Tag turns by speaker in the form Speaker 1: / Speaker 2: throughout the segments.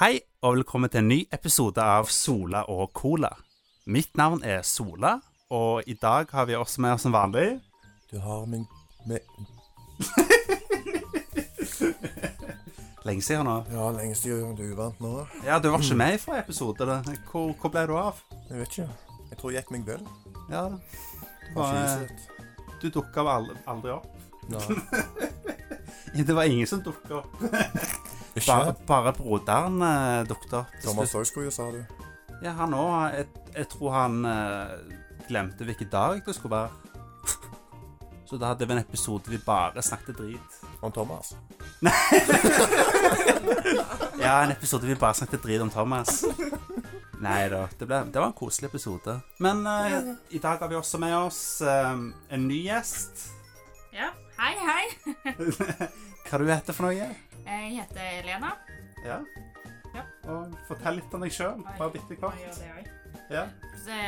Speaker 1: Hei, og velkommen til en ny episode av Sola og Cola. Mitt navn er Sola, og i dag har vi også med oss som vanlig
Speaker 2: Du har min med,
Speaker 1: Lenge siden nå.
Speaker 2: Ja, lenge siden du vant nå.
Speaker 1: Ja, du var ikke med i forrige episode. da. Hvor, hvor ble du av?
Speaker 2: Jeg vet ikke. Jeg tror jeg gikk meg vill.
Speaker 1: Ja, du,
Speaker 2: Var
Speaker 1: var, eh,
Speaker 2: ikke utsett.
Speaker 1: du dukka vel aldri, aldri opp.
Speaker 2: Nei.
Speaker 1: Det var ingen som dukka opp.
Speaker 2: Ikke
Speaker 1: Bare, bare broderen eh, dukket opp. til
Speaker 2: Thomas
Speaker 1: slutt.
Speaker 2: Høgskuge, sa du.
Speaker 1: Ja, han òg. Jeg, jeg tror han eh, glemte hvilken dag det skulle være. Så da hadde vi en episode vi bare snakket drit.
Speaker 2: Om Thomas.
Speaker 1: Ja, en episode vi bare snakket drit om Thomas. Nei da, det, ble, det var en koselig episode. Men eh, i dag har vi også med oss eh, en ny gjest.
Speaker 3: Ja, hei, hei.
Speaker 1: Hva du heter for noe?
Speaker 3: Jeg heter Elena.
Speaker 1: Ja.
Speaker 3: Ja.
Speaker 1: Og fortell litt om deg sjøl, bare bitte
Speaker 3: Må gjøre
Speaker 1: kort.
Speaker 3: det også.
Speaker 1: Ja.
Speaker 3: Så,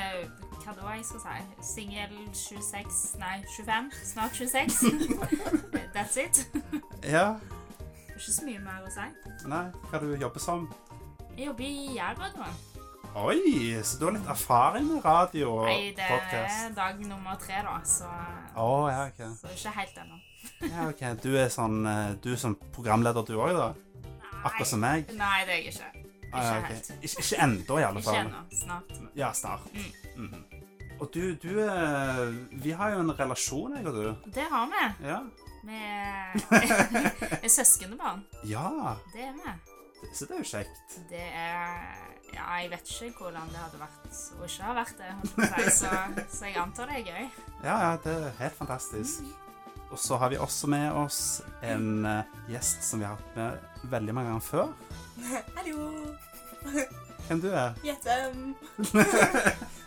Speaker 3: Hva da jeg skal si? Singel 26, nei 25, snart 26. That's it.
Speaker 1: ja.
Speaker 3: Det er ikke så mye mer å si.
Speaker 1: Nei, hva du jobber som?
Speaker 3: Jeg jobber i Jærradioen.
Speaker 1: Oi, så du har litt erfaring med radio og
Speaker 3: Nei, det
Speaker 1: podkast?
Speaker 3: er dag nummer tre, da, så,
Speaker 1: Å, ja, ok.
Speaker 3: så ikke helt ennå.
Speaker 1: Ja, ok. Du er sånn, eh, du er sånn programleder du òg, da? Akkurat som meg?
Speaker 3: Nei, det er jeg
Speaker 1: Ah,
Speaker 3: ikke.
Speaker 1: ja,
Speaker 3: Ikke
Speaker 1: ok.
Speaker 3: helt.
Speaker 1: Ikke, ikke ennå, i alle
Speaker 3: Ikke
Speaker 1: fall.
Speaker 3: ennå. Snart.
Speaker 1: Ja, snart.
Speaker 3: Mm.
Speaker 1: Mhm. Og du, du eh, Vi har jo en relasjon, jeg og du.
Speaker 3: Det har vi.
Speaker 1: Ja.
Speaker 3: Vi er søskenbarn.
Speaker 1: ja.
Speaker 3: Det er vi.
Speaker 1: Så det er jo kjekt.
Speaker 3: Det er Ja, jeg vet ikke hvordan det hadde vært og ikke har vært det, holdt jeg på å si, så, så jeg antar det er gøy.
Speaker 1: Ja, ja, det er helt fantastisk. Og så har vi også med oss en eh, gjest som vi har hatt med veldig mange ganger før.
Speaker 4: Hallo!
Speaker 1: Hvem du er?
Speaker 4: Gjett hvem?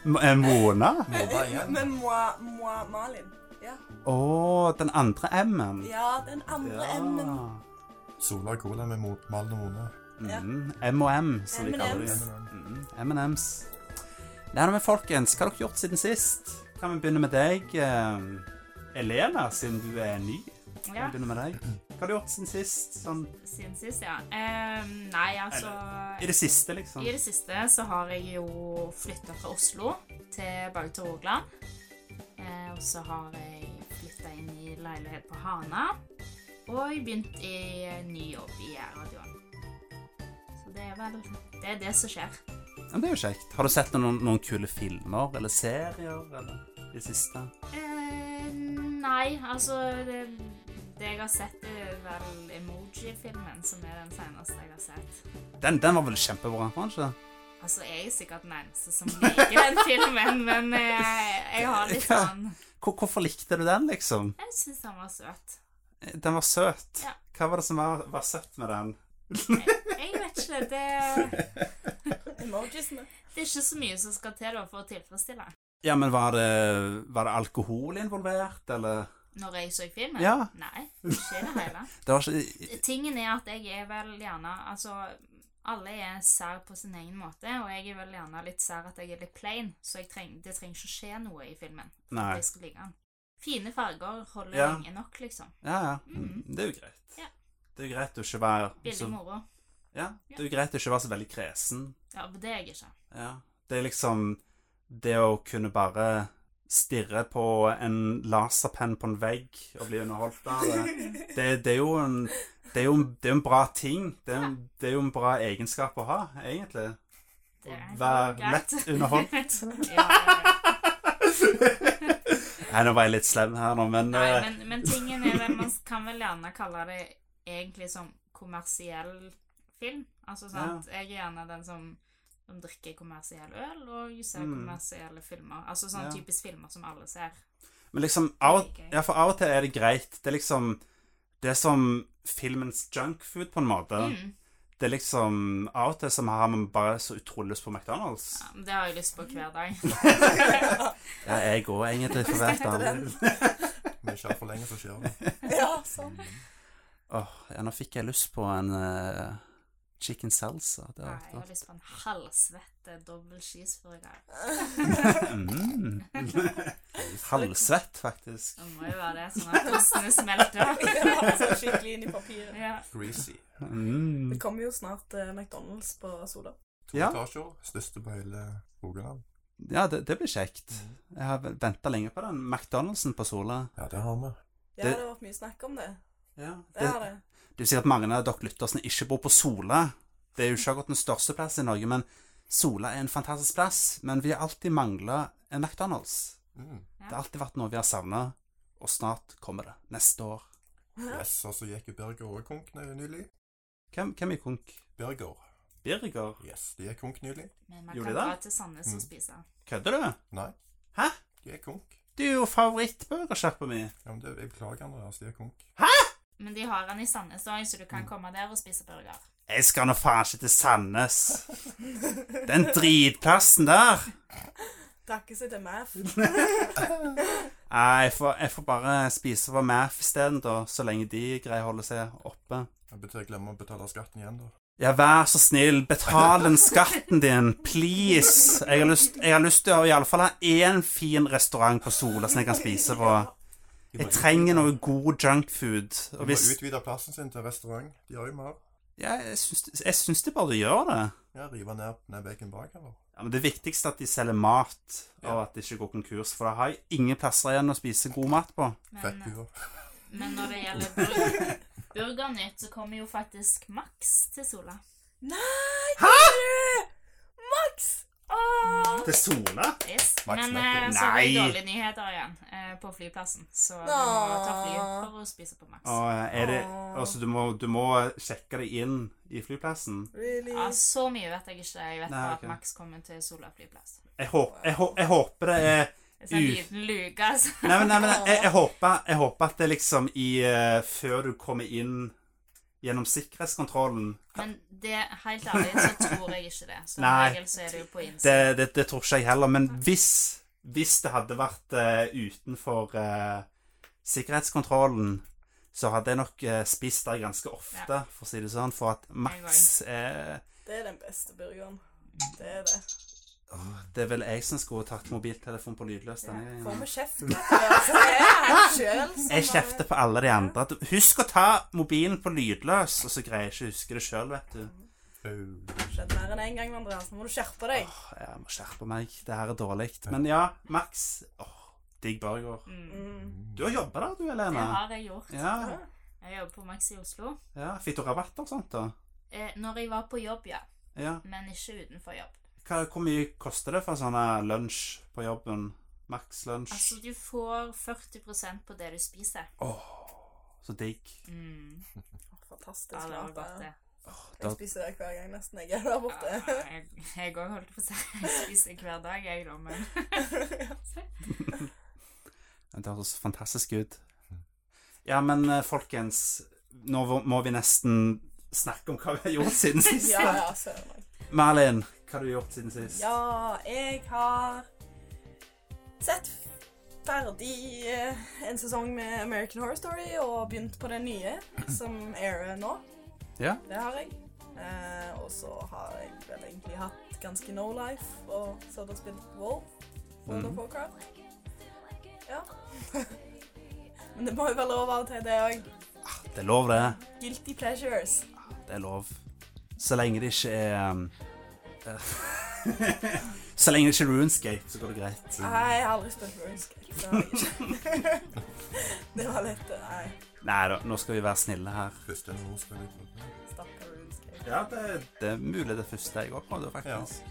Speaker 1: M eh, Mona?
Speaker 2: Må bare igjen.
Speaker 4: Men moi, moi Malin. Ja.
Speaker 1: Å, den andre M-en.
Speaker 4: ja, den andre M-en.
Speaker 2: Sola Cola med mot Malin og Mone.
Speaker 1: Mm, M og M, som de kaller det.
Speaker 4: M&Ms.
Speaker 1: Mm, M&M's. Nei, men folkens, hva har dere gjort siden sist? Kan vi begynne med deg, eh, Elena, siden du er ny?
Speaker 3: Ja,
Speaker 1: Kan vi begynne med deg? Hva har du gjort siden sist? Sånn,
Speaker 3: siden sist, ja. Ehm, nei, altså
Speaker 1: I det siste, liksom?
Speaker 3: I det siste så har jeg jo flytta fra Oslo tilbake til Rogaland. Eh, og så har jeg flytta inn i leilighet på Hana. Og jeg begynte i ny jobb i radioen. Så det er vel Det er det som skjer.
Speaker 1: Ja, men det er jo kjekt. Har du sett noen, noen kule filmer eller serier eller i det siste?
Speaker 3: Eh, nei, altså det, det jeg har sett, er vel emoji-filmen, som er den seneste jeg har sett.
Speaker 1: Den, den var vel kjempebra, var den ikke?
Speaker 3: Altså, jeg er sikkert den eneste som liker den filmen, men eh, jeg har litt
Speaker 1: Hva?
Speaker 3: sånn
Speaker 1: Hvor, hvorfor likte du den, liksom?
Speaker 3: Jeg syns den var søt.
Speaker 1: Den var søt.
Speaker 3: Ja.
Speaker 1: Hva var det som var, var søtt med den?
Speaker 3: Jeg vet ikke, det,
Speaker 4: Emojisene.
Speaker 3: det er ikke så mye som skal til da for å tilfredsstille.
Speaker 1: Ja, men var det, var det alkohol involvert, eller?
Speaker 3: Når jeg så filmen?
Speaker 1: Ja.
Speaker 3: Nei, ikke i det hele.
Speaker 1: Det var ikke
Speaker 3: Tingen er at jeg er vel gjerne Altså, alle er sær på sin egen måte, og jeg er vel gjerne litt sær at jeg er litt plain, så jeg treng, det trenger ikke å skje noe i filmen.
Speaker 1: Nei.
Speaker 3: for Jeg skal like den. Fine farger holder
Speaker 1: Ja.
Speaker 3: lenge nok, liksom.
Speaker 1: Ja, ja. Mm.
Speaker 3: Mhm.
Speaker 1: Det er jo greit.
Speaker 3: Ja.
Speaker 1: Det er jo greit å ikke være så,
Speaker 3: Billig moro.
Speaker 1: ja, det er jo greit å ikke være så veldig kresen.
Speaker 3: Ja, men det er jeg ikke.
Speaker 1: Ja. Det er liksom det å kunne bare stirre på en laserpenn på en vegg og bli underholdt av det. Det, det er jo en det er jo, det er jo en bra ting. Det er, en- det er jo en bra egenskap å ha, egentlig.
Speaker 3: Det er
Speaker 1: Vær
Speaker 3: greit.
Speaker 1: lett underholdt.
Speaker 3: ja, ja, ja.
Speaker 1: Nei, nå var jeg litt slem her nå, men,
Speaker 3: Nei,
Speaker 1: eh,
Speaker 3: men, men tingen er vel Man kan vel gjerne kalle det egentlig som kommersiell film. Altså sant, Jeg er gjerne den som, som drikker kommersiell øl og ser
Speaker 1: Mm.
Speaker 3: kommersielle filmer. Altså sånn
Speaker 1: Ja.
Speaker 3: typisk filmer som alle ser.
Speaker 1: men liksom av, og-
Speaker 3: Gøy.
Speaker 1: Ja, for av og til er det greit. Det er liksom Det er som filmens junkfood, på en måte.
Speaker 3: Mm.
Speaker 1: Det er liksom Av og til så har man bare så utrolig lyst på McDonald's.
Speaker 3: Ja, men det har jeg lyst på hver dag.
Speaker 1: Ja, jeg går egentlig for hvert
Speaker 4: den.
Speaker 1: annet.
Speaker 2: Vi kjører for lenge, så skjer det.
Speaker 4: Ja, sånn.
Speaker 1: Åh, ja, nå fikk jeg lyst på en eh, Chicken salsa. Det
Speaker 3: Nei,
Speaker 1: har
Speaker 3: jeg
Speaker 1: jeg
Speaker 3: har lyst på en halvsvette dobbel cheeseburger.
Speaker 1: hørt om. Mm. Halvsvett, faktisk.
Speaker 3: Det må jo være det, sånn at ostene smelter.
Speaker 4: Ja, sånn Skikkelig inn i papiret.
Speaker 3: Ja.
Speaker 2: Greasy.
Speaker 1: Mm.
Speaker 4: Det kommer jo snart eh, McDonald's på Sola.
Speaker 2: To
Speaker 1: Ja.
Speaker 2: etasjer. Største på hele Rogaland.
Speaker 1: Ja, det, det blir kjekt. Jeg har venta lenge på den McDonald'sen på Sola.
Speaker 2: Ja, det har vi.
Speaker 4: Ja,
Speaker 1: Det-
Speaker 4: det har vært mye snakk om det.
Speaker 1: Ja,
Speaker 4: Det
Speaker 1: det,
Speaker 4: har det.
Speaker 1: Det er jo sikkert mange av dere lytter som ikke bor på Sola. Det er jo ikke akkurat den største plassen i Norge, men Sola er en fantastisk plass. Men vi har alltid mangla en McDonald's.
Speaker 2: Mm.
Speaker 1: Det har alltid vært noe vi har savna, og snart kommer det. Neste år.
Speaker 2: Yes, og så gikk jo Berger også konk ny- nylig.
Speaker 1: Hvem, hvem er konk?
Speaker 2: Berger.
Speaker 1: Birger?
Speaker 2: Yes, de er konk nylig.
Speaker 3: Men man
Speaker 1: Gjorde
Speaker 3: kan
Speaker 1: det?
Speaker 3: dra til Sandnes og
Speaker 2: Mm.
Speaker 3: spise.
Speaker 1: Kødder du?
Speaker 2: Nei.
Speaker 1: Hæ?
Speaker 2: De er konk.
Speaker 1: Det er jo favorittburgersjappa mi.
Speaker 2: Ja, men det, jeg beklager, Andreas. De er konk.
Speaker 3: Men de har den i Sandnes òg, så du
Speaker 1: Mm.
Speaker 3: kan komme der og spise burger.
Speaker 1: Jeg skal nå faen ikke til Sandnes. Den dritplassen der.
Speaker 4: Takke seg til math.
Speaker 1: Nei, jeg får, jeg får bare spise på Math isteden, da, så lenge de greier å holde seg oppe.
Speaker 2: Jeg betyr jeg glemmer å betale skatten igjen, da.
Speaker 1: Ja, vær så snill, betal den skatten din, please. Jeg har lyst, jeg har lyst til å i alle fall ha én fin restaurant på Sola som jeg kan spise på.
Speaker 2: De må
Speaker 1: Jeg trenger
Speaker 2: utvide-
Speaker 1: noe god junkfood. Og
Speaker 2: De
Speaker 1: hvis
Speaker 2: må utvide plassen sin til restaurant. De har jo mer.
Speaker 1: Ja, jeg syns, jeg syns de bare gjør det.
Speaker 2: Ja, rive ned, ned veggen bak, eller?
Speaker 1: Ja, men Det viktigste er at de selger mat, og
Speaker 2: Ja.
Speaker 1: at det ikke går konkurs. For da har jeg ingen plasser igjen å spise god mat på.
Speaker 3: Men,
Speaker 2: Fettbuer.
Speaker 3: men når det gjelder burger, Burgernytt, så kommer jo faktisk Max til Sola.
Speaker 4: Nei, Hæ? Max! Åh!
Speaker 1: Til Sola?
Speaker 3: Yes.
Speaker 2: Max
Speaker 3: Men
Speaker 2: Mac, ja.
Speaker 3: eh, så er det
Speaker 1: Nei.
Speaker 3: dårlige nyheter igjen eh, på flyplassen, så du må ta fly
Speaker 4: Åh.
Speaker 3: for å spise på Max.
Speaker 1: Og er det
Speaker 4: Åh.
Speaker 1: Altså, du må, du må sjekke deg inn i flyplassen.
Speaker 4: Really?
Speaker 3: Ja, så mye vet jeg ikke. Jeg vet
Speaker 1: Nei,
Speaker 3: bare
Speaker 1: ok.
Speaker 3: at Max kommer til Sola flyplass.
Speaker 1: Jeg, håp, jeg, hå- jeg håper det er
Speaker 3: Det er en
Speaker 1: Uff.
Speaker 3: liten luke, altså.
Speaker 1: Nei, men, nei, men jeg, jeg, håper, jeg håper at det liksom i eh, Før du kommer inn gjennom sikkerhetskontrollen
Speaker 3: Men det, helt ærlig så tror jeg ikke det. Som
Speaker 1: Nei.
Speaker 3: regel så er det jo på innsiden.
Speaker 1: det, det, det tror ikke jeg heller. Men hvis, hvis det hadde vært eh, utenfor eh, sikkerhetskontrollen, så hadde jeg nok eh, spist der ganske ofte, for å si det sånn. For at Max eh,
Speaker 4: Det er den beste burgeren. Det er det.
Speaker 1: Det er vel jeg som skulle tatt mobiltelefon på lydløs denne
Speaker 4: Får
Speaker 1: gangen.
Speaker 4: vi kjeft? Altså, det er han selv som
Speaker 1: Jeg
Speaker 4: har-
Speaker 1: kjefter på alle de andre. Du- Husk å ta mobilen på lydløs, og så greier jeg ikke å huske det sjøl, vet du.
Speaker 2: Au.
Speaker 4: Skjedd mer enn én gang, Andreas. Nå må du skjerpe deg.
Speaker 1: Åh, Jeg må skjerpe meg. Det her er dårlig. Men ja, Max. Åh, digg burger.
Speaker 3: Mm.
Speaker 4: Mm.
Speaker 1: Du har jobba der, du,
Speaker 3: Det
Speaker 1: Helene.
Speaker 3: har jeg gjort.
Speaker 1: Ja,
Speaker 3: Jeg jobber på Max i Oslo.
Speaker 1: ja. Fikk du rabatt og sånt, da?
Speaker 3: Eh, når jeg var på jobb, ja.
Speaker 1: Ja.
Speaker 3: Men ikke utenfor jobb.
Speaker 1: Hva, hvor mye koster det for en sånn her lunsj på jobben? Max lunsj?
Speaker 3: Altså, du får 40 på det du spiser.
Speaker 1: Så digg.
Speaker 3: Mm.
Speaker 4: Fantastisk.
Speaker 3: Ja, det var
Speaker 4: mat,
Speaker 3: godt,
Speaker 4: da.
Speaker 3: det.
Speaker 1: Da-
Speaker 4: Jeg spiser det hver gang nesten jeg er der borte.
Speaker 3: Ja, jeg- jeg òg holdt på å si jeg spiser hver dag, jeg, da, men
Speaker 1: Det høres fantastisk ut. Ja, men eh, folkens, nå v- må vi nesten snakke om hva vi har gjort siden sist.
Speaker 4: Ja, ja, søren òg.
Speaker 1: Malin, hva har du gjort siden sist?
Speaker 4: Ja, jeg har sett ferdig eh, en sesong med American Horror Story og begynt på den nye som airer nå.
Speaker 1: Ja.
Speaker 4: Det har jeg. Eh, og så har jeg vel egentlig hatt ganske no life og så har jeg spilt Wolf. World
Speaker 1: Mhm.
Speaker 4: of Warcraft. Ja. Men det må jo være lov av og til, det òg.
Speaker 1: Det er lov, det.
Speaker 4: Guilty pleasures.
Speaker 1: Det er lov. Så lenge det ikke er um, eh, Så lenge det ikke er RuneScape, så går det greit.
Speaker 4: Nei, jeg har aldri spilt RuneScape. Det har jeg ikke. det var litt eh, Nei,
Speaker 1: Nei da, nå skal vi være snille her.
Speaker 2: Første nordspill jeg prøvde.
Speaker 4: stakkar RuneScape.
Speaker 1: Ja, det, det er mulig det første jeg òg prøvde, faktisk.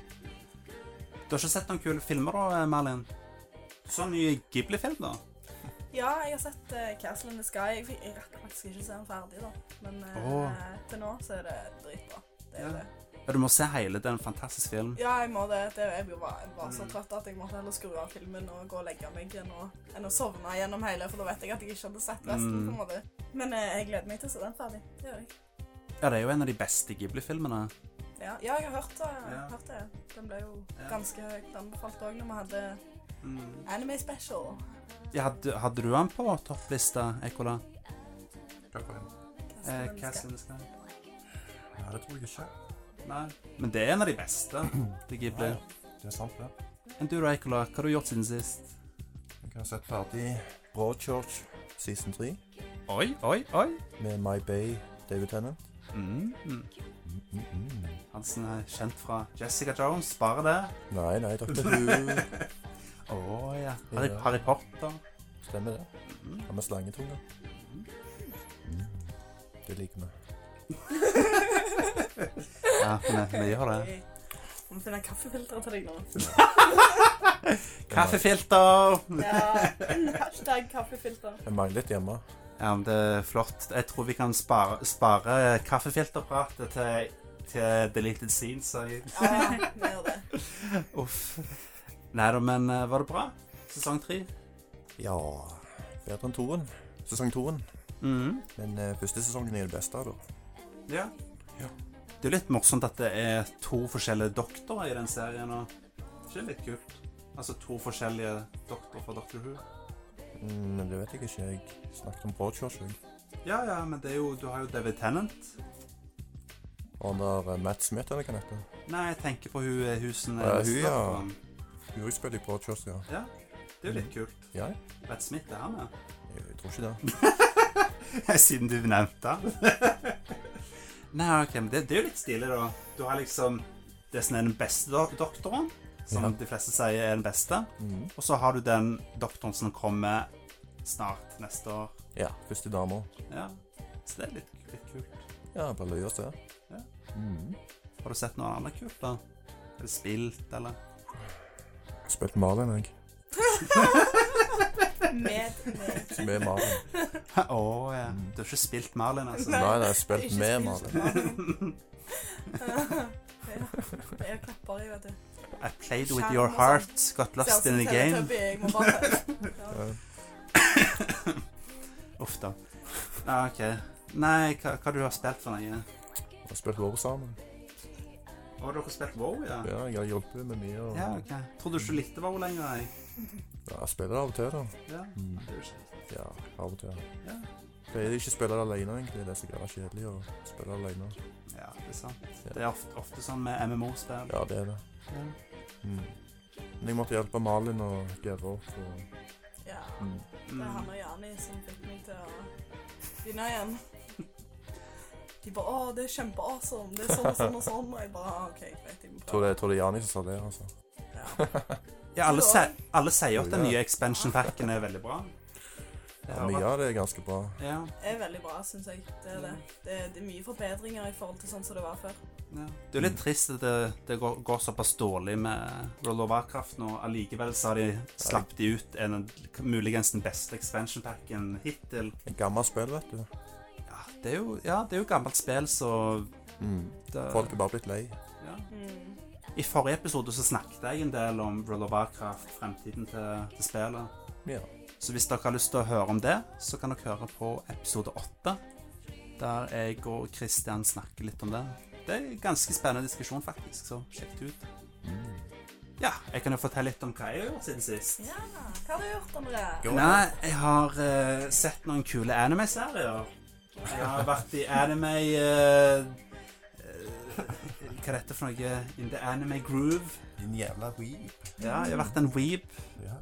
Speaker 1: Du har ikke sett noen kule filmer, da, eh, Merlin? Sånn ny Ghibli-film, da?
Speaker 4: Ja, jeg har sett eh, Castle in the Sky. Jeg, fikk- jeg rakk faktisk ikke se den ferdig, da. Men eh,
Speaker 1: Åh.
Speaker 4: til nå så er det dritbra. Det er
Speaker 1: Ja.
Speaker 4: det.
Speaker 1: Ja, du må se hele. Det er en fantastisk film.
Speaker 4: Ja, jeg må det. det jeg var, jeg var så trøtt at jeg måtte heller skru av filmen og gå og legge meg enn å, enn å sovne gjennom hele, for da vet jeg at jeg ikke hadde sett resten.
Speaker 1: Mm.
Speaker 4: på en måte. Men eh, jeg gleder meg til å se den ferdig. Det gjør jeg.
Speaker 1: Ja, det er jo en av de beste Ghibli-filmene.
Speaker 4: Ja, ja jeg har hørt det. Jeg
Speaker 1: Ja.
Speaker 4: har hørt det. Den ble jo
Speaker 1: Ja.
Speaker 4: ganske høyt anbefalt òg når vi hadde
Speaker 1: Mm.
Speaker 4: Anime Special.
Speaker 1: Ja, hadde, hadde du den på topplista, Ekkola?
Speaker 2: Hva for en?
Speaker 1: Eh,
Speaker 4: Hva skal den skal-
Speaker 1: in the Sky.
Speaker 2: Nei, Nei, det tror jeg ikke.
Speaker 1: Nei. Men det er en av de beste. De Ghibli.
Speaker 2: Nei, det er sant, det.
Speaker 1: Enn du, Reikola, hva har du gjort siden sist?
Speaker 2: Jeg har sett ferdig Broadchurch season 3
Speaker 1: Oi, oi, oi.
Speaker 2: med My Bay David Tennant.
Speaker 1: Mm. mm.
Speaker 2: Mm, mm, mm.
Speaker 1: Han som er kjent fra Jessica Jones, bare det.
Speaker 2: Nei, nei, Dr. Who.
Speaker 1: Å ja. Harry,
Speaker 2: Ja.
Speaker 1: Harry Potter.
Speaker 2: Stemmer det.
Speaker 1: Mm.
Speaker 2: Han med slangetunga. Mm. Det liker vi.
Speaker 1: Ja, men vi vi gjør det.
Speaker 4: Må finne kaffefilteret til deg nå.
Speaker 1: Kaffefilter!
Speaker 4: Ja. Hashtag kaffefilter.
Speaker 2: Jeg mangler et hjemme.
Speaker 1: Ja, men det er flott. Jeg tror vi kan spare, spare kaffefilterpratet til, til Deleted Scenes. jeg-
Speaker 4: Ja, vi gjør det.
Speaker 1: Uff. Nei da, men eh, var det bra? Sesong tre?
Speaker 2: Ja Bedre enn toen. Sesong toen.
Speaker 1: Mhm.
Speaker 2: Men eh, første sesongen er det beste, da.
Speaker 1: Ja.
Speaker 2: Ja.
Speaker 1: Det er jo litt morsomt at det er to forskjellige doktorer i den serien. Og det er ikke litt kult? Altså to forskjellige doktorer fra Doctor Who.
Speaker 2: Mm, men det vet jeg ikke. Jeg snakket om Broadchurch. jeg.
Speaker 1: Ja, ja, men det er jo, du har jo David Tennant.
Speaker 2: Og når eh, Matt Smith, eller hva han heter.
Speaker 1: Nei, jeg tenker på hun, eh, hun som
Speaker 2: Ja,
Speaker 1: neste
Speaker 2: hun, ja.
Speaker 1: doktoren.
Speaker 2: Hun også spiller i Broadchurch, ja.
Speaker 1: ja. Det er jo litt kult.
Speaker 2: Ja,
Speaker 1: Brett Smith er han, ja.
Speaker 2: jeg tror ikke det.
Speaker 1: Siden du nevnte han. Nei, ok, men det, det er jo litt stilig, da. Du har liksom det som er den beste do doktoren, som
Speaker 2: Ja.
Speaker 1: de fleste sier er den beste.
Speaker 2: Mm.
Speaker 1: Og så har du den doktoren som kommer snart neste år.
Speaker 2: Ja, første dama.
Speaker 1: Ja, så det er litt, litt kult.
Speaker 2: Ja, bare løy oss det.
Speaker 1: Ja.
Speaker 2: Mm.
Speaker 1: Har du sett noe annet kult, da? Er det spilt, eller?
Speaker 2: Spilt Marlin, jeg.
Speaker 4: Med meg.
Speaker 2: Med Marlin.
Speaker 1: Å ja. Du har ikke spilt Marlin, altså?
Speaker 2: Nei, nei,
Speaker 4: Det er
Speaker 2: spilt
Speaker 4: ikke
Speaker 2: med
Speaker 4: spilt
Speaker 2: Marlin.
Speaker 4: Marlin. Det er klapper i, vet du.
Speaker 1: I played with
Speaker 4: Skjerm
Speaker 1: your
Speaker 4: og sånn.
Speaker 1: heart, got
Speaker 4: Ser
Speaker 1: lost
Speaker 4: ut som
Speaker 1: in the game.
Speaker 4: Teletubby, Jeg må bare
Speaker 2: Ja.
Speaker 1: Uff da. Ja, ok. Nei, hva, hva du har spilt for noe?
Speaker 2: Vi har spilt WoW sammen.
Speaker 1: Å, dere har spilt WoW, ja?
Speaker 2: Ja, jeg har hjulpet med mye. Og...
Speaker 1: Ja, ok. Tror du ikke du likte WoW lenger, jeg?
Speaker 2: Ja, jeg spiller av og til, da.
Speaker 1: Ja.
Speaker 2: Mm.
Speaker 1: Det er jo ikke-
Speaker 2: Ja, av og til.
Speaker 1: Ja.
Speaker 2: Pleier ikke å spille det alene, egentlig. Det er så gærent kjedelig å spille alene.
Speaker 1: ja, det er sant. Det er ofte, ofte sånn med MMO-spill.
Speaker 2: Ja, det er det.
Speaker 1: Ja.
Speaker 2: Mm. Men jeg måtte hjelpe Malin å gere opp. Og...
Speaker 4: Ja.
Speaker 2: Mm.
Speaker 4: Det er
Speaker 1: Mm.
Speaker 4: han og Jani som fikk meg til å begynne igjen. De bare 'Å, det er kjempeawesome. Det er sånn og sånn og sånn.' Og jeg bare «Ah, 'OK, greit, jeg må
Speaker 2: Tror,
Speaker 4: prøve'.
Speaker 2: det, tror det er Jani som sa det, altså.
Speaker 4: Ja.
Speaker 1: Ja, alle, se, alle sier at den
Speaker 2: Ja.
Speaker 1: nye expansion packen er veldig bra. Det
Speaker 2: Ja,
Speaker 1: har
Speaker 2: mye
Speaker 1: vært-
Speaker 2: av det er ganske bra.
Speaker 1: Ja,
Speaker 4: Det er veldig bra, syns jeg. Det er det. Det er, det er mye forbedringer i forhold til sånn som det var før.
Speaker 1: ja. Det er jo litt
Speaker 2: Mm.
Speaker 1: trist at det, det går, går såpass dårlig med World of Warcraft nå. Allikevel så har de slapp de ut en, muligens den beste expansion packen hittil.
Speaker 2: En gammel spill, vet du.
Speaker 1: Ja, det er jo, ja, det er jo gammelt spill, så
Speaker 2: Mm.
Speaker 1: det,
Speaker 2: Folk er bare blitt lei.
Speaker 1: ja.
Speaker 4: Mm.
Speaker 1: I forrige episode så snakket jeg en del om World of Warcraft, fremtiden til, til spillet.
Speaker 2: Ja.
Speaker 1: Så hvis dere har lyst til å høre om det, så kan dere høre på episode 8, der jeg og Christian snakker litt om det. Det er en ganske spennende diskusjon, faktisk, så sjekk det ut.
Speaker 2: Mm.
Speaker 1: Ja, jeg kan jo fortelle litt om hva jeg har gjort siden sist.
Speaker 4: Ja, hva har du gjort, André?
Speaker 2: Jo.
Speaker 1: Nei, jeg har eh, sett noen kule anime-serier. Jeg har vært i anime... eh, eh, hva er dette for noe? In the anime groove.
Speaker 2: Din jævla weeb.
Speaker 1: Ja, jeg har vært en weeb.
Speaker 2: Ja.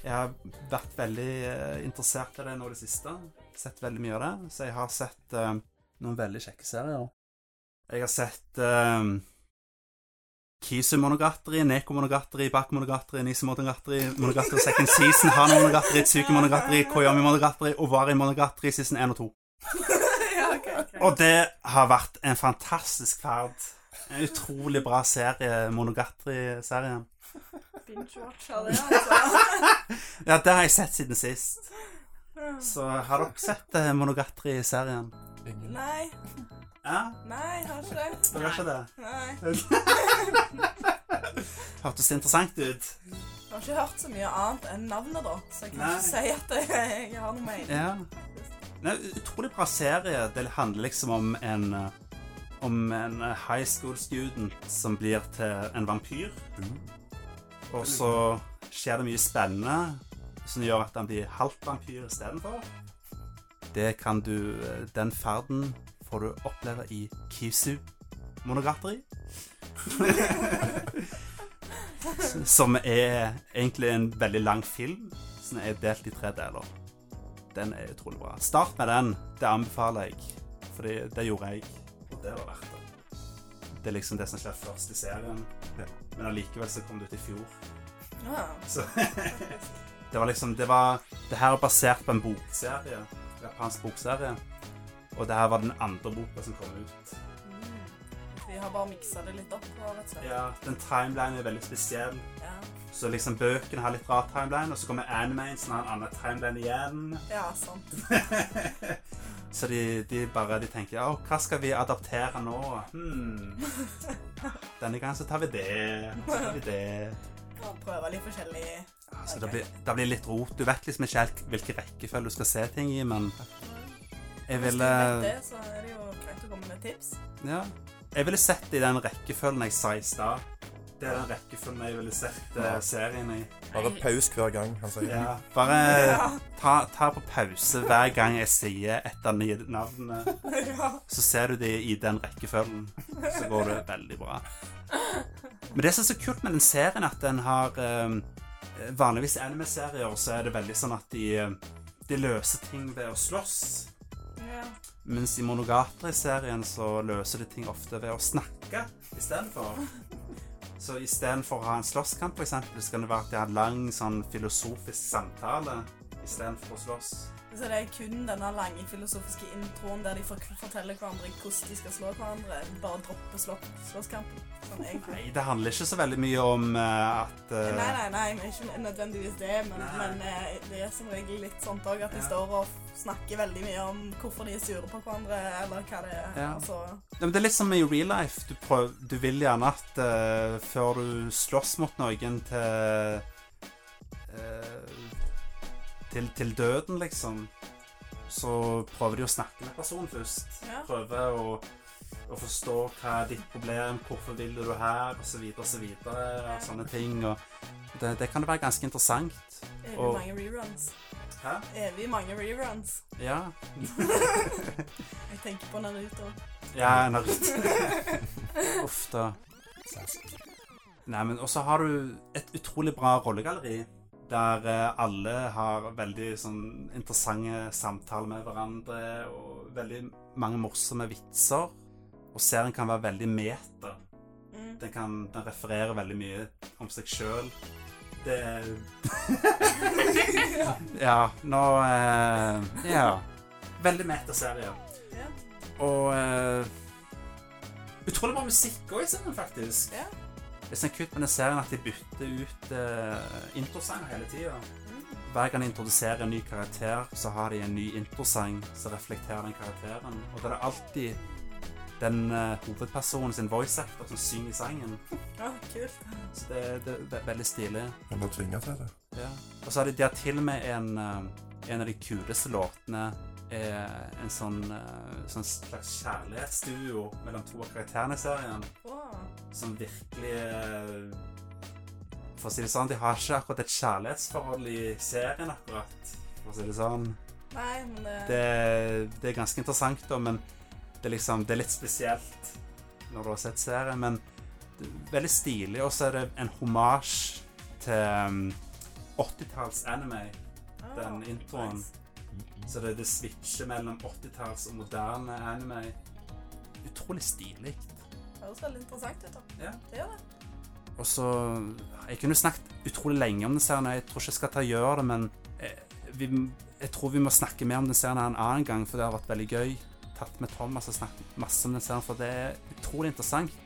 Speaker 1: Jeg har vært veldig eh, interessert i det nå i det siste. Sett veldig mye av det. Så jeg har sett eh, noen veldig kjekke serier. Jeg har sett um, Kisu Monogatari, Neko Monogatari, Bak Monogatari, Nise Monogatari, Monogatari Second Season, Han Monogatari, Tsuki Monogatari, Koyami Monogatari, Ovari Monogatari, Season 1 og 2.
Speaker 4: ja, ok, greit.
Speaker 1: Og det har vært en fantastisk ferd. En utrolig bra serie, Monogatari-serien.
Speaker 4: Binge-watcha det, altså.
Speaker 1: Ja, det har jeg sett siden sist. Så har dere sett eh, Monogatari-serien?
Speaker 2: Ingen.
Speaker 4: Nei,
Speaker 1: Ja,
Speaker 4: nei, har ikke det.
Speaker 1: dere har ikke det?
Speaker 4: Nei.
Speaker 1: Hørtes interessant ut.
Speaker 4: Jeg har ikke hørt så mye annet enn navnet, da. Så jeg kan
Speaker 1: Nei.
Speaker 4: ikke si at jeg, jeg har noe mening.
Speaker 1: Ja. Nei, utrolig bra serie. Det handler liksom om en eh, om en eh, high school student som blir til en vampyr. Og så skjer det mye spennende som gjør at han blir halvt vampyr istedenfor. Det kan du eh, Den ferden får du oppleve i Kisu Monogatari. Som er egentlig en veldig lang film, som er delt i tre deler. Den er utrolig bra. Start med den. Det anbefaler jeg. For det, det gjorde jeg, og det var verdt det. Det er liksom det som skjer først i serien,
Speaker 2: Ja.
Speaker 1: men allikevel så kom det ut i fjor.
Speaker 4: Ja.
Speaker 1: Så det var liksom Det var Det her er basert på en bokserie. en Japansk bokserie. Og det her var den andre boka som kom ut.
Speaker 4: Mm. Vi har bare miksa det litt opp. og Rett og slett.
Speaker 1: Ja, Den timelinen er veldig spesiell.
Speaker 4: Ja.
Speaker 1: Så liksom bøkene har litt rar timeline, og så kommer animen som har en annen timeline igjen.
Speaker 4: ja, sant.
Speaker 1: Så de, de bare de tenker Å, hva skal vi adaptere nå? Hmm. Denne gangen så tar vi det. og Så tar vi det.
Speaker 4: Og prøve litt forskjellig.
Speaker 1: Så det blir, det blir litt rot. Du vet liksom ikke helt hvilken rekkefølge du skal se ting i, men jeg
Speaker 4: Hvis du
Speaker 1: ville
Speaker 4: vet det, så er det jo greit å komme med tips.
Speaker 1: Ja. Jeg ville sett det i den rekkefølgen jeg sa i stad. Det er den rekkefølgen jeg ville sett eh, serien i.
Speaker 2: Bare paus hver gang han sier
Speaker 1: Ja. Bare ta, ta på pause hver gang jeg sier et av nye navnene.
Speaker 4: ja.
Speaker 1: Så ser du det i den rekkefølgen. Så går det veldig bra. Men det som er så kult med den serien, at den har eh, Vanligvis i anime-serier så er det veldig sånn at de, de løser ting ved å slåss.
Speaker 4: ja.
Speaker 1: Mens i Monogatari-serien så løser de ting ofte ved å snakke istedenfor. Så istedenfor å ha en slåsskamp, f.eks., så kan det være at de har en lang sånn filosofisk samtale istedenfor å slåss.
Speaker 4: Så det er kun denne lange filosofiske introen der de for- forteller hverandre hvordan de skal slå hverandre. Bare droppe slå slåsskampen. Sånn egentlig.
Speaker 1: Nei, det handler ikke så veldig mye om eh, at eh,
Speaker 4: Nei, nei, nei, men ikke nødvendigvis det, men,
Speaker 1: Nei.
Speaker 4: men eh, det er som regel litt sånt òg, at de
Speaker 1: Ja.
Speaker 4: står og snakker veldig mye om hvorfor de er sure på hverandre, eller hva det er.
Speaker 1: Ja.
Speaker 4: Altså,
Speaker 1: Ja, men Det er litt som i real life. Du, prøv, du vil gjerne at eh, før du slåss mot noen til eh, til, til døden, liksom, så prøver de å snakke med personen først.
Speaker 4: Ja.
Speaker 1: Prøver å, å forstå hva er ditt problem, hvorfor vil du her, osv., osv. Og sånne ting. Og det, det kan være ganske interessant.
Speaker 4: evig
Speaker 1: Og-
Speaker 4: mange reruns.
Speaker 1: Hæ?
Speaker 4: Evig mange reruns.
Speaker 1: Ja.
Speaker 4: Jeg tenker på Naruto.
Speaker 1: Ja, Naruto. Uff da. Nei, men også har du et utrolig bra rollegalleri, der eh, alle har veldig sånn interessante samtaler med hverandre, og veldig mange morsomme vitser. Og serien kan være veldig meta.
Speaker 4: Mm.
Speaker 1: Den, kan, den refererer veldig mye om seg sjøl. Det Ja, nå eh, Ja. Veldig metaserie.
Speaker 4: Ja.
Speaker 1: Og eh, utrolig bra musikk òg i serien, faktisk.
Speaker 4: Ja.
Speaker 1: Det som er kult med den serien, er at de bytter ut uh, introsang hele tida.
Speaker 4: Mm.
Speaker 1: Hver gang de introduserer en ny karakter, så har de en ny introsang som reflekterer den karakteren. Og da er det alltid den eh, hovedpersonen sin voice actor som synger sangen.
Speaker 4: Ja, kult.
Speaker 1: Så det, det er ve- veldig stilig.
Speaker 2: Han blir tvinga til det.
Speaker 1: Ja. Og så har de, de har til og med en, eh, en av de kuleste låtene er en sånn, eh, sånn slags kjærlighetsduo mellom to av karakterene i serien,
Speaker 4: Wow.
Speaker 1: som virkelig eh, For å si det sånn, de har ikke akkurat et kjærlighetsforhold i serien, akkurat. For å si det sånn.
Speaker 4: Nei, men eh, det,
Speaker 1: Det, det er ganske interessant, da, men det er, liksom, det er litt spesielt når du har sett serien. Men det er veldig stilig, og så er det en homasj til um, 80-talls anime.
Speaker 4: Ah,
Speaker 1: den introen.
Speaker 4: nice.
Speaker 1: Så det, det switcher mellom 80-talls og moderne anime. Utrolig stilig.
Speaker 4: Høres veldig interessant ut. da.
Speaker 1: Ja.
Speaker 4: Det gjør det.
Speaker 1: Og så Jeg kunne snakket utrolig lenge om den serien, og jeg tror ikke jeg skal ta og gjøre det, men jeg, vi, jeg tror vi må snakke mer om den serien en annen gang, for det har vært veldig gøy. Tatt med Thomas og snakket masse om den serien, for det er utrolig interessant.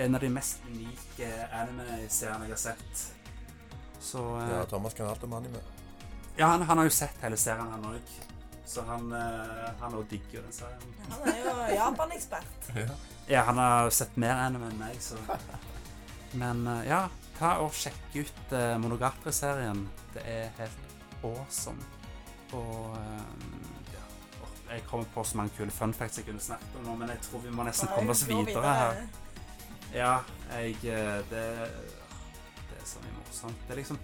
Speaker 1: En av de mest unike anime-seriene jeg har sett. Så eh,
Speaker 2: Ja, Thomas kan alt om anime.
Speaker 1: Ja, han, han har jo sett hele serien, han òg. Så han eh, han òg digger jo den serien.
Speaker 4: Han er jo Japan-ekspert.
Speaker 2: Ja.
Speaker 1: Ja, han har jo sett mer anime enn meg, så Men eh, ja, ta og sjekk ut eh, Monogatari-serien. Det er helt awesome. Og eh, ja, åh, jeg kommer på så mange kule fun facts jeg kunne snakket om nå, men jeg tror vi må nesten komme oss
Speaker 4: Gå
Speaker 1: videre her. Ja, jeg eh, Det, det er så mye morsomt. Det er liksom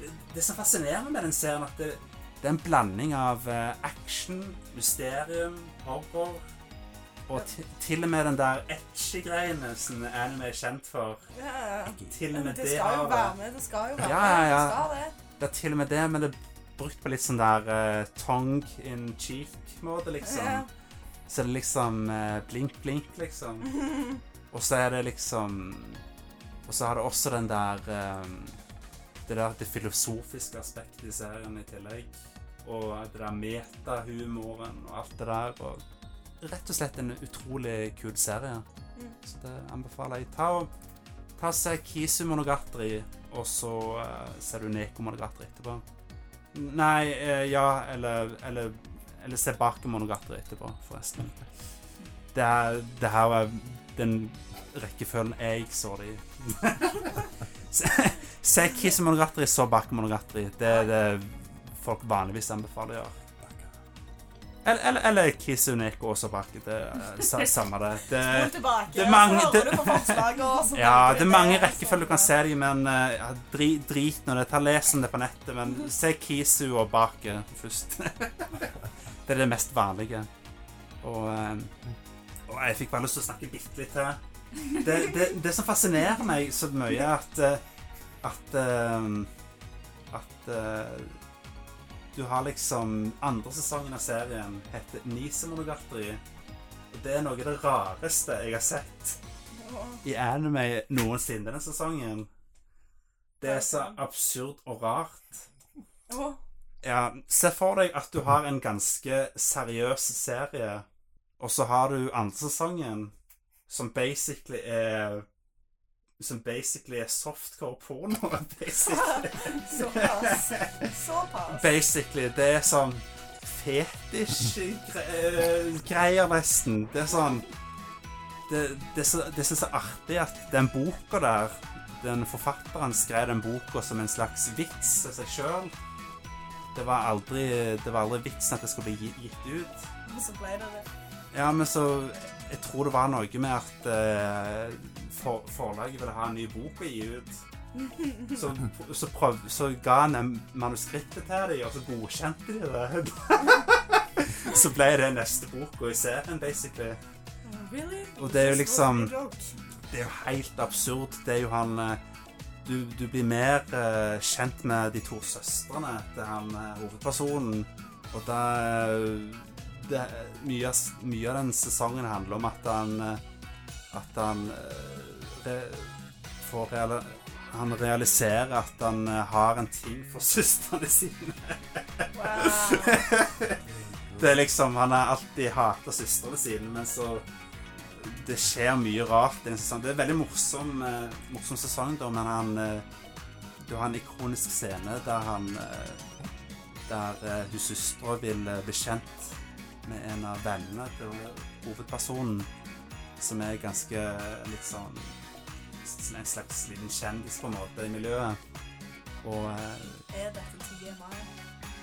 Speaker 1: Det, det som fascinerer med den serien, at det, det er en blanding av eh, action, mysterium, horror Og ti- til og med den der etchy-greiene som anime er kjent for.
Speaker 4: Ja.
Speaker 1: Til og
Speaker 4: Men
Speaker 1: med
Speaker 4: det
Speaker 1: det
Speaker 4: skal jo
Speaker 1: har
Speaker 4: være med, det skal jo være
Speaker 1: Ja, ja,
Speaker 4: med.
Speaker 1: ja.
Speaker 4: Det skal det.
Speaker 1: Det er til og med det, men det er brukt på litt sånn der eh, tongue in cheek-måte, liksom.
Speaker 4: Ja.
Speaker 1: Så er det liksom eh, blink, blink, liksom. Og så er det liksom Og så har det også den der eh, Det der det filosofiske aspektet i serien i tillegg. Og det der metahumoren og alt det der. Og rett og slett en utrolig kul serie.
Speaker 4: Mm.
Speaker 1: Så det anbefaler jeg. Ta og Ta og se Kisu Monogatari, og så eh, ser du Neko Monogatari etterpå. Nei, eh, ja, eller, eller, eller se Baku Monogatari etterpå, forresten. Det, er, det her var den rekkefølgen jeg så det i. se se Kisu Monogatari, så Baku Monogatari. Det er det folk vanligvis anbefaler å gjøre. Eller, eller, eller Kisu Neko og så Baku. Det er sa- samme det. det
Speaker 4: Spol tilbake,
Speaker 1: Eh, det er mange-
Speaker 4: så
Speaker 1: det-
Speaker 4: hører du på forslaget, og så
Speaker 1: ja,
Speaker 4: tenker
Speaker 1: det er mange
Speaker 4: sånn,
Speaker 1: rekkefølger du kan se dem, men eh, ja, dri, drit nå det. Ta Les om det på nettet, men se Kisu og Bake først. det er det mest vanlige. Og, eh, og jeg fikk bare lyst til å snakke bitte litt til. Det, det, det som fascinerer meg så mye, er at eh, at, eh, at eh, du har liksom andre sesongen av serien heter Nise Monogatari. Og det er noe av det rareste jeg har sett i anime noensinne denne sesongen. Det er så absurd og rart.
Speaker 4: Åh,
Speaker 1: Ja, se for deg at du har en ganske seriøs serie, og så har du andre sesongen, som basically er som basically er softcore porno. Basically.
Speaker 4: Såpass. Såpass.
Speaker 1: basically det er sånn fetisj-greier, nesten. Det er sånn det, det, er så, det er så så artig at den boka der Den forfatteren skrev den boka som en slags vits av seg sjøl. Det var aldri Det var aldri vitsen at det skulle bli gi- gitt ut.
Speaker 4: Og så ble det det.
Speaker 1: Ja, men så Jeg tror det var noe med at eh, for, forlaget ville ha en ny bok å gi ut. Så, så, prøv, så ga han dem manuskriptet til dem, og så godkjente de det. så ble det neste boka i serien, basically.
Speaker 4: Mm, Really?
Speaker 1: Og det er jo liksom-
Speaker 4: Så joke.
Speaker 1: Det er jo helt absurd. Det er jo han eh, Du, du blir mer eh, kjent med de to søstrene til han eh, hovedpersonen. Og da eh, det, mye, av s- mye av den sesongen handler om at han eh, At han eh, re, får reali Han realiserer at han eh, har en ting for søstrene sine.
Speaker 4: Wow.
Speaker 1: Det er liksom Han har alltid hata søstrene sine, men så Det skjer mye rart i en sesong. Det er en veldig morsom, eh, morsom sesong, da, men han eh, Du har en ikonisk scene der han eh, Der eh, hun søstera vil eh, bli kjent med en av vennene til hovedpersonen, som er ganske eh, litt sånn s- En slags liten kjendis, på en måte, i miljøet. Og eh,
Speaker 4: Er dette TMI?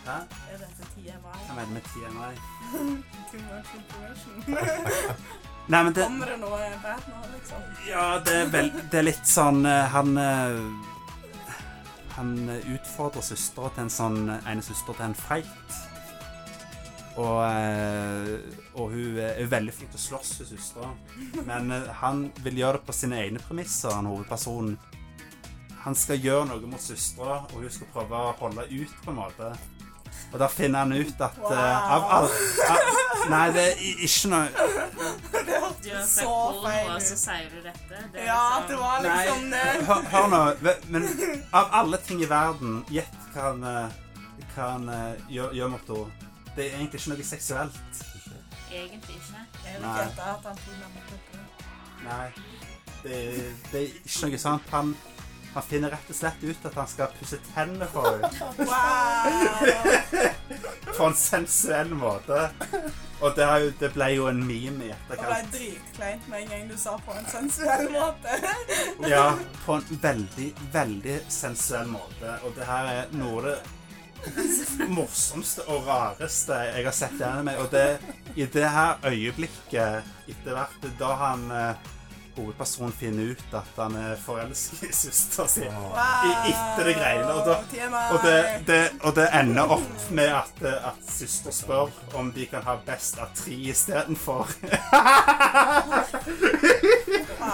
Speaker 1: Hæ?
Speaker 4: Er dette TMI?
Speaker 1: Hva mener du med TMI?
Speaker 4: Too much information.
Speaker 1: Nei, men det,
Speaker 4: Kommer det noe bad nå, liksom?
Speaker 1: Ja, det er, vel, det er litt sånn eh, Han eh, Han eh, utfordrer søstera til en sånn ene søster til en fight. Og, eh, og hun er veldig flink til å slåss, hun søstera. Men eh, han vil gjøre det på sine egne premisser, han hovedpersonen. Han skal gjøre noe mot søstera, og hun skal prøve å holde ut, på en måte. Og da finner han ut at eh, av
Speaker 4: Wow.
Speaker 1: alt av- Nei, det er i- ikke noe
Speaker 4: Det
Speaker 3: Du har
Speaker 4: hørtes
Speaker 3: sett
Speaker 4: så
Speaker 3: porno,
Speaker 4: feil
Speaker 3: og så
Speaker 4: ut.
Speaker 3: sier du dette. Det er
Speaker 4: Ja,
Speaker 3: liksom-
Speaker 4: det var
Speaker 1: Nei.
Speaker 4: liksom det.
Speaker 1: Hør, hør nå, ve- men av alle ting i verden, gjett hva han, eh, hva han eh, gjør, gjør mot henne. Det er egentlig ikke noe seksuelt.
Speaker 3: Egentlig ikke.
Speaker 4: Jeg vil
Speaker 1: Nei.
Speaker 4: gjette at han tok navnet på det.
Speaker 1: Nei. Det, det er ikke noe sånt. Han, han finner rett og slett ut at han skal pusse tennene for henne
Speaker 4: Wow!
Speaker 1: på en sensuell måte. Og det, er jo, det ble jo en meme i
Speaker 4: Det ble
Speaker 1: etterkant.
Speaker 4: dritkleint med en gang du sa på en sensuell måte.
Speaker 1: Ja, på en veldig, veldig sensuell måte. Og det her er noe av det morsomste og rareste jeg har sett i anime. Og det, i det her øyeblikket etter hvert, da han eh, hovedpersonen finner ut at han er forelsket i søstera si.
Speaker 2: Åh,
Speaker 4: Wow.
Speaker 1: etter det greiene, og da- Og det, det, og det ender opp med at, eh, at søster spør om de kan ha best av tre istedenfor.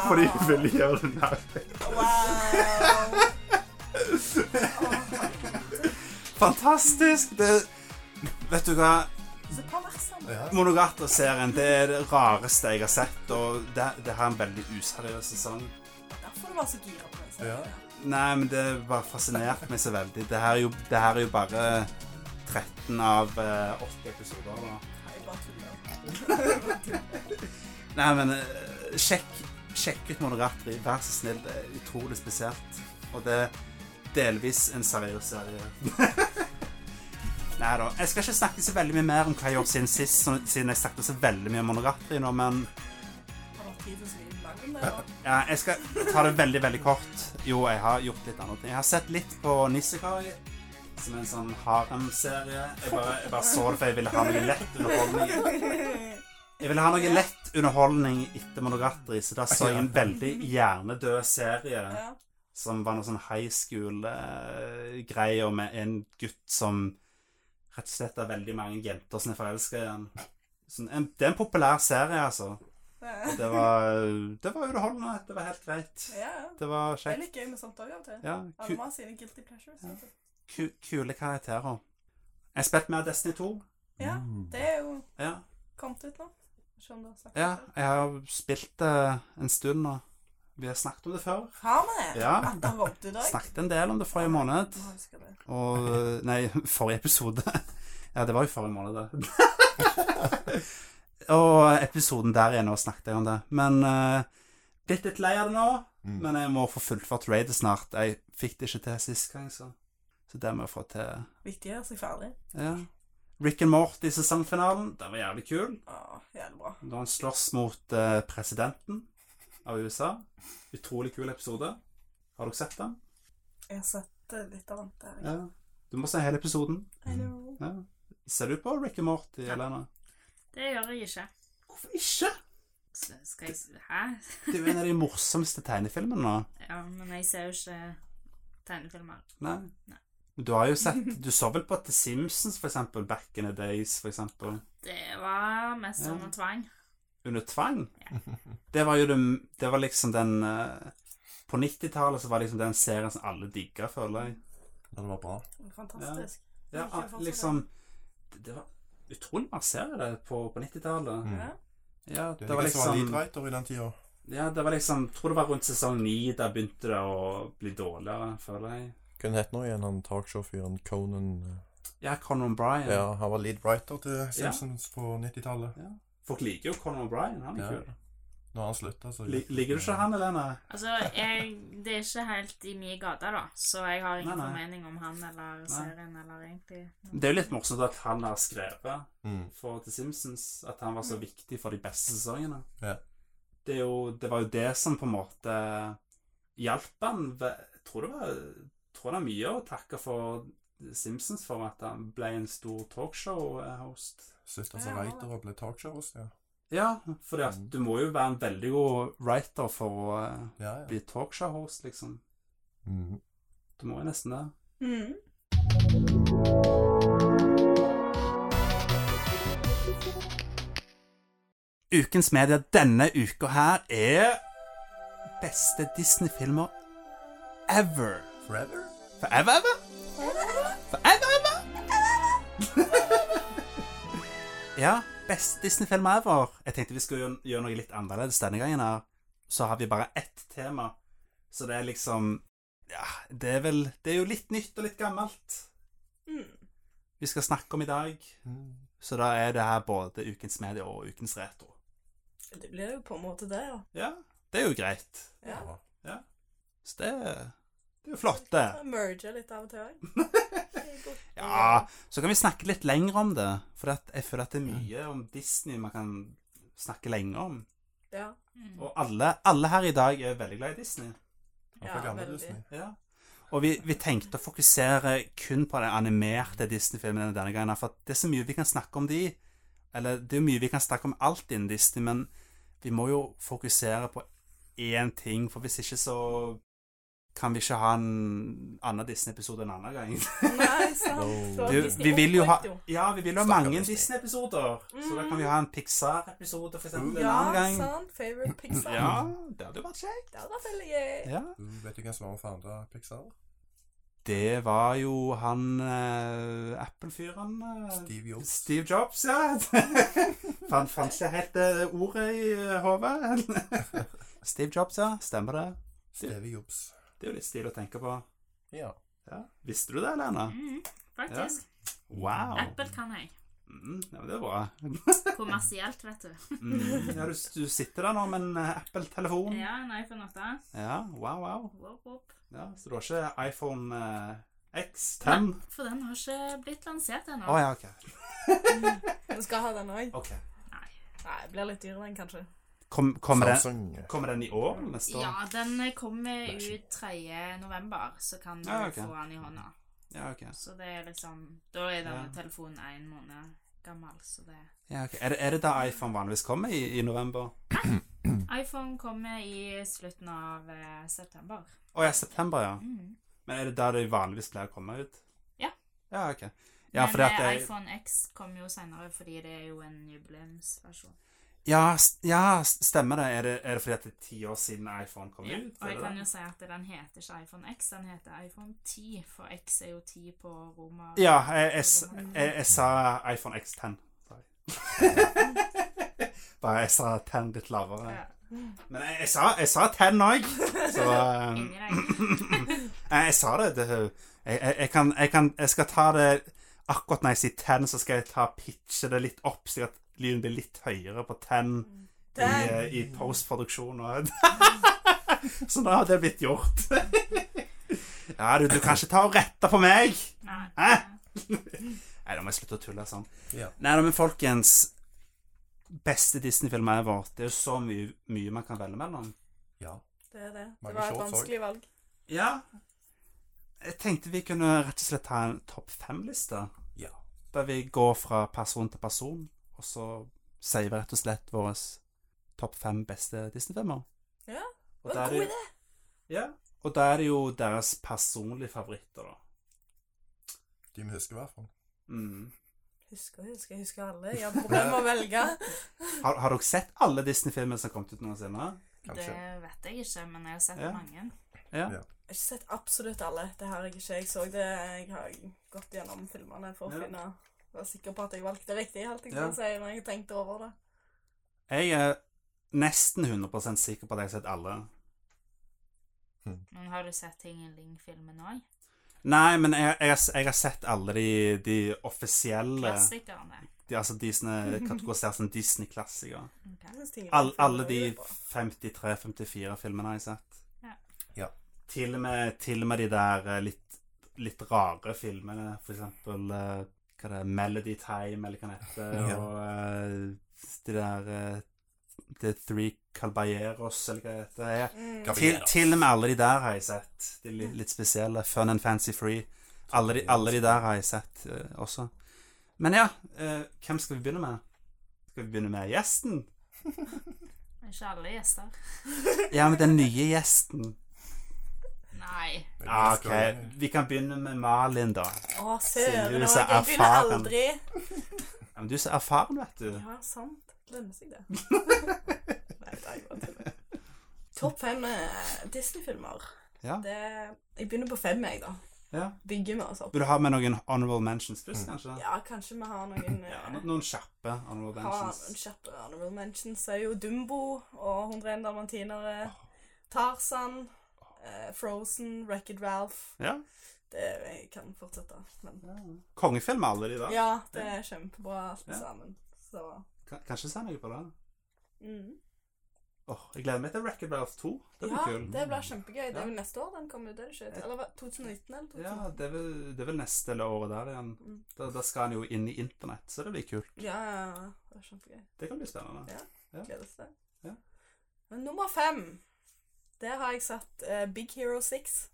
Speaker 1: Fordi hun ville gjøre det nær.
Speaker 4: Wow.
Speaker 1: Fantastisk! Det, vet du hva?
Speaker 4: Så pervers han er.
Speaker 2: ja.
Speaker 1: Monogater-serien det er det rareste jeg har sett, og det, det har en veldig useriøs sesong.
Speaker 4: Derfor var han så gira på den
Speaker 2: Ja.
Speaker 4: serien.
Speaker 1: Nei, men det bare fascinerte meg så veldig. Det her er jo, det her er jo bare 13 av eh, 80 episoder. da.
Speaker 4: Jeg bare tuller.
Speaker 1: Nei, men eh, sjekk, sjekk ut Monogatari. Vær så snill. Det er utrolig spesielt. Og det er delvis en seriøs serie. Nei da. Jeg skal ikke snakke så veldig mye mer om hva jeg har gjort siden sist, sånn- siden jeg snakket så veldig mye om Monogatari nå, men
Speaker 4: Har du tid til å skrive lang om det? da?
Speaker 1: ja, jeg skal ta det veldig, veldig kort. Jo, jeg har gjort litt annet. Jeg har sett litt på Nisekoi, som er en sånn harem-serie. Jeg, bare- jeg bare så det, for jeg ville ha noe lett underholdning. Jeg ville ha noe lett underholdning etter Monogatari, så da så jeg en veldig hjernedød serie
Speaker 4: Ja.
Speaker 1: som var noe sånn high school-greier med en gutt som rett og slett har veldig mange jenter som er forelska i han. Sånn, en, det er en populær serie, altså. Og
Speaker 4: Det-
Speaker 1: Det var, det var underholdende. Det var helt greit.
Speaker 4: Ja, ja.
Speaker 1: Det var
Speaker 4: Det er
Speaker 1: kjekt.
Speaker 4: litt gøy med sånt òg, av og til.
Speaker 1: Ja, ku,
Speaker 4: Alle må ha sine guilty pleasures. vet du.
Speaker 1: ku, kule karakterer. Jeg spilte mer Destiny 2.
Speaker 4: Ja,
Speaker 2: Mm.
Speaker 4: det er jo
Speaker 1: Ja,
Speaker 4: kommet ut nå. Se om du har snakket
Speaker 1: ja
Speaker 4: om det.
Speaker 1: jeg har spilt det en stund nå. Vi har snakket om det før.
Speaker 4: Har vi det?
Speaker 1: Ja.
Speaker 4: At det har kommet ut i dag?
Speaker 1: snakket en del om det forrige måned.
Speaker 4: Nå husker jeg det.
Speaker 1: Og Nei, forrige episode. Ja, det var jo forrige måned, det. og episoden der igjen, og snakket jeg om det. Men eh, blitt litt lei av det nå.
Speaker 2: Mm.
Speaker 1: Men jeg må få fullført raidet snart. Jeg fikk det ikke til sist gang, så Så det må jeg få til.
Speaker 4: Viktig å gjøre seg ferdig.
Speaker 1: Ja. Rick and Morty i sesongfinalen. Den var jævlig kul.
Speaker 4: Å, jævlig bra.
Speaker 1: Da han slåss mot eh, presidenten av USA. Utrolig kul episode. Har dere sett den?
Speaker 4: Jeg har sett eh, litt av annet der.
Speaker 1: Ja. Du må se hele episoden.
Speaker 4: I know.
Speaker 1: Ja. Ser du på Rick and Morty, Elena?
Speaker 3: Det gjør jeg ikke.
Speaker 1: Hvorfor ikke?
Speaker 3: Så skal jeg Hæ?
Speaker 1: Det er jo en av de morsomste tegnefilmene nå.
Speaker 3: Ja, men jeg ser jo ikke tegnefilmer.
Speaker 1: Nei.
Speaker 3: Nei.
Speaker 1: Du har jo sett Du så vel på The Simpsons, for eksempel. Back in the Days, for eksempel.
Speaker 3: Det var mest
Speaker 1: Ja.
Speaker 3: under tvang.
Speaker 1: Under tvang. Det var jo det Det var liksom den eh, På 90-tallet så var det liksom den serien som alle digga, føler jeg.
Speaker 2: Men det var bra.
Speaker 4: Fantastisk.
Speaker 1: Ja,
Speaker 4: Ikke fortsatt.
Speaker 1: liksom Det, det var utrolig mange serier det, på, på 90-tallet.
Speaker 2: Mm.
Speaker 4: Ja.
Speaker 1: Ja,
Speaker 2: Det
Speaker 1: det var
Speaker 2: var
Speaker 1: liksom
Speaker 2: leadwriter i den tida.
Speaker 1: Ja, det var liksom Tror det var rundt sesong 9, der begynte det å bli dårligere, føler jeg.
Speaker 2: Hva het nå igjen han talkshow-fyren Conan eh,
Speaker 1: Ja, Conan O'Brien.
Speaker 2: Ja, han var leadwriter til Simpsons på 90-tallet.
Speaker 1: Folk liker jo Conan O'Brien. Han er
Speaker 2: Ja.
Speaker 1: kul.
Speaker 2: Når han slutta, så
Speaker 1: Li- Liker du ikke han, Elena?
Speaker 3: Altså, jeg, det er ikke helt i min gate, da, så jeg har ingen
Speaker 1: Nei, nei.
Speaker 3: formening om han eller serien eller egentlig
Speaker 1: Det er jo litt morsomt at han har skrevet
Speaker 2: Mm.
Speaker 1: for The Simpsons. At han var så viktig for de beste sesongene.
Speaker 2: Ja.
Speaker 1: Det, er jo, det var jo det som på en måte hjalp han. ve- Jeg tror det var jeg tror det er mye å takke for The Simpsons for at han ble en stor eh, talkshow-host.
Speaker 2: Slutta som
Speaker 4: Ja.
Speaker 2: writer og ble talkshow-host, ja.
Speaker 1: Ja, for
Speaker 2: Mm.
Speaker 1: du må jo være en veldig god writer for å eh,
Speaker 2: Ja, ja.
Speaker 1: bli talkshow-host, liksom.
Speaker 2: Mm.
Speaker 1: Du må jo nesten det.
Speaker 4: Mm.
Speaker 1: Ukens media denne uka her er beste Disney-filmer ever.
Speaker 2: Forever?
Speaker 1: Forever, ever? Forever, ever? ja, beste Disney-filmer ever. Jeg tenkte vi skulle gjøre, gjøre noe litt annerledes denne gangen her. Så har vi bare ett tema. Så det er liksom Ja, det er vel Det er jo litt nytt og litt gammelt
Speaker 4: Mm.
Speaker 1: vi skal snakke om i dag.
Speaker 2: Mm.
Speaker 1: Så da er det her både ukens medie og ukens retro.
Speaker 4: Det blir jo på en måte det, ja.
Speaker 1: Ja, det er jo greit.
Speaker 4: ja.
Speaker 2: Ja.
Speaker 1: Så det, det er jo flott, det.
Speaker 4: Merger litt av og til òg.
Speaker 1: Ja, så kan vi snakke litt lenger om det. For at jeg føler at det er mye om Disney man kan snakke lenge om.
Speaker 4: Ja.
Speaker 3: Mm.
Speaker 1: Og alle, alle her i dag er veldig glad i Disney.
Speaker 2: Han
Speaker 4: Ja,
Speaker 2: får gamle
Speaker 4: veldig.
Speaker 2: Disney.
Speaker 1: Ja. Og vi, vi tenkte å fokusere kun på den animerte Disney-filmen denne gangen. For at det er så mye vi kan snakke om de. Eller det er jo mye vi kan snakke om alt innen Disney, men vi må jo fokusere på én ting, for hvis ikke så kan vi ikke ha en annen Disney-episode en annen gang.
Speaker 4: Nei, sant.
Speaker 2: No.
Speaker 4: Og
Speaker 1: Oh, Du,
Speaker 4: Disney
Speaker 1: vi vil jo ha
Speaker 4: oppbrukte jo.
Speaker 1: Ja, vi vil ha
Speaker 2: Stakkars
Speaker 1: mange
Speaker 2: Disney.
Speaker 1: Disney-episoder. Så da kan vi ha en Pixar-episode, for eksempel, en
Speaker 4: Ja,
Speaker 1: annen gang.
Speaker 4: sant. Favorite Pixar.
Speaker 1: Ja, det hadde jo vært kjekt.
Speaker 4: Det hadde vært veldig gøy.
Speaker 1: Ja.
Speaker 2: Mm, Vet du hvem som var founder av Pixar?
Speaker 1: Det var jo han eh, Apple-fyren eh,
Speaker 2: Steve Jobs.
Speaker 1: Steve Jobs, ja. Fant fant ikke helt eh, ordet i eh, hodet. Steve Jobs, ja. Stemmer det.
Speaker 2: Steve Jobs.
Speaker 1: Det er jo litt stil å tenke på.
Speaker 2: Ja.
Speaker 1: Ja. Visste du det, Lena?
Speaker 3: Mm, faktisk.
Speaker 1: Wow.
Speaker 3: Apple kan jeg.
Speaker 1: Mm, ja, men det er bra.
Speaker 3: Kommersielt, vet du.
Speaker 1: Mm, ja, du, du sitter der nå med en eh, Apple-telefon.
Speaker 3: Ja, en iPhone 8.
Speaker 1: Ja, wow, wow.
Speaker 3: Wop, wop.
Speaker 1: Ja, så du har ikke iPhone eh, X10?
Speaker 3: Nei, For den har ikke blitt lansert ennå.
Speaker 1: Å ja, OK.
Speaker 4: Du skal ha den òg.
Speaker 1: ok.
Speaker 3: Nei.
Speaker 4: Nei, det blir litt dyrere den, kanskje.
Speaker 1: Kom, kommer, den,
Speaker 2: Samsung.
Speaker 1: kommer den i år? eller Neste år?
Speaker 3: Ja, den eh, kommer ut 3. november, så kan du
Speaker 1: Ja, ok.
Speaker 3: få den i hånda.
Speaker 1: Ja, ok.
Speaker 3: Så det er liksom Da er denne
Speaker 1: Ja.
Speaker 3: telefonen en måned gammel, så det
Speaker 1: Ja, ok. Er, det, er det da iPhone vanligvis kommer i, i november?
Speaker 3: iPhone kommer i slutten av eh, september.
Speaker 1: Å ja, september, ja.
Speaker 3: Mm.
Speaker 1: Men er det der de vanligvis pleier å komme ut?
Speaker 3: Ja.
Speaker 1: Ja, ok. Ja, fordi
Speaker 3: Men
Speaker 1: at
Speaker 3: eh,
Speaker 1: jeg,
Speaker 3: iPhone X kommer jo seinere, fordi det er jo en jubileumsversjon.
Speaker 1: ja, s- ja, s- stemmer det. Er, det. er det fordi at det er ti år siden iPhone kom
Speaker 3: Ja,
Speaker 1: ut?
Speaker 3: og jeg
Speaker 1: eller?
Speaker 3: kan jo si at den heter ikke iPhone X, den heter iPhone 10, for X er jo 10 på romer.
Speaker 1: Ja, jeg, jeg, s- jeg, jeg sa iPhone X10. Sorry. Bare jeg sa 10 litt lavere.
Speaker 3: Ja,
Speaker 1: Men jeg, jeg, sa, jeg sa 10 òg, så um,
Speaker 3: Inni deg.
Speaker 1: Nei, jeg sa det. det jeg, jeg, jeg, kan, jeg, kan, jeg skal ta det Akkurat når jeg sier 10, så skal jeg ta pitche det litt opp, slik at lyden blir litt høyere på 10 i, eh,
Speaker 4: Den.
Speaker 1: i postproduksjon. og- så da har det blitt gjort. ja, du, du kan ikke ta og rette på meg!
Speaker 3: Nei.
Speaker 1: Hæ? Nei, da må jeg slutte å tulle sånn.
Speaker 2: Ja.
Speaker 1: Nei, da, men folkens Beste Disney-film ever. Det er jo så mye, mye man kan velge mellom.
Speaker 2: ja.
Speaker 4: Det er det. Det
Speaker 2: Mange
Speaker 4: var et
Speaker 2: shorts
Speaker 4: vanskelig valg.
Speaker 1: Ja. Jeg tenkte vi kunne rett og slett ta en topp fem-liste.
Speaker 2: Ja.
Speaker 1: Der vi går fra person til person, og så sier vi rett og slett våre topp fem beste Disney-filmer.
Speaker 4: Ja,
Speaker 1: Og
Speaker 4: det
Speaker 1: da er
Speaker 4: var
Speaker 1: det-
Speaker 4: en god idé.
Speaker 1: Ja. Og da er det jo deres personlige favoritter, da.
Speaker 2: De vi husker i hvert fall.
Speaker 1: Mm.
Speaker 4: Husker, husker, husker alle. Jeg har problemer med å velge.
Speaker 1: Har, har dere sett alle Disney-filmer som har kommet ut noensinne?
Speaker 2: Kanskje.
Speaker 3: Det vet jeg ikke, men jeg har sett
Speaker 1: Ja.
Speaker 3: mange.
Speaker 4: Jeg har ikke sett absolutt alle. Det har jeg ikke. Jeg så det. Jeg har gått gjennom filmene for å
Speaker 1: Ja.
Speaker 4: finne Være sikker på at jeg valgte riktig. Helt jeg
Speaker 1: Ja.
Speaker 4: kan si når jeg tenkte over det.
Speaker 1: Jeg er nesten 100 sikker på at jeg har sett alle.
Speaker 3: Men har du sett ting i Ling-filmen òg?
Speaker 1: Nei, men jeg, jeg, har- jeg har sett alle de, de offisielle
Speaker 3: Klassikerne.
Speaker 1: de, Altså de som er kategorisert som Disney-klassikere.
Speaker 3: Ok.
Speaker 4: Jeg synes tingene
Speaker 1: All,
Speaker 4: fungerer
Speaker 1: alle de
Speaker 4: veldig
Speaker 1: 53-54
Speaker 4: bra.
Speaker 1: filmene har jeg sett.
Speaker 3: Ja.
Speaker 2: Ja.
Speaker 1: Til og med, til og med de der eh, litt, litt rare filmene, for eksempel eh, hva det er, Melody Time, eller hva det heter,
Speaker 2: Ja.
Speaker 1: og eh, de der eh, The Three Calballeros, eller hva det heter. Ja.
Speaker 4: Mm.
Speaker 2: Gav-
Speaker 1: Til, til og med alle de der har jeg sett. De li- litt spesielle. Fun and Fancy Free. Alle de, alle de der har jeg sett eh, også. Men ja, eh, hvem skal vi begynne med? Skal vi begynne med gjesten?
Speaker 3: Ikke alle gjester.
Speaker 1: Ja, men den nye gjesten.
Speaker 3: Nei.
Speaker 2: Men
Speaker 1: Ja,
Speaker 2: vi skal-
Speaker 1: Ah, ok. Vi kan begynne med Malin, da.
Speaker 4: Å, søren
Speaker 1: Siden du er
Speaker 4: òg.
Speaker 1: så
Speaker 4: Jeg begynner
Speaker 1: erfaren.
Speaker 4: aldri.
Speaker 1: Ja, men du er så erfaren, vet du.
Speaker 4: Ja, sant. Lønner seg det. Nei, det er jo bare tull. Topp fem eh, Disney-filmer.
Speaker 1: Ja.
Speaker 4: Det Jeg begynner på fem, jeg, da.
Speaker 1: ja. Mm.
Speaker 4: Bygger vi oss opp.
Speaker 1: Vil du ha med noen honorable mentions først, kanskje?
Speaker 4: Ja, kanskje vi har noen eh,
Speaker 1: Ja, no- noen kjappe honorable
Speaker 4: har
Speaker 1: mentions.
Speaker 4: kjappe honorable mentions. Så er jo Dumbo og 101
Speaker 1: Ah.
Speaker 4: dalmatinere. Tarzan. eh, Frozen. Wreck-It Ralph.
Speaker 1: Ja.
Speaker 4: Det jeg kan fortsette. Men
Speaker 1: Kongefilm, alle de der.
Speaker 4: ja, det er kjempebra alt
Speaker 1: Ja.
Speaker 4: sammen. Så
Speaker 1: Kan- Kanskje se noe på det.
Speaker 4: mm.
Speaker 1: Åh, jeg gleder meg til Record Ralph 2. Det blir
Speaker 4: Ja,
Speaker 1: kul.
Speaker 4: det blir kjempegøy. Det
Speaker 1: Ja.
Speaker 4: er jo neste år den kommer ut. er det ikke? Eller hva- 2019 eller 2018?
Speaker 1: Ja, det er, vel, det er vel neste eller året der igjen.
Speaker 4: Mm.
Speaker 1: Da, da skal han jo inn i internett, så det blir kult.
Speaker 4: Ja, ja, ja. Det er kjempegøy.
Speaker 1: Det kan bli spennende. Ja.
Speaker 4: Gleder oss til det.
Speaker 1: Ja.
Speaker 4: Men nummer fem Der har jeg satt eh, Big Hero 6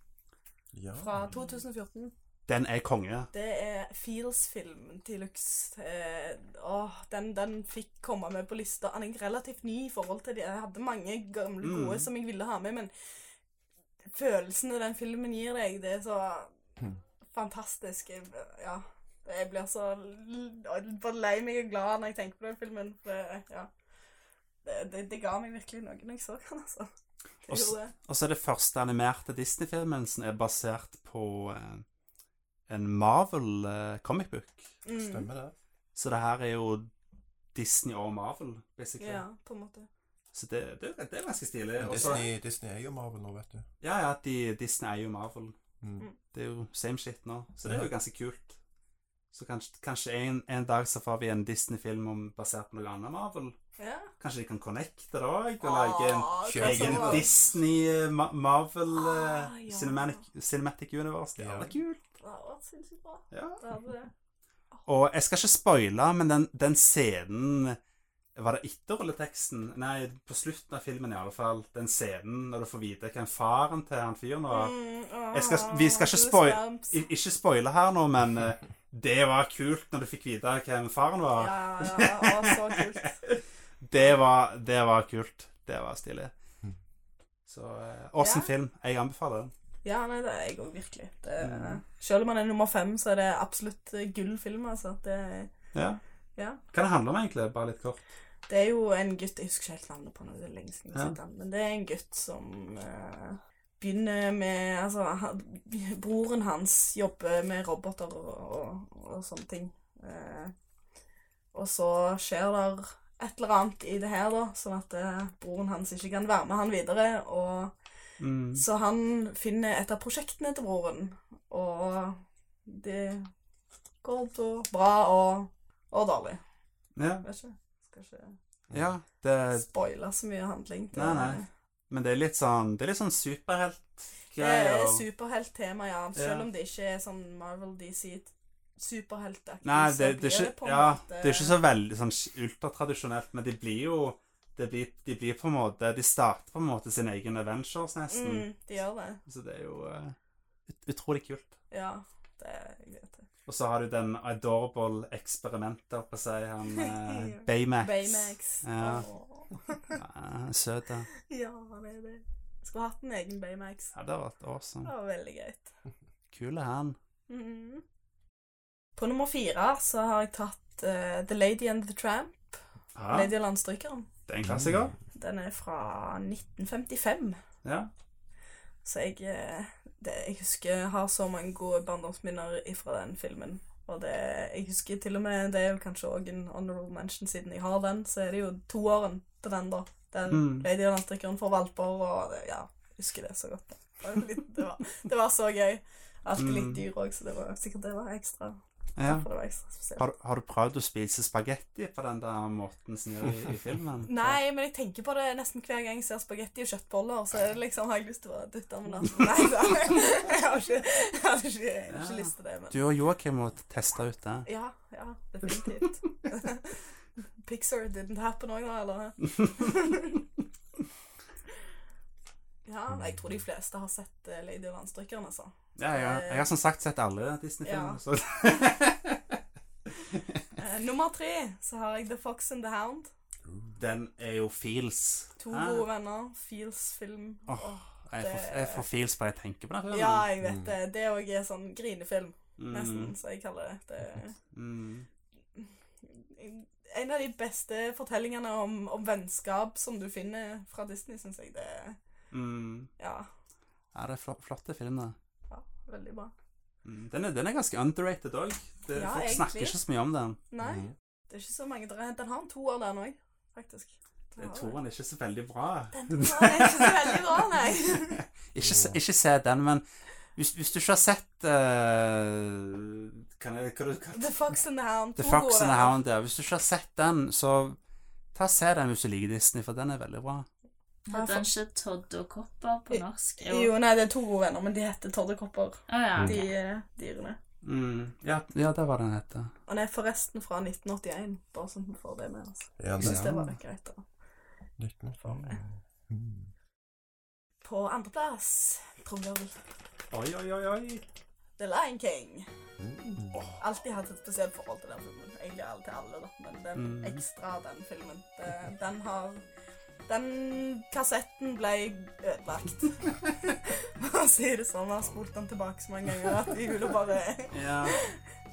Speaker 1: Ah.
Speaker 2: Ja.
Speaker 4: fra 2014.
Speaker 1: Den er konge.
Speaker 4: Det er Feels-filmen til Lux. Eh, åh, den, den fikk komme med på lista. Han er relativt ny i forhold til de. Jeg hadde mange gamle gode
Speaker 1: Mm.
Speaker 4: som jeg ville ha med, men følelsene den filmen gir deg, det er så
Speaker 2: Hmm.
Speaker 4: fantastisk. Jeg, ja. Jeg blir så l- og bare lei meg og glad når jeg tenker på den filmen. For det, ja. det, det, det ga meg virkelig noe når jeg så den, altså.
Speaker 1: Og
Speaker 4: Det
Speaker 1: s-
Speaker 4: gjorde det.
Speaker 1: Og så er det første animerte Disney-filmen som er basert på eh, en Marvel eh, comic book.
Speaker 4: Mm.
Speaker 2: Stemmer det.
Speaker 1: Så det her er jo Disney og Marvel, basically.
Speaker 4: Ja, på en måte.
Speaker 1: Så det, det, det er ganske stilig.
Speaker 2: Men
Speaker 1: Og så-
Speaker 2: Disney, Disney er jo Marvel nå, vet du.
Speaker 1: Ja, ja, de, Disney er jo Marvel.
Speaker 2: Mm.
Speaker 1: Det er jo same shit nå, så det er jo ganske kult. Så kanskje, kanskje en, en dag så får vi en Disney-film om- basert på noe annet Marvel.
Speaker 4: Ja.
Speaker 1: Kanskje de kan connecte det òg, og lage en
Speaker 4: Åh,
Speaker 2: kjøp
Speaker 4: hva så
Speaker 1: egen
Speaker 2: Marvel.
Speaker 4: bra.
Speaker 1: Disney eh, Ma Marvel eh,
Speaker 4: Ah, ja.
Speaker 1: Cinematic, Cinematic Universe. Det
Speaker 2: Ja.
Speaker 1: hadde vært kult.
Speaker 4: Det hadde vært sinnssykt bra.
Speaker 1: Ja.
Speaker 4: Det hadde det.
Speaker 1: Og jeg skal ikke spoile, men den, den scenen Var det etter rulleteksten? Nei, på slutten av filmen i alle fall. Den scenen når du får vite hvem faren til han fyren var.
Speaker 4: Mm, åh,
Speaker 1: Jeg skal- vi skal ikke spoil-
Speaker 4: goosebumps.
Speaker 1: I- Ikke spoile her nå, men eh, det var kult når du fikk vite hvem faren
Speaker 4: Ja,
Speaker 1: var.
Speaker 4: ja, ja, åh, så kult.
Speaker 1: Det var, det var kult. Det var stilig.
Speaker 2: Mm.
Speaker 1: Så eh, Awesome
Speaker 4: Ja.
Speaker 1: film. Jeg anbefaler den.
Speaker 4: Ja, nei, det er jeg òg virkelig. Det,
Speaker 1: Mm.
Speaker 4: Selv om han er nummer fem, så er det absolutt eh, gullfilm, altså. Det,
Speaker 1: Ja.
Speaker 4: Ja.
Speaker 1: Hva det handler om, egentlig? Bare litt kort.
Speaker 4: det er jo en gutt Jeg husker ikke helt navnet på han, det er lenge siden jeg har
Speaker 1: Ja.
Speaker 4: sett han, men det er en gutt som eh, begynner med Altså, han, broren hans jobber med roboter og, og, og sånne ting. Eh, og så skjer det et eller annet i det her, da, sånn at eh, broren hans ikke kan være med han videre, og
Speaker 1: Mm.
Speaker 4: Så han finner et av prosjektene til broren, og det går da bra og, og dårlig.
Speaker 1: Ja.
Speaker 4: Jeg vet ikke. Skal ikke
Speaker 1: ja det,
Speaker 4: spoile så mye handling. Det,
Speaker 1: Eh, Nei, nei. men det er litt sånn Det er litt sånn
Speaker 4: det er
Speaker 1: superheltgreier.
Speaker 4: superhelttema, ja. Selv
Speaker 1: Ja.
Speaker 4: om det ikke er sånn Marvel DC superheltaktig.
Speaker 1: Nei,
Speaker 4: så
Speaker 1: det, det,
Speaker 4: blir
Speaker 1: er ikke,
Speaker 4: på en
Speaker 1: ja,
Speaker 4: måte-
Speaker 1: det er ikke så veldig sånn ultratradisjonelt, men de blir jo det blir, De blir på en måte De starter på en måte sin egen Avengers, nesten.
Speaker 4: Mm, de gjør det.
Speaker 1: Så det er jo eh, ut utrolig kult.
Speaker 4: Ja, det jeg vet det.
Speaker 1: Og så har du den adorable eksperimenter, på å si, han eh,
Speaker 4: Ja.
Speaker 1: Baymax.
Speaker 4: Baymax.
Speaker 1: Ja.
Speaker 4: Åh.
Speaker 1: Ja, Søt, ja.
Speaker 4: ja, det er det. Skulle hatt en egen Baymax.
Speaker 1: Ja, det har vært
Speaker 4: Det
Speaker 1: awesome.
Speaker 4: var veldig greit.
Speaker 1: Kul er han.
Speaker 4: Mm. På nummer fire så har jeg tatt eh, The Lady and the Tramp.
Speaker 1: Ja,
Speaker 4: Lady og Landstrykeren.
Speaker 1: det er en klassiker.
Speaker 2: Mm.
Speaker 4: Den er fra 1955.
Speaker 1: Ja.
Speaker 4: Så jeg, eh, det, jeg husker jeg har så mange gode barndomsminner ifra den filmen. Og det, jeg husker til og med, det er jo kanskje òg en honorable mention siden jeg har den, så er det jo toåren til den, da. Den
Speaker 1: Mm.
Speaker 4: Lady og Landstrykeren for valper og det, Ja, jeg husker det så godt. da. Det var, litt, det var, det var så gøy. Alltid litt
Speaker 1: Mm.
Speaker 4: dyr òg, så det var sikkert det var ekstra.
Speaker 1: ja.
Speaker 4: For det var ekstra spesielt.
Speaker 1: Har, du- har du prøvd å spise spagetti på den der måten som gjør i, i filmen?
Speaker 4: Nei, men jeg tenker på det nesten hver gang jeg ser spagetti og kjøttboller. Så er det liksom har jeg lyst til å dytte den. men altså, Nei da. Jeg har ikke, jeg har ikke, jeg har ikke
Speaker 1: Ja.
Speaker 4: lyst til det. Men
Speaker 1: Du og Joakim må teste ut det.
Speaker 4: ja, ja, definitivt. Pixar didn't happen òg, da, eller? Ja,
Speaker 1: Mm.
Speaker 4: nei, jeg tror de fleste har sett eh, Lady og Landstrykeren, altså.
Speaker 1: Ja, jeg, har- jeg har som sagt sett alle
Speaker 4: Ja.
Speaker 1: Disney-filmer. så-
Speaker 4: Eh, nummer tre så har jeg The Fox and the Hound.
Speaker 1: Den er jo feels.
Speaker 4: To
Speaker 1: Hæ?
Speaker 4: gode venner. Feels film.
Speaker 1: Ah. Åh, Jeg får, jeg får feels bare jeg tenker på den filmen.
Speaker 4: Ja, jeg vet det. Det òg er sånn grinefilm.
Speaker 1: Mm,
Speaker 4: nesten, så jeg kaller det. det
Speaker 1: Mm.
Speaker 4: en av de beste fortellingene om, om vennskap som du finner fra Disney, syns jeg. Det er
Speaker 1: Mm.
Speaker 4: ja,
Speaker 1: Ja, det er flott, flotte filmer.
Speaker 4: ja, veldig bra.
Speaker 1: Mm, Den er, den er ganske underrated òg.
Speaker 4: Ja,
Speaker 1: folk
Speaker 4: egentlig.
Speaker 1: snakker ikke så mye om den.
Speaker 4: Nei,
Speaker 2: Mhm.
Speaker 4: det er ikke så mange der. er- Den har en toer, den òg, faktisk. Den
Speaker 1: Jeg
Speaker 4: har
Speaker 1: tror
Speaker 4: det.
Speaker 1: den er ikke så veldig bra.
Speaker 4: Den er ikke så veldig bra, nei.
Speaker 1: Ikke, se- ikke se den, men hvis, hvis du ikke har sett eh, kan jeg, hva du, hva,
Speaker 4: The Fox and the Hound.
Speaker 1: The
Speaker 4: to
Speaker 1: Fox and
Speaker 4: gode
Speaker 1: the
Speaker 4: venner.
Speaker 1: Hound, ja. Hvis du ikke har sett den, så ta og se den hvis du liker Disney, for den er veldig bra.
Speaker 3: Heter han ikke Todd og Copper på norsk?
Speaker 4: Jo, nei, det er to gode venner, men de heter Toddekopper,
Speaker 3: Å ja,
Speaker 4: de
Speaker 3: ok.
Speaker 4: eh, dyrene.
Speaker 1: Mm. Ja, ja, det var den heter.
Speaker 4: Han er forresten fra 1981, bare sånn at vi får det med oss.
Speaker 2: Ja,
Speaker 4: Jeg syns
Speaker 2: det
Speaker 4: det
Speaker 2: er
Speaker 4: var greit, da.
Speaker 2: 1905. Mm.
Speaker 4: På andreplass, trommevirvel
Speaker 1: Oi, oi, oi, oi.
Speaker 4: The The Lion King.
Speaker 2: Mm.
Speaker 4: Alltid hatt et spesielt forhold til den filmen. Egentlig alle til alle, da. Men den
Speaker 2: Mm.
Speaker 1: Mhm.
Speaker 4: ekstra, den filmen, det, den har Den kassetten ble ødelagt. Man sier det sånn. Jeg har spolt den tilbake så mange ganger at jeg ville bare
Speaker 1: Ja.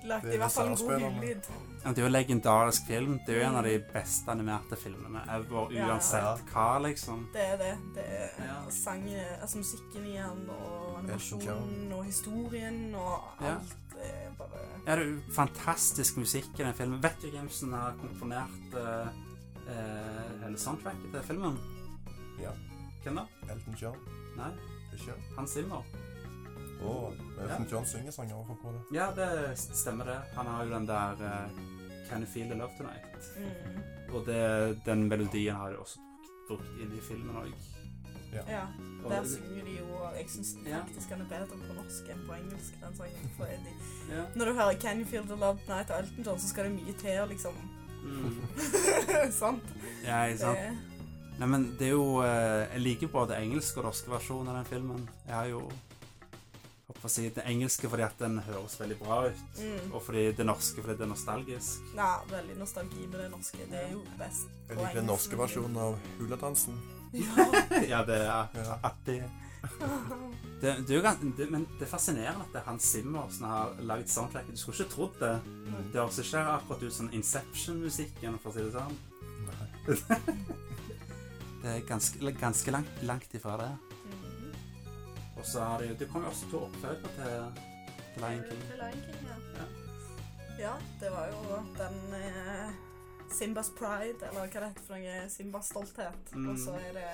Speaker 4: lagt
Speaker 2: Det
Speaker 4: i
Speaker 2: er
Speaker 4: hvert fall en god
Speaker 2: reservespillerne.
Speaker 4: hudlyd.
Speaker 1: Men Det er jo en legendarisk film. Det er jo en av de beste animerte filmene ever,
Speaker 4: Ja.
Speaker 1: uansett hva, liksom.
Speaker 4: Det er det. Det er
Speaker 1: Ja.
Speaker 4: sang, altså musikken i den, og
Speaker 2: Elton
Speaker 4: animasjonen, og historien, og
Speaker 1: Ja.
Speaker 4: alt. Det er bare
Speaker 1: Ja, det er jo fantastisk musikk i den filmen. Vet du hvem som har komponert eh, eh, hele soundtracket til filmen?
Speaker 2: Ja.
Speaker 1: Hvem da?
Speaker 2: Elton John.
Speaker 1: Nei,
Speaker 2: Ikke?
Speaker 1: Hans Zimmer.
Speaker 2: Og Elton John synger sanger over for det.
Speaker 1: Ja, det stemmer det. Han har jo den der eh, Can you feel the love tonight?
Speaker 4: mm,
Speaker 1: Og det, den melodien har de også brukt inn i filmen òg.
Speaker 4: Ja.
Speaker 1: Og,
Speaker 4: Der synger de jo og Jeg syns
Speaker 1: Ja.
Speaker 4: faktisk han er bedre på norsk enn på engelsk, den sangen. For de
Speaker 1: ja.
Speaker 4: Når du hører 'Can You Feel The Love Night' av Elton John, så skal det mye til, liksom.
Speaker 1: Mm.
Speaker 4: Sant?
Speaker 1: ja, ikke sant?
Speaker 4: Det-
Speaker 1: Nei, men det er jo eh, Jeg liker både engelsk og norsk versjon av den filmen. Jeg har jo Håper å si den engelske fordi at den høres veldig bra ut.
Speaker 4: Mm.
Speaker 1: Og fordi det norske fordi det er nostalgisk.
Speaker 4: Ja, veldig nostalgi med det norske. Det er jo best.
Speaker 2: Jeg liker den norske versjonen av Huladansen.
Speaker 4: Ja.
Speaker 1: ja, det er
Speaker 2: Ja.
Speaker 1: artig. Det, det er jo gans- det, men det er fascinerende at det er Hans Zimmer som har lagd soundtracket. Du skulle ikke trodd det. Det høres ikke akkurat ut som Inception-musikken, for å si det sånn.
Speaker 2: Nei.
Speaker 1: Det er ganske, ganske langt, langt ifra det.
Speaker 4: Mm.
Speaker 1: Og så har det jo Det kom jo også to oppfølgere til, til Lion King.
Speaker 4: The Lion King, ja.
Speaker 1: Ja.
Speaker 4: Ja, det var jo den eh, Simbas pride, eller hva det heter for noe. Simbas stolthet.
Speaker 1: Mm.
Speaker 4: Og så er det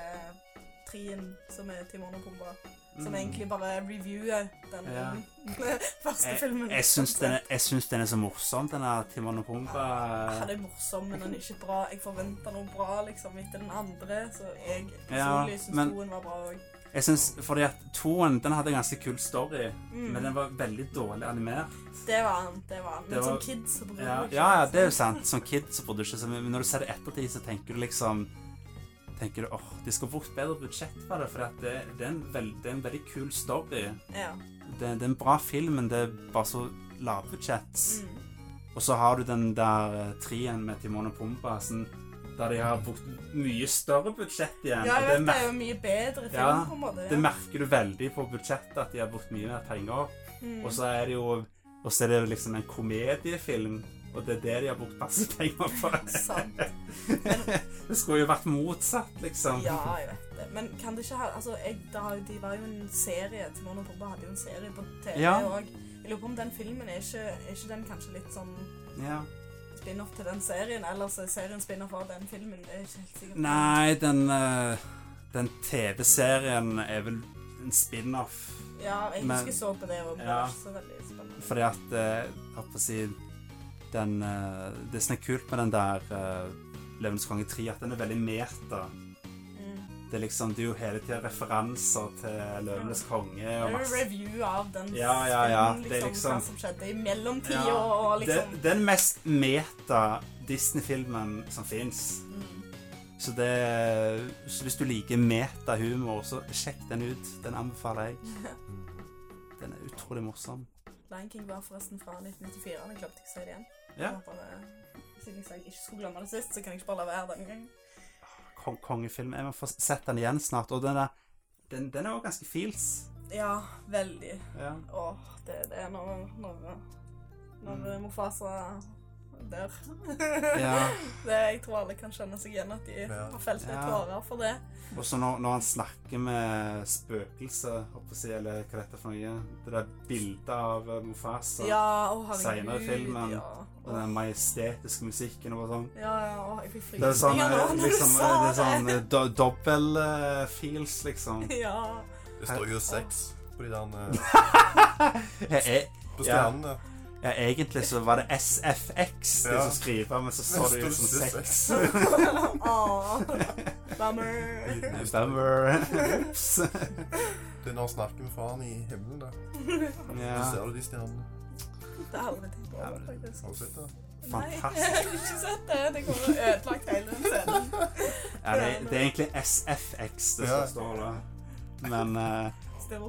Speaker 4: trien, som er Timon og Pumba. Som
Speaker 1: Mm.
Speaker 4: egentlig bare reviewer den
Speaker 1: Ja.
Speaker 4: første
Speaker 1: Jeg-
Speaker 4: filmen.
Speaker 1: Mm. Jeg syns den, er- jeg syns den er så morsom, den der Timon og Pumba.
Speaker 4: Ja, det er morsom, men den er ikke bra. Jeg forventa noe bra liksom, etter den andre, så jeg
Speaker 1: Ja,
Speaker 4: personlig syns
Speaker 1: men-
Speaker 4: toen var bra òg.
Speaker 1: Jeg syns fordi at toen den hadde en ganske kul story,
Speaker 4: Mm.
Speaker 1: men den var veldig dårlig animert.
Speaker 4: Det var han. det var han.
Speaker 1: Det
Speaker 4: Men
Speaker 1: var-
Speaker 4: som kid så bryr
Speaker 1: Ja,
Speaker 4: jeg meg ikke.
Speaker 1: ja, ja, det er jo sant. Som kid så bodde du ikke så mye, men når du ser det ettertid, så tenker du liksom Tenker du, åh, De skulle brukt bedre budsjett på det, for at det, det, er en veld, det er en veldig kul story.
Speaker 4: Ja.
Speaker 1: Det, det er en bra film, men det er bare så lavbudsjett.
Speaker 4: Mm.
Speaker 1: Og så har du den der eh, trien med Timon og Pumba, sånn, der de har brukt mye større budsjett igjen.
Speaker 4: ja, jeg
Speaker 1: og det,
Speaker 4: vet det
Speaker 1: mer
Speaker 4: er jo mye bedre film,
Speaker 1: Ja,
Speaker 4: på en måte.
Speaker 1: det merker du veldig på budsjettet, at de har brukt mye mer penger.
Speaker 4: Mm.
Speaker 1: Og så er det jo og så er det jo liksom en komediefilm, og det er det de har brukt masse penger på.
Speaker 4: Sant.
Speaker 1: Det skulle jo vært motsatt, liksom.
Speaker 4: Ja, jeg vet det. Men kan det ikke ha altså, jeg, det har, De var jo en serie. Timon og Pumba hadde jo en serie på TV
Speaker 1: Ja.
Speaker 4: òg. Jeg lurer på om den filmen er ikke, er ikke den kanskje litt sånn
Speaker 1: Ja.
Speaker 4: spin-off til den serien? Eller så er serien spin-off av den filmen? Det er jeg ikke helt sikker på.
Speaker 1: Nei, den, eh, den TV-serien er vel en spin-off.
Speaker 4: Ja, jeg
Speaker 1: Men-
Speaker 4: husker jeg så på det og det
Speaker 1: Ja.
Speaker 4: var ikke så veldig spennende.
Speaker 1: Fordi at, eh, jeg holdt på å si, den, eh, det som er kult med den der eh, Løvenes konge 3, at den er veldig meta.
Speaker 4: Mm.
Speaker 1: Det er liksom, det er jo hele tiden referanser til Løvenes konge
Speaker 4: Det
Speaker 1: og
Speaker 4: er jo
Speaker 1: masse...
Speaker 4: review av den
Speaker 1: Ja, ja, ja,
Speaker 4: filmen,
Speaker 1: det er
Speaker 4: liksom,
Speaker 1: liksom-
Speaker 4: hva som skjedde i mellomtida
Speaker 1: Ja,
Speaker 4: og
Speaker 1: Det,
Speaker 4: liksom
Speaker 1: den mest meta Disney-filmen som fins.
Speaker 4: mm.
Speaker 1: Så, det, så hvis du liker metahumor, så sjekk den ut. Den anbefaler jeg. Den er utrolig morsom.
Speaker 4: Lion King var forresten fra 1994. Jeg klarte ikke å si det igjen.
Speaker 1: Ja.
Speaker 4: Jeg bare, siden jeg sa jeg ikke skulle glemme det sist, så kan jeg ikke bare la være denne gangen.
Speaker 1: Kong kongefilm. Jeg må få sett den igjen snart. Og den er, den, den er også ganske feels.
Speaker 4: Ja, veldig.
Speaker 1: Ja.
Speaker 4: Åh, det, det er når, når, når
Speaker 1: Mm.
Speaker 4: Mofasa dør.
Speaker 1: ja.
Speaker 4: det, jeg tror alle kan skjønne seg igjen at de
Speaker 2: Ja.
Speaker 4: har felt litt
Speaker 1: Ja.
Speaker 4: tårer for det.
Speaker 1: Og så når, når han snakker med spøkelset, holdt på å si, eller hva dette er for noe Det der bildet av eh, Mufasa
Speaker 4: Ja, å herregud.
Speaker 1: senere i filmen.
Speaker 4: Ja,
Speaker 1: og den majestetiske musikken og sånn.
Speaker 4: ja, ja å, jeg fikk
Speaker 1: Det er sånn,
Speaker 4: frysninger nå
Speaker 1: eh,
Speaker 4: når
Speaker 1: liksom,
Speaker 4: du
Speaker 1: eh,
Speaker 4: sa
Speaker 1: det er
Speaker 4: det.
Speaker 1: sånn eh, do dobbel eh, feels, liksom.
Speaker 4: Ja.
Speaker 2: Det står jo seks på de der eh,
Speaker 1: Jeg, jeg,
Speaker 2: På
Speaker 1: Ja. e-,
Speaker 2: stjernene.
Speaker 1: ja, egentlig så var det SFX de
Speaker 2: Ja.
Speaker 1: som skriver, men så så det
Speaker 2: Det
Speaker 1: ut som
Speaker 2: står
Speaker 1: sex.
Speaker 4: Åh, bummer.
Speaker 1: Bummer. Ups.
Speaker 2: Det er når han snakker med faren i himmelen, da. Så
Speaker 1: Ja.
Speaker 2: ser du de stjernene.
Speaker 4: Det har jeg aldri tenkt
Speaker 1: Ja,
Speaker 4: over,
Speaker 1: men-
Speaker 4: faktisk.
Speaker 2: Har du sett det?
Speaker 4: Nei, jeg
Speaker 1: Fantastisk.
Speaker 4: har ikke sett det. Det kommer til å ødelagt hele den scenen.
Speaker 1: Ja, det, det er egentlig SFX det
Speaker 2: Ja.
Speaker 1: som står da. Men eh,
Speaker 4: Still.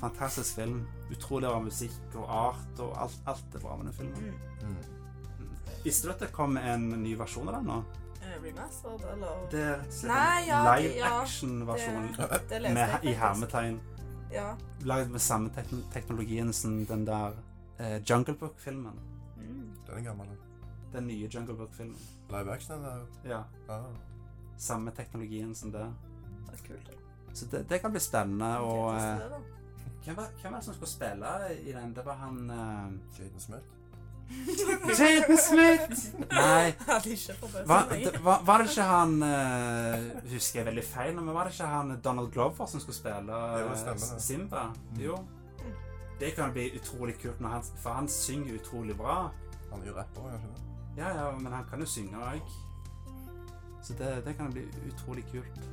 Speaker 1: Fantastisk film. Utrolig bra musikk og art og alt, alt er bra med den filmen.
Speaker 4: Mm.
Speaker 2: Mm.
Speaker 1: Visste du at det kom en ny versjon av den nå?
Speaker 4: Eh, Remastered, eller
Speaker 1: Det er rett og slett
Speaker 4: Nei,
Speaker 1: en
Speaker 4: ja, det-
Speaker 1: live
Speaker 4: ja.
Speaker 1: action-versjon
Speaker 4: Det, det leste jeg
Speaker 1: med- i
Speaker 4: faktisk.
Speaker 1: hermetegn.
Speaker 4: Ja.
Speaker 1: Lagd med samme tekn- teknologien som den der eh, Jungle Book-filmen.
Speaker 3: Mm.
Speaker 2: Den er gammel.
Speaker 1: Den nye Jungle Book-filmen.
Speaker 2: Live action, den der.
Speaker 1: Ja.
Speaker 2: Ah.
Speaker 1: Samme teknologien som det.
Speaker 4: Det er kult.
Speaker 1: Så det, det kan bli spennende. Og
Speaker 4: Ok,
Speaker 1: eh,
Speaker 4: teste det da.
Speaker 1: hvem, var, hvem var det som skulle spille i den? Det var han eh,
Speaker 2: Jaden Smith.
Speaker 1: Jaden Smith! Nei.
Speaker 4: Hadde ikke forbauset
Speaker 1: Var,
Speaker 4: meg.
Speaker 1: det- var, var det ikke han eh, Husker jeg veldig feil, nå, men var det ikke han Donald Glover som skulle spille
Speaker 2: Jo, det stemmer,
Speaker 1: eh,
Speaker 2: det.
Speaker 1: Simba?
Speaker 2: Mm.
Speaker 1: Jo. Det kan bli utrolig kult, når han, for han synger utrolig bra.
Speaker 2: Han er jo rapper, kanskje. det?
Speaker 1: Ja, ja, men han kan jo synge òg. Så det, det kan bli utrolig kult.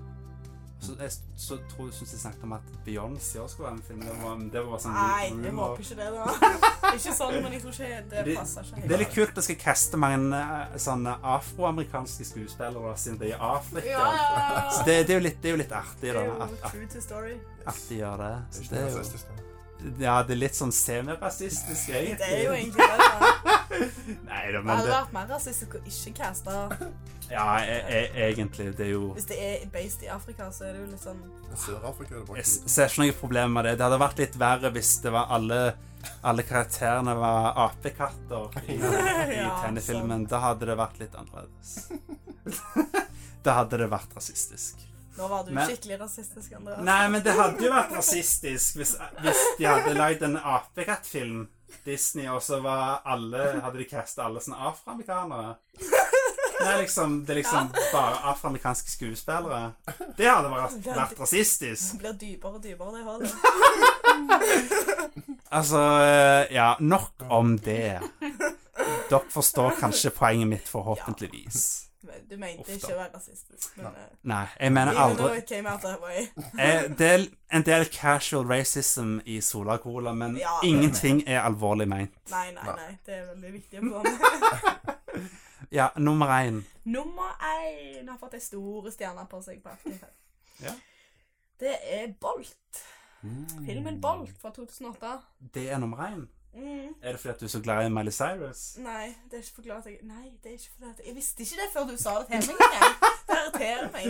Speaker 1: Så jeg s- så tror jeg syns jeg snakket om at Beyoncé også skulle være med i filmen. Det var, det var sånn
Speaker 4: Nei, jeg
Speaker 1: rumor.
Speaker 4: håper ikke det, da. Ikke sånn, men jeg tror ikke det
Speaker 1: Det-
Speaker 4: passer ikke
Speaker 1: Det er
Speaker 4: helt.
Speaker 1: litt kult at de skal kaste mange eh, sånne afroamerikanske skuespillere siden de er i Afrika.
Speaker 3: Ja, ja,
Speaker 1: Så
Speaker 3: ja.
Speaker 1: det, det er jo litt, det er jo litt artig,
Speaker 4: Det
Speaker 1: da.
Speaker 4: er jo
Speaker 1: At, at,
Speaker 4: true to story.
Speaker 1: at de gjør det.
Speaker 2: Det er
Speaker 1: Så
Speaker 2: ikke
Speaker 1: det er jo,
Speaker 2: rasistisk, da.
Speaker 1: ja, det er litt sånn semirasistisk, egentlig.
Speaker 4: Det er jo egentlig det. da.
Speaker 1: Nei da,
Speaker 4: Det
Speaker 1: men
Speaker 4: hadde
Speaker 1: det,
Speaker 4: vært mer rasistisk å ikke caste.
Speaker 1: Ja, e e egentlig. Det er jo
Speaker 4: Hvis det er based i Afrika, så er det jo litt sånn
Speaker 2: Men Sør-Afrika er det bare
Speaker 1: Jeg
Speaker 2: hvite.
Speaker 1: ser ikke noe problem med det. Det hadde vært litt verre hvis det var alle, alle karakterene var apekatter i, i
Speaker 4: Ja,
Speaker 1: tegnefilmen. Da hadde det vært litt annerledes. da hadde det vært rasistisk.
Speaker 4: Nå var du
Speaker 1: Men-
Speaker 4: skikkelig rasistisk, Andreas.
Speaker 1: Nei, men det hadde jo vært rasistisk hvis, hvis de hadde lagd en apekattfilm, Disney, og så var alle, hadde de castet alle sånne afroamerikanere. Det er liksom, det er liksom bare afroamerikanske skuespillere. Det hadde vært, vært rasistisk.
Speaker 4: Det blir dypere og dypere, det hullet.
Speaker 1: Altså, eh, ja, nok om det. Dere forstår kanskje poenget mitt, forhåpentligvis.
Speaker 4: Men Du mente
Speaker 1: Ofte.
Speaker 4: ikke å være rasistisk, men eh,
Speaker 1: Nei, jeg mener
Speaker 4: even though
Speaker 1: aldri
Speaker 4: it came out that way.
Speaker 1: eh, Det er en del casual racism i Sola Cola, men
Speaker 4: Ja, det er
Speaker 1: ingenting er alvorlig ment.
Speaker 4: Nei, nei,
Speaker 2: Nei.
Speaker 4: nei. Det er veldig viktig å få med.
Speaker 1: Ja, nummer én.
Speaker 4: Nummer én har fått ei stor stjerne på seg. på Aftenfest.
Speaker 1: Ja. Mm.
Speaker 4: Det er Bolt. Filmen Bolt fra 2008.
Speaker 1: Det er nummer én.
Speaker 4: Mm.
Speaker 1: Er det fordi at du er så glad i Miley Cyrus?
Speaker 4: Nei, det er ikke forklart jeg Nei, det er ikke forklart jeg Jeg visste ikke det før du sa det til meg engang. Det irriterer meg.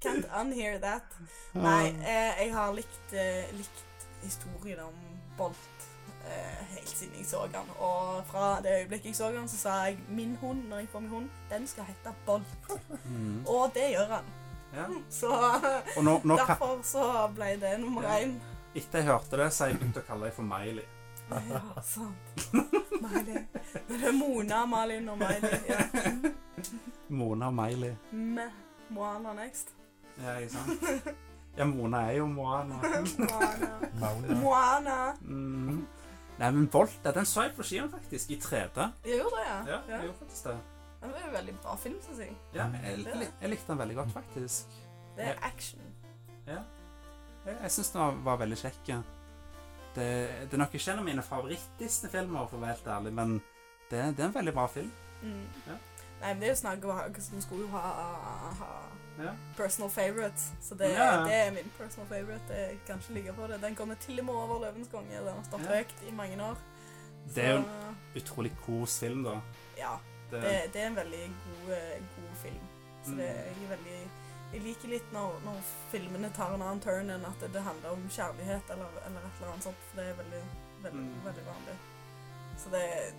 Speaker 4: Can't unhear that. Nei,
Speaker 1: Ah.
Speaker 4: eh, jeg har likt, eh, likt historien om Bolt eh, helt siden jeg så han. Og fra det øyeblikket jeg så han, så sa jeg min hund når jeg får min hund, den skal hete Bolt.
Speaker 1: Mm.
Speaker 4: Og det gjør han.
Speaker 1: Ja.
Speaker 4: Så
Speaker 1: Og nå, nå kan,
Speaker 4: derfor så ble det nummer
Speaker 1: Ja.
Speaker 4: én.
Speaker 1: etter jeg hørte det, så har jeg begynt å kalle deg for Miley.
Speaker 4: Ja, sant. Miley. Det er Mona, Malin og Miley. Ja.
Speaker 1: Mona og Miley.
Speaker 4: med Moana next.
Speaker 1: Ja, ikke sant? Ja, Mona er jo Moana.
Speaker 4: Moana.
Speaker 2: Mauna.
Speaker 4: Moana.
Speaker 1: Mm. Nei, men Bolt, ja, den så jeg på skiene faktisk, i 3D.
Speaker 4: Jeg gjorde det, ja.
Speaker 1: Ja,
Speaker 4: Ja.
Speaker 1: jeg gjorde faktisk det.
Speaker 4: Det var en veldig bra film, syns jeg.
Speaker 1: Ja, jeg, jeg, lik- jeg likte den veldig godt, faktisk.
Speaker 4: Det er
Speaker 1: Ja.
Speaker 4: action.
Speaker 1: Jeg, jeg syns den var, var veldig kjekk. ja. Det, det er nok ikke en av mine favoritt-Disney-filmer, for å være helt ærlig, men det, det er en veldig bra film.
Speaker 4: Mm.
Speaker 1: Ja.
Speaker 4: Nei, men det er jo snakk om at vi skulle jo ha, ha
Speaker 1: Ja.
Speaker 4: personal favorites. Så det,
Speaker 1: Ja.
Speaker 4: det er min personal favorite. Det jeg kan ikke ligge på det. Den kommer til og med over Løvens konge. Den har stått
Speaker 1: Ja.
Speaker 4: høyt i mange år. Så,
Speaker 1: Det er jo Utrolig kos film, da.
Speaker 4: Ja. Mm.
Speaker 1: Det,
Speaker 4: Det, det er en veldig god, eh, god film. Så det, jeg er veldig Jeg liker litt når, når filmene tar en annen turn enn at det handler om kjærlighet eller, eller et eller annet sånt. For det er veldig, veldig,
Speaker 1: Mm.
Speaker 4: veldig vanlig. Så det er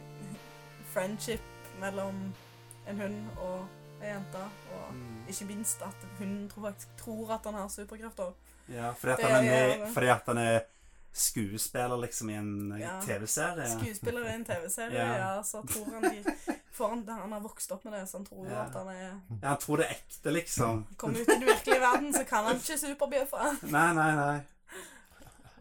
Speaker 4: friendship mellom en hund og ei jente. Og
Speaker 1: Mm.
Speaker 4: ikke minst at hun tror, faktisk tror at han har superkrefter.
Speaker 1: Ja, fordi at
Speaker 4: Det
Speaker 1: han er
Speaker 4: er-
Speaker 1: med Fordi at han er skuespiller, liksom, i en eh,
Speaker 4: Ja.
Speaker 1: TV-serie.
Speaker 4: Skuespiller i en TV-serie,
Speaker 1: Ja.
Speaker 4: ja. Så tror han de For han, han har vokst opp med det, så han tror jo
Speaker 1: Ja.
Speaker 4: at han er
Speaker 1: Ja, han tror det er ekte, liksom.
Speaker 4: Kommer ut i den virkelige verden, så kan han ikke superbjøffer.
Speaker 1: Nei, nei, nei.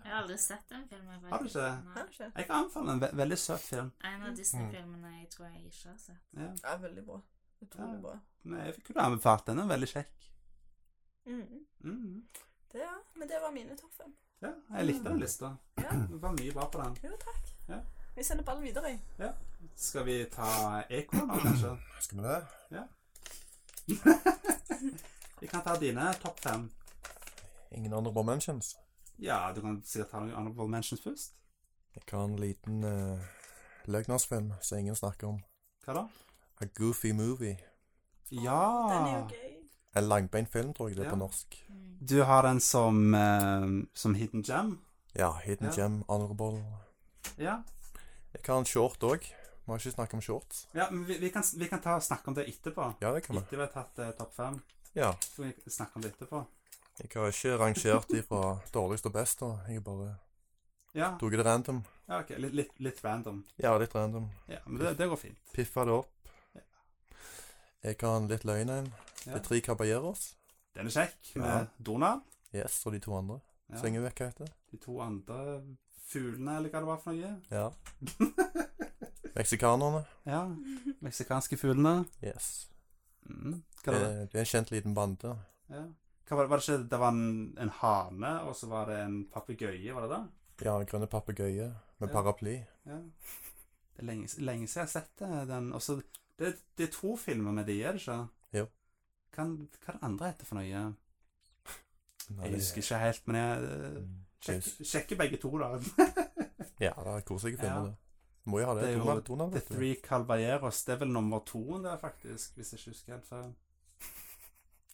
Speaker 3: Jeg har aldri sett den filmen.
Speaker 1: Har du ikke Mm. det?
Speaker 4: Han
Speaker 3: Nei.
Speaker 4: er ikke
Speaker 1: Jeg kan anbefale en ve veldig søt film.
Speaker 3: En av Disney-filmene jeg tror jeg ikke har sett.
Speaker 1: Ja.
Speaker 4: Ja, veldig bra. Utrolig
Speaker 1: Ja.
Speaker 4: bra.
Speaker 1: Nei, jeg kunne anbefalt den. Den er veldig kjekk.
Speaker 4: Mm.
Speaker 1: Mm.
Speaker 4: Det, ja. Men det var mine topp fem.
Speaker 1: Ja, jeg likte
Speaker 4: Mm.
Speaker 1: den lista.
Speaker 4: Ja.
Speaker 1: Det var mye bra på den.
Speaker 4: Jo, takk.
Speaker 1: Ja.
Speaker 4: Vi sender ballen videre. jeg.
Speaker 1: Skal vi ta Ekon nå, kanskje?
Speaker 2: Skal vi det?
Speaker 1: Vi kan ta dine topp fem.
Speaker 2: Ingen honorable mentions.
Speaker 1: Ja, du kan sikkert ta noen honorable mentions først.
Speaker 2: Jeg har en liten uh, løgnersfilm som ingen snakker om.
Speaker 1: Hva da?
Speaker 2: A Goofy Movie.
Speaker 1: Ja
Speaker 4: Den er jo gøy.
Speaker 2: En langbeint film, tror jeg det er
Speaker 1: Ja.
Speaker 2: på norsk.
Speaker 1: Du har den som, eh, som hidden gem.
Speaker 2: Ja, Hidden
Speaker 1: Ja.
Speaker 2: Gem, Honorable.
Speaker 1: Ja.
Speaker 2: Jeg har en short òg. Vi har ikke snakket om shorts.
Speaker 1: ja men vi, vi, kan, vi kan ta og snakke om det etterpå.
Speaker 2: Ja, det kan vi.
Speaker 1: Etter vi har tatt eh, topp fem.
Speaker 2: Ja.
Speaker 1: Så kan vi snakke om det etterpå.
Speaker 2: Jeg har ikke rangert de fra dårligst og best, da. Jeg har bare
Speaker 1: Ja,
Speaker 2: tok det random.
Speaker 1: ja ok. Litt, litt, litt random.
Speaker 2: Ja, litt random.
Speaker 1: Ja, Men det, det går fint.
Speaker 2: Piffa det opp.
Speaker 1: Ja.
Speaker 2: Jeg har en litt løgn en.
Speaker 1: Ja.
Speaker 2: Det er tre caballeros.
Speaker 1: Den er kjekk.
Speaker 2: Ja.
Speaker 1: Med Donald.
Speaker 2: Yes, og de to andre.
Speaker 1: Ja.
Speaker 2: Synger vekk, hva heter det?
Speaker 1: De to andre fuglene, eller hva det var for noe.
Speaker 2: Ja. Meksikanerne.
Speaker 1: Ja. Meksikanske fuglene.
Speaker 2: Yes.
Speaker 1: Mm. Hva
Speaker 2: Det,
Speaker 1: var det?
Speaker 2: det er en kjent liten bande.
Speaker 1: Ja. Hva var, det- var det ikke Det var en, en hane, og så var det en papegøye, var det det?
Speaker 2: Ja, grønne papegøye med
Speaker 1: Ja.
Speaker 2: paraply.
Speaker 1: Ja. Det er lenge, lenge siden jeg har sett det, den. Og så det, det er to filmer med de, er det ikke?
Speaker 2: Jo.
Speaker 1: Kan, hva er det andre heter for noe?
Speaker 2: Nei,
Speaker 1: Jeg
Speaker 2: det-
Speaker 1: husker ikke helt, men jeg eh,
Speaker 2: Mm,
Speaker 1: sjekker,
Speaker 2: Jesus.
Speaker 1: sjekker begge to, da.
Speaker 2: Ja, det er koselige
Speaker 1: Ja.
Speaker 2: filmer, det. Må jo ha det.
Speaker 1: Det er jo
Speaker 2: Donald, Donald,
Speaker 1: The
Speaker 2: vet du.
Speaker 1: Three Calvajeros. Det er vel nummer toen der, faktisk, hvis jeg ikke husker helt feil.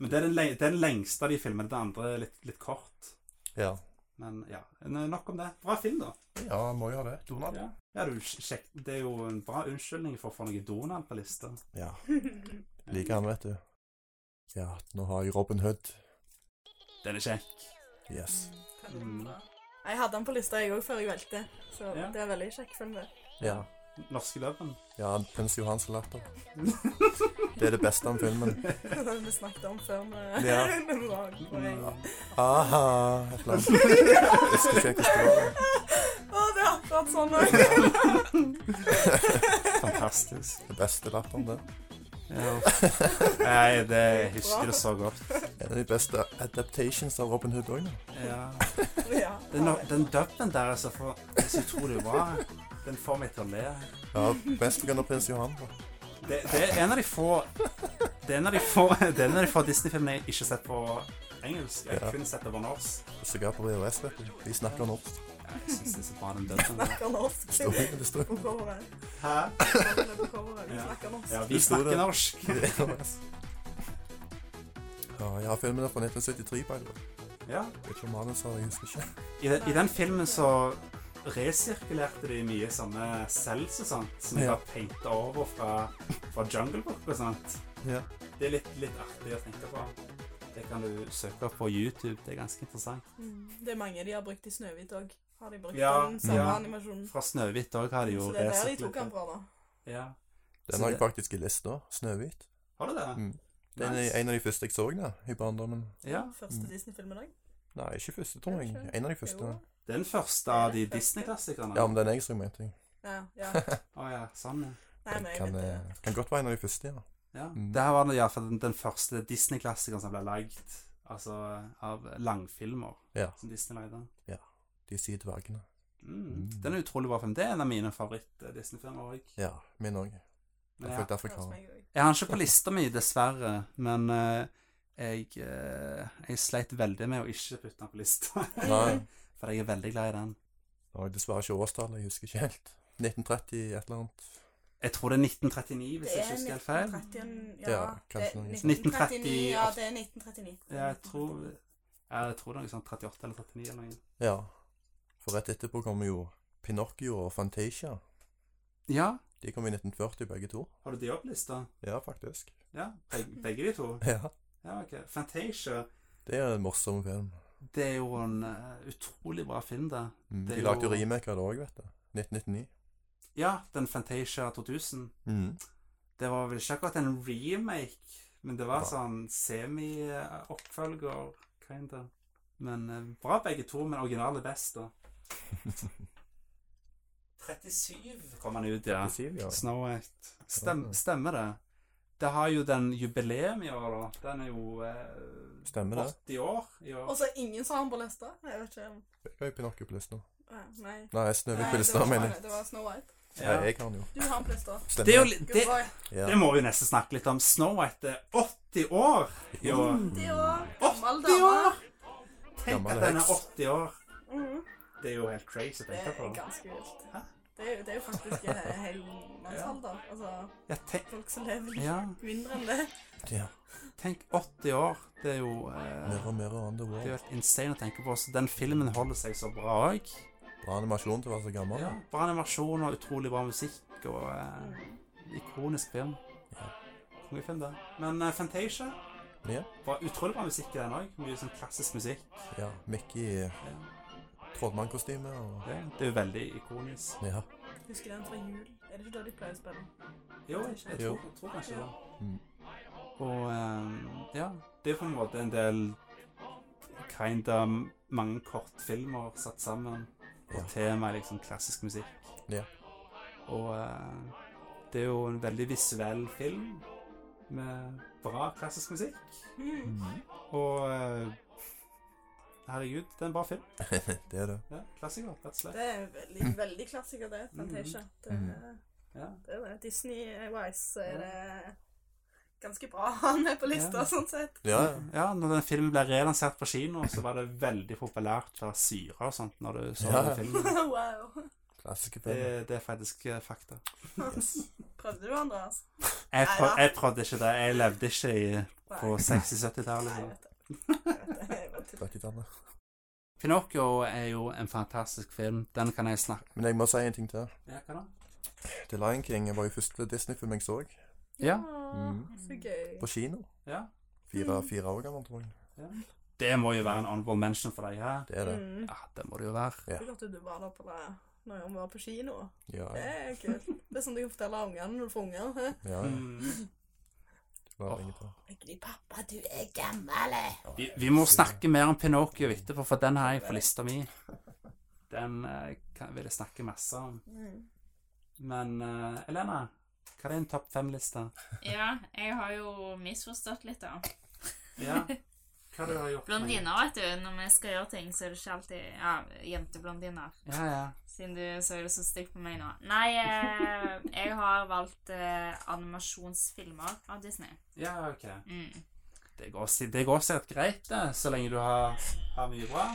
Speaker 1: Men det er den, leng det er den lengste av de filmene. Den andre er litt, litt kort.
Speaker 2: Ja.
Speaker 1: Men ja, nok om det. Bra film, da.
Speaker 2: ja, må jo ha det. Donald.
Speaker 1: Ja, ja du, sjekk, Det er jo en bra unnskyldning for å få noe Donald på lista.
Speaker 2: Ja. Liker han, vet du. Ja, nå har jeg Robin Hood.
Speaker 1: Den er kjekk.
Speaker 2: Yes.
Speaker 1: Mm.
Speaker 4: Jeg hadde den på lista jeg òg før jeg valgte, så
Speaker 1: Ja.
Speaker 4: det er veldig kjekk film. det.
Speaker 2: Ja.
Speaker 1: Norske Løven.
Speaker 2: Ja, Prins Johans latter. Det er det beste om filmen.
Speaker 4: Det har vi snakket om før med
Speaker 2: Ja.
Speaker 4: den var på
Speaker 1: Mm.
Speaker 4: vei.
Speaker 2: Aha! Et eller annet. Jeg husker ikke helt hvordan det var.
Speaker 4: Å, det er akkurat sånn òg.
Speaker 1: Fantastisk.
Speaker 2: Det beste latteren, det.
Speaker 1: Nei, det jeg husker det så godt.
Speaker 2: En av de beste adaptations av Robin Hood òg, nå.
Speaker 1: Ja.
Speaker 4: Ja,
Speaker 1: Den, den dubben der er så, for, er så utrolig bra. Den får meg til å le.
Speaker 2: Ja, mest pga. prins Johan. da.
Speaker 1: Det, det er en av de få Det er en av de få, det er en av de få Disney-filmene jeg ikke har sett på engelsk. Jeg har
Speaker 2: Ja.
Speaker 1: kun sett det på norsk.
Speaker 2: Og Sågar på VHS, vet du. De snakker norsk.
Speaker 1: Ja, Jeg syns det er så bra, den dubben. der.
Speaker 4: snakker norsk.
Speaker 2: Står det, det står
Speaker 4: På coveret.
Speaker 1: Hæ?
Speaker 4: Navnet på coveret. Vi
Speaker 1: Ja.
Speaker 4: snakker norsk.
Speaker 1: Ja, vi snakker norsk.
Speaker 2: i VHS. Ja, jeg har filmen der fra 1973, by the way.
Speaker 1: Ja.
Speaker 2: Vet ikke om manus har, jeg husker ikke.
Speaker 1: I, de- I den filmen så resirkulerte de mye sånne cells og sånt, som de
Speaker 2: Ja.
Speaker 1: har painta over fra, fra Jungle Book og sånt.
Speaker 2: Ja.
Speaker 1: Det er litt, litt artig å tenke på. Det kan du søke opp på YouTube, det er ganske interessant.
Speaker 4: Mm. Det er mange de har brukt i Snøhvit òg. Har de brukt
Speaker 1: Ja,
Speaker 4: den samme
Speaker 1: ja.
Speaker 4: animasjonen?
Speaker 1: Fra Snøhvit òg har de jo
Speaker 4: Så det er der de tok
Speaker 1: resirkulert.
Speaker 4: den fra, da.
Speaker 1: Ja.
Speaker 2: Den har jeg faktisk i lista. Snøhvit.
Speaker 1: Har du det?
Speaker 2: Mm. Den er en av de første jeg så da, i barndommen.
Speaker 1: Ja.
Speaker 4: Første
Speaker 2: Mm.
Speaker 4: Disney-film i dag.
Speaker 2: Nei, ikke første, tror jeg. En av de første.
Speaker 4: Jo.
Speaker 1: Det er den første av de Disney-klassikerne.
Speaker 2: Ja, men den jeg så, mente jeg.
Speaker 4: Ja, ja.
Speaker 1: Å ja, sånn, ja.
Speaker 4: Nei, men jeg
Speaker 2: Kan,
Speaker 4: vet
Speaker 2: eh,
Speaker 4: det.
Speaker 2: kan godt være en av de første, ja.
Speaker 1: ja.
Speaker 2: Mm.
Speaker 1: Det her var i hvert fall den, den første Disney-klassikeren som ble lagd. Altså av langfilmer
Speaker 2: Ja.
Speaker 1: som Disney lagde.
Speaker 2: De sier dvergene.
Speaker 1: Mm. Den er utrolig bra film. Det er en av mine eh, favoritt-Disney-filmer òg.
Speaker 2: Ja, min òg.
Speaker 1: Men
Speaker 2: Derfor,
Speaker 1: Jeg,
Speaker 2: derfor
Speaker 4: Hos
Speaker 2: kan
Speaker 4: meg også.
Speaker 1: jeg har den ikke på lista mi, dessverre. Men eh, jeg, eh, jeg sleit veldig med å ikke putte den på lista.
Speaker 2: Nei,
Speaker 1: For jeg er veldig glad i den.
Speaker 2: nå har jeg dessverre ikke årstallet, jeg husker ikke helt. 1930 et eller annet.
Speaker 1: Jeg tror det er 1939, hvis
Speaker 4: Det
Speaker 1: jeg
Speaker 4: er
Speaker 1: ikke husker helt feil.
Speaker 4: 1930,
Speaker 2: Ja,
Speaker 4: det er
Speaker 2: kanskje noe sånt.
Speaker 4: 1939, Ja, det er 1939.
Speaker 1: Ja, jeg tror, ja, jeg tror det er noe sånn 38 eller 39 eller noe.
Speaker 2: Ja. For rett etterpå kommer jo Pinocchio og Fantasia.
Speaker 1: Ja,
Speaker 2: De kom i 1940, begge to.
Speaker 1: har du de opp på lista?
Speaker 2: Ja, faktisk.
Speaker 1: Ja, begge, begge de to.
Speaker 2: Ja.
Speaker 1: Ja, ok. Fantasia,
Speaker 2: Det er en morsom film.
Speaker 1: det er jo en eh, utrolig bra film, det.
Speaker 2: Mm.
Speaker 1: Det er
Speaker 2: De lagde
Speaker 1: jo-
Speaker 2: jo remake av det òg, vet du. 1999.
Speaker 1: Ja, den Fantasia 2000.
Speaker 2: Mm.
Speaker 1: Det var vel ikke akkurat en remake, men det var
Speaker 2: Ja.
Speaker 1: sånn semi-oppfølger, kinda. Men eh, bra begge to, men originalen er best, da. 37 kom han ut, ja.
Speaker 2: Det sier vi, ja.
Speaker 1: Snow White. Stem,
Speaker 2: Ja.
Speaker 1: stemmer det? Det har jo den jubileum i år, da. Den er jo eh,
Speaker 2: Stemmer det.
Speaker 1: 80 år i år.
Speaker 4: Og så er ingen som har den på lista. Jeg vet ikke. om-
Speaker 2: Jeg har jo Pinocchio på lista.
Speaker 4: eh, Nei.
Speaker 2: Nei,
Speaker 4: Nei,
Speaker 2: Snøhvit på
Speaker 4: det
Speaker 2: lista,
Speaker 4: var,
Speaker 2: mener
Speaker 4: Snow-
Speaker 2: jeg.
Speaker 4: det var Snow
Speaker 2: Nei,
Speaker 4: White.
Speaker 1: Ja.
Speaker 2: jeg har den jo.
Speaker 4: Du har den på lista.
Speaker 2: Stemmer.
Speaker 1: Det, er jo, li-
Speaker 4: Good
Speaker 1: det,
Speaker 4: boy.
Speaker 2: ja.
Speaker 1: det må vi nesten snakke litt om. Snow White er 80 år i år.
Speaker 4: 80 år, gammel
Speaker 1: 80
Speaker 4: dame.
Speaker 1: år! Tenk
Speaker 2: Gammel
Speaker 1: at den er
Speaker 2: heks.
Speaker 1: 80 år.
Speaker 4: Mm.
Speaker 1: Det er jo helt crazy å
Speaker 4: Det
Speaker 1: tenke
Speaker 4: er
Speaker 1: på.
Speaker 4: ganske vilt.
Speaker 1: Hæ?
Speaker 4: Det er, jo- det er jo faktisk eh, hel mannsalder. Altså,
Speaker 1: Ja, tenk,
Speaker 4: folk som lever
Speaker 1: ja,
Speaker 4: mindre enn det.
Speaker 2: Ja.
Speaker 1: tenk 80 år. Det er jo eh,
Speaker 2: Mer og mer on the
Speaker 1: Det er jo
Speaker 2: wall.
Speaker 1: helt insane å tenke på. Så den filmen holder seg så bra òg.
Speaker 2: Bra animasjon til å være så gammel.
Speaker 1: Ja, bra animasjon og utrolig bra musikk og eh, ikonisk film.
Speaker 2: Ja.
Speaker 1: Kongefilm, det. Men eh, Fantasia
Speaker 2: Ja.
Speaker 1: var utrolig bra musikk i den òg. Mye sånn klassisk musikk.
Speaker 2: Ja, Mickey i
Speaker 1: Ja,
Speaker 2: trollmannkostyme og
Speaker 1: det, det er jo veldig ikonisk.
Speaker 2: Ja.
Speaker 4: Husker den fra jul? Er det ikke da de pleier å spille?
Speaker 1: Jo, jeg tror,
Speaker 2: Jo.
Speaker 1: jeg tror kanskje det.
Speaker 2: Mm.
Speaker 1: Og eh, ja, det er på en måte en del kinda mange kortfilmer satt sammen. Og
Speaker 2: Ja.
Speaker 1: tema er liksom klassisk musikk.
Speaker 2: Ja.
Speaker 1: Og eh, det er jo en veldig visuell film med bra klassisk musikk.
Speaker 4: Mm.
Speaker 2: Mhm.
Speaker 1: Og eh, herregud, det er en bra film.
Speaker 2: Det er det.
Speaker 1: Ja, klassiker, rett og slett.
Speaker 4: Det er veldig, veldig klassiker, det. Fantasia. Det,
Speaker 2: Mm.
Speaker 1: Ja.
Speaker 4: det er det. Disney-wise så er det ganske bra å ha med på lista,
Speaker 1: Ja.
Speaker 4: sånn sett.
Speaker 2: Ja, ja.
Speaker 1: Ja, når den filmen ble relansert på kino, så var det veldig populært å være syre og sånt når du så
Speaker 2: Ja.
Speaker 1: den filmen.
Speaker 4: wow.
Speaker 2: Klassiske
Speaker 1: Det,
Speaker 2: film.
Speaker 1: det er faktisk eh, fakta.
Speaker 2: Yes.
Speaker 4: Prøvde du, altså? Andreas?
Speaker 1: Jeg, prøv,
Speaker 4: Neida.
Speaker 1: jeg prøvde ikke det. Jeg levde ikke i,
Speaker 4: Nei.
Speaker 1: på 60-70-tallet. liksom.
Speaker 4: Nei, jeg vet det. Jeg vet det. Jeg vet det.
Speaker 2: 30-tallet.
Speaker 1: Pinocchio er jo en fantastisk film. Den kan jeg snakke
Speaker 2: Men jeg må si en ting til.
Speaker 1: Ja, hva da?
Speaker 2: The Lion King var jo første Disney-film jeg så.
Speaker 1: Ja.
Speaker 2: Mm.
Speaker 4: Så gøy.
Speaker 2: På kino.
Speaker 1: ja.
Speaker 2: Fire, fire år gammel, tror jeg.
Speaker 1: Det må jo være en honorable mention for deg her.
Speaker 2: Det er det.
Speaker 4: Mm.
Speaker 1: Ja, det må det jo være.
Speaker 2: Ja.
Speaker 4: Kult at du var der på det når han var på kino.
Speaker 2: Ja,
Speaker 4: Det
Speaker 2: ja.
Speaker 4: er kult. Det er sånn du kan fortelle ungene når du får unger.
Speaker 2: ja.
Speaker 1: Mm.
Speaker 2: Det var lenge til.
Speaker 4: Egentlig, pappa, du er gammel.
Speaker 1: Vi, vi må snakke mer om Pinocchio etterpå, for den har jeg på lista mi. Den eh, kan, vil jeg snakke masse om.
Speaker 4: Mm.
Speaker 1: Men eh, Elena, hva er din topp fem-liste?
Speaker 3: Ja, jeg har jo misforstått litt, da.
Speaker 1: Ja. Hva du har gjort?
Speaker 3: Blondiner, vet du. Når vi skal gjøre ting, så er det ikke alltid Ja, jenteblondiner.
Speaker 1: Ja, ja.
Speaker 3: Siden du så det så stygt på meg nå. Nei, eh, jeg har valgt eh, animasjonsfilmer av Disney.
Speaker 1: ja, ok.
Speaker 3: Mm.
Speaker 1: Det går, si- det går sikkert greit, det, så lenge du har, har mye bra.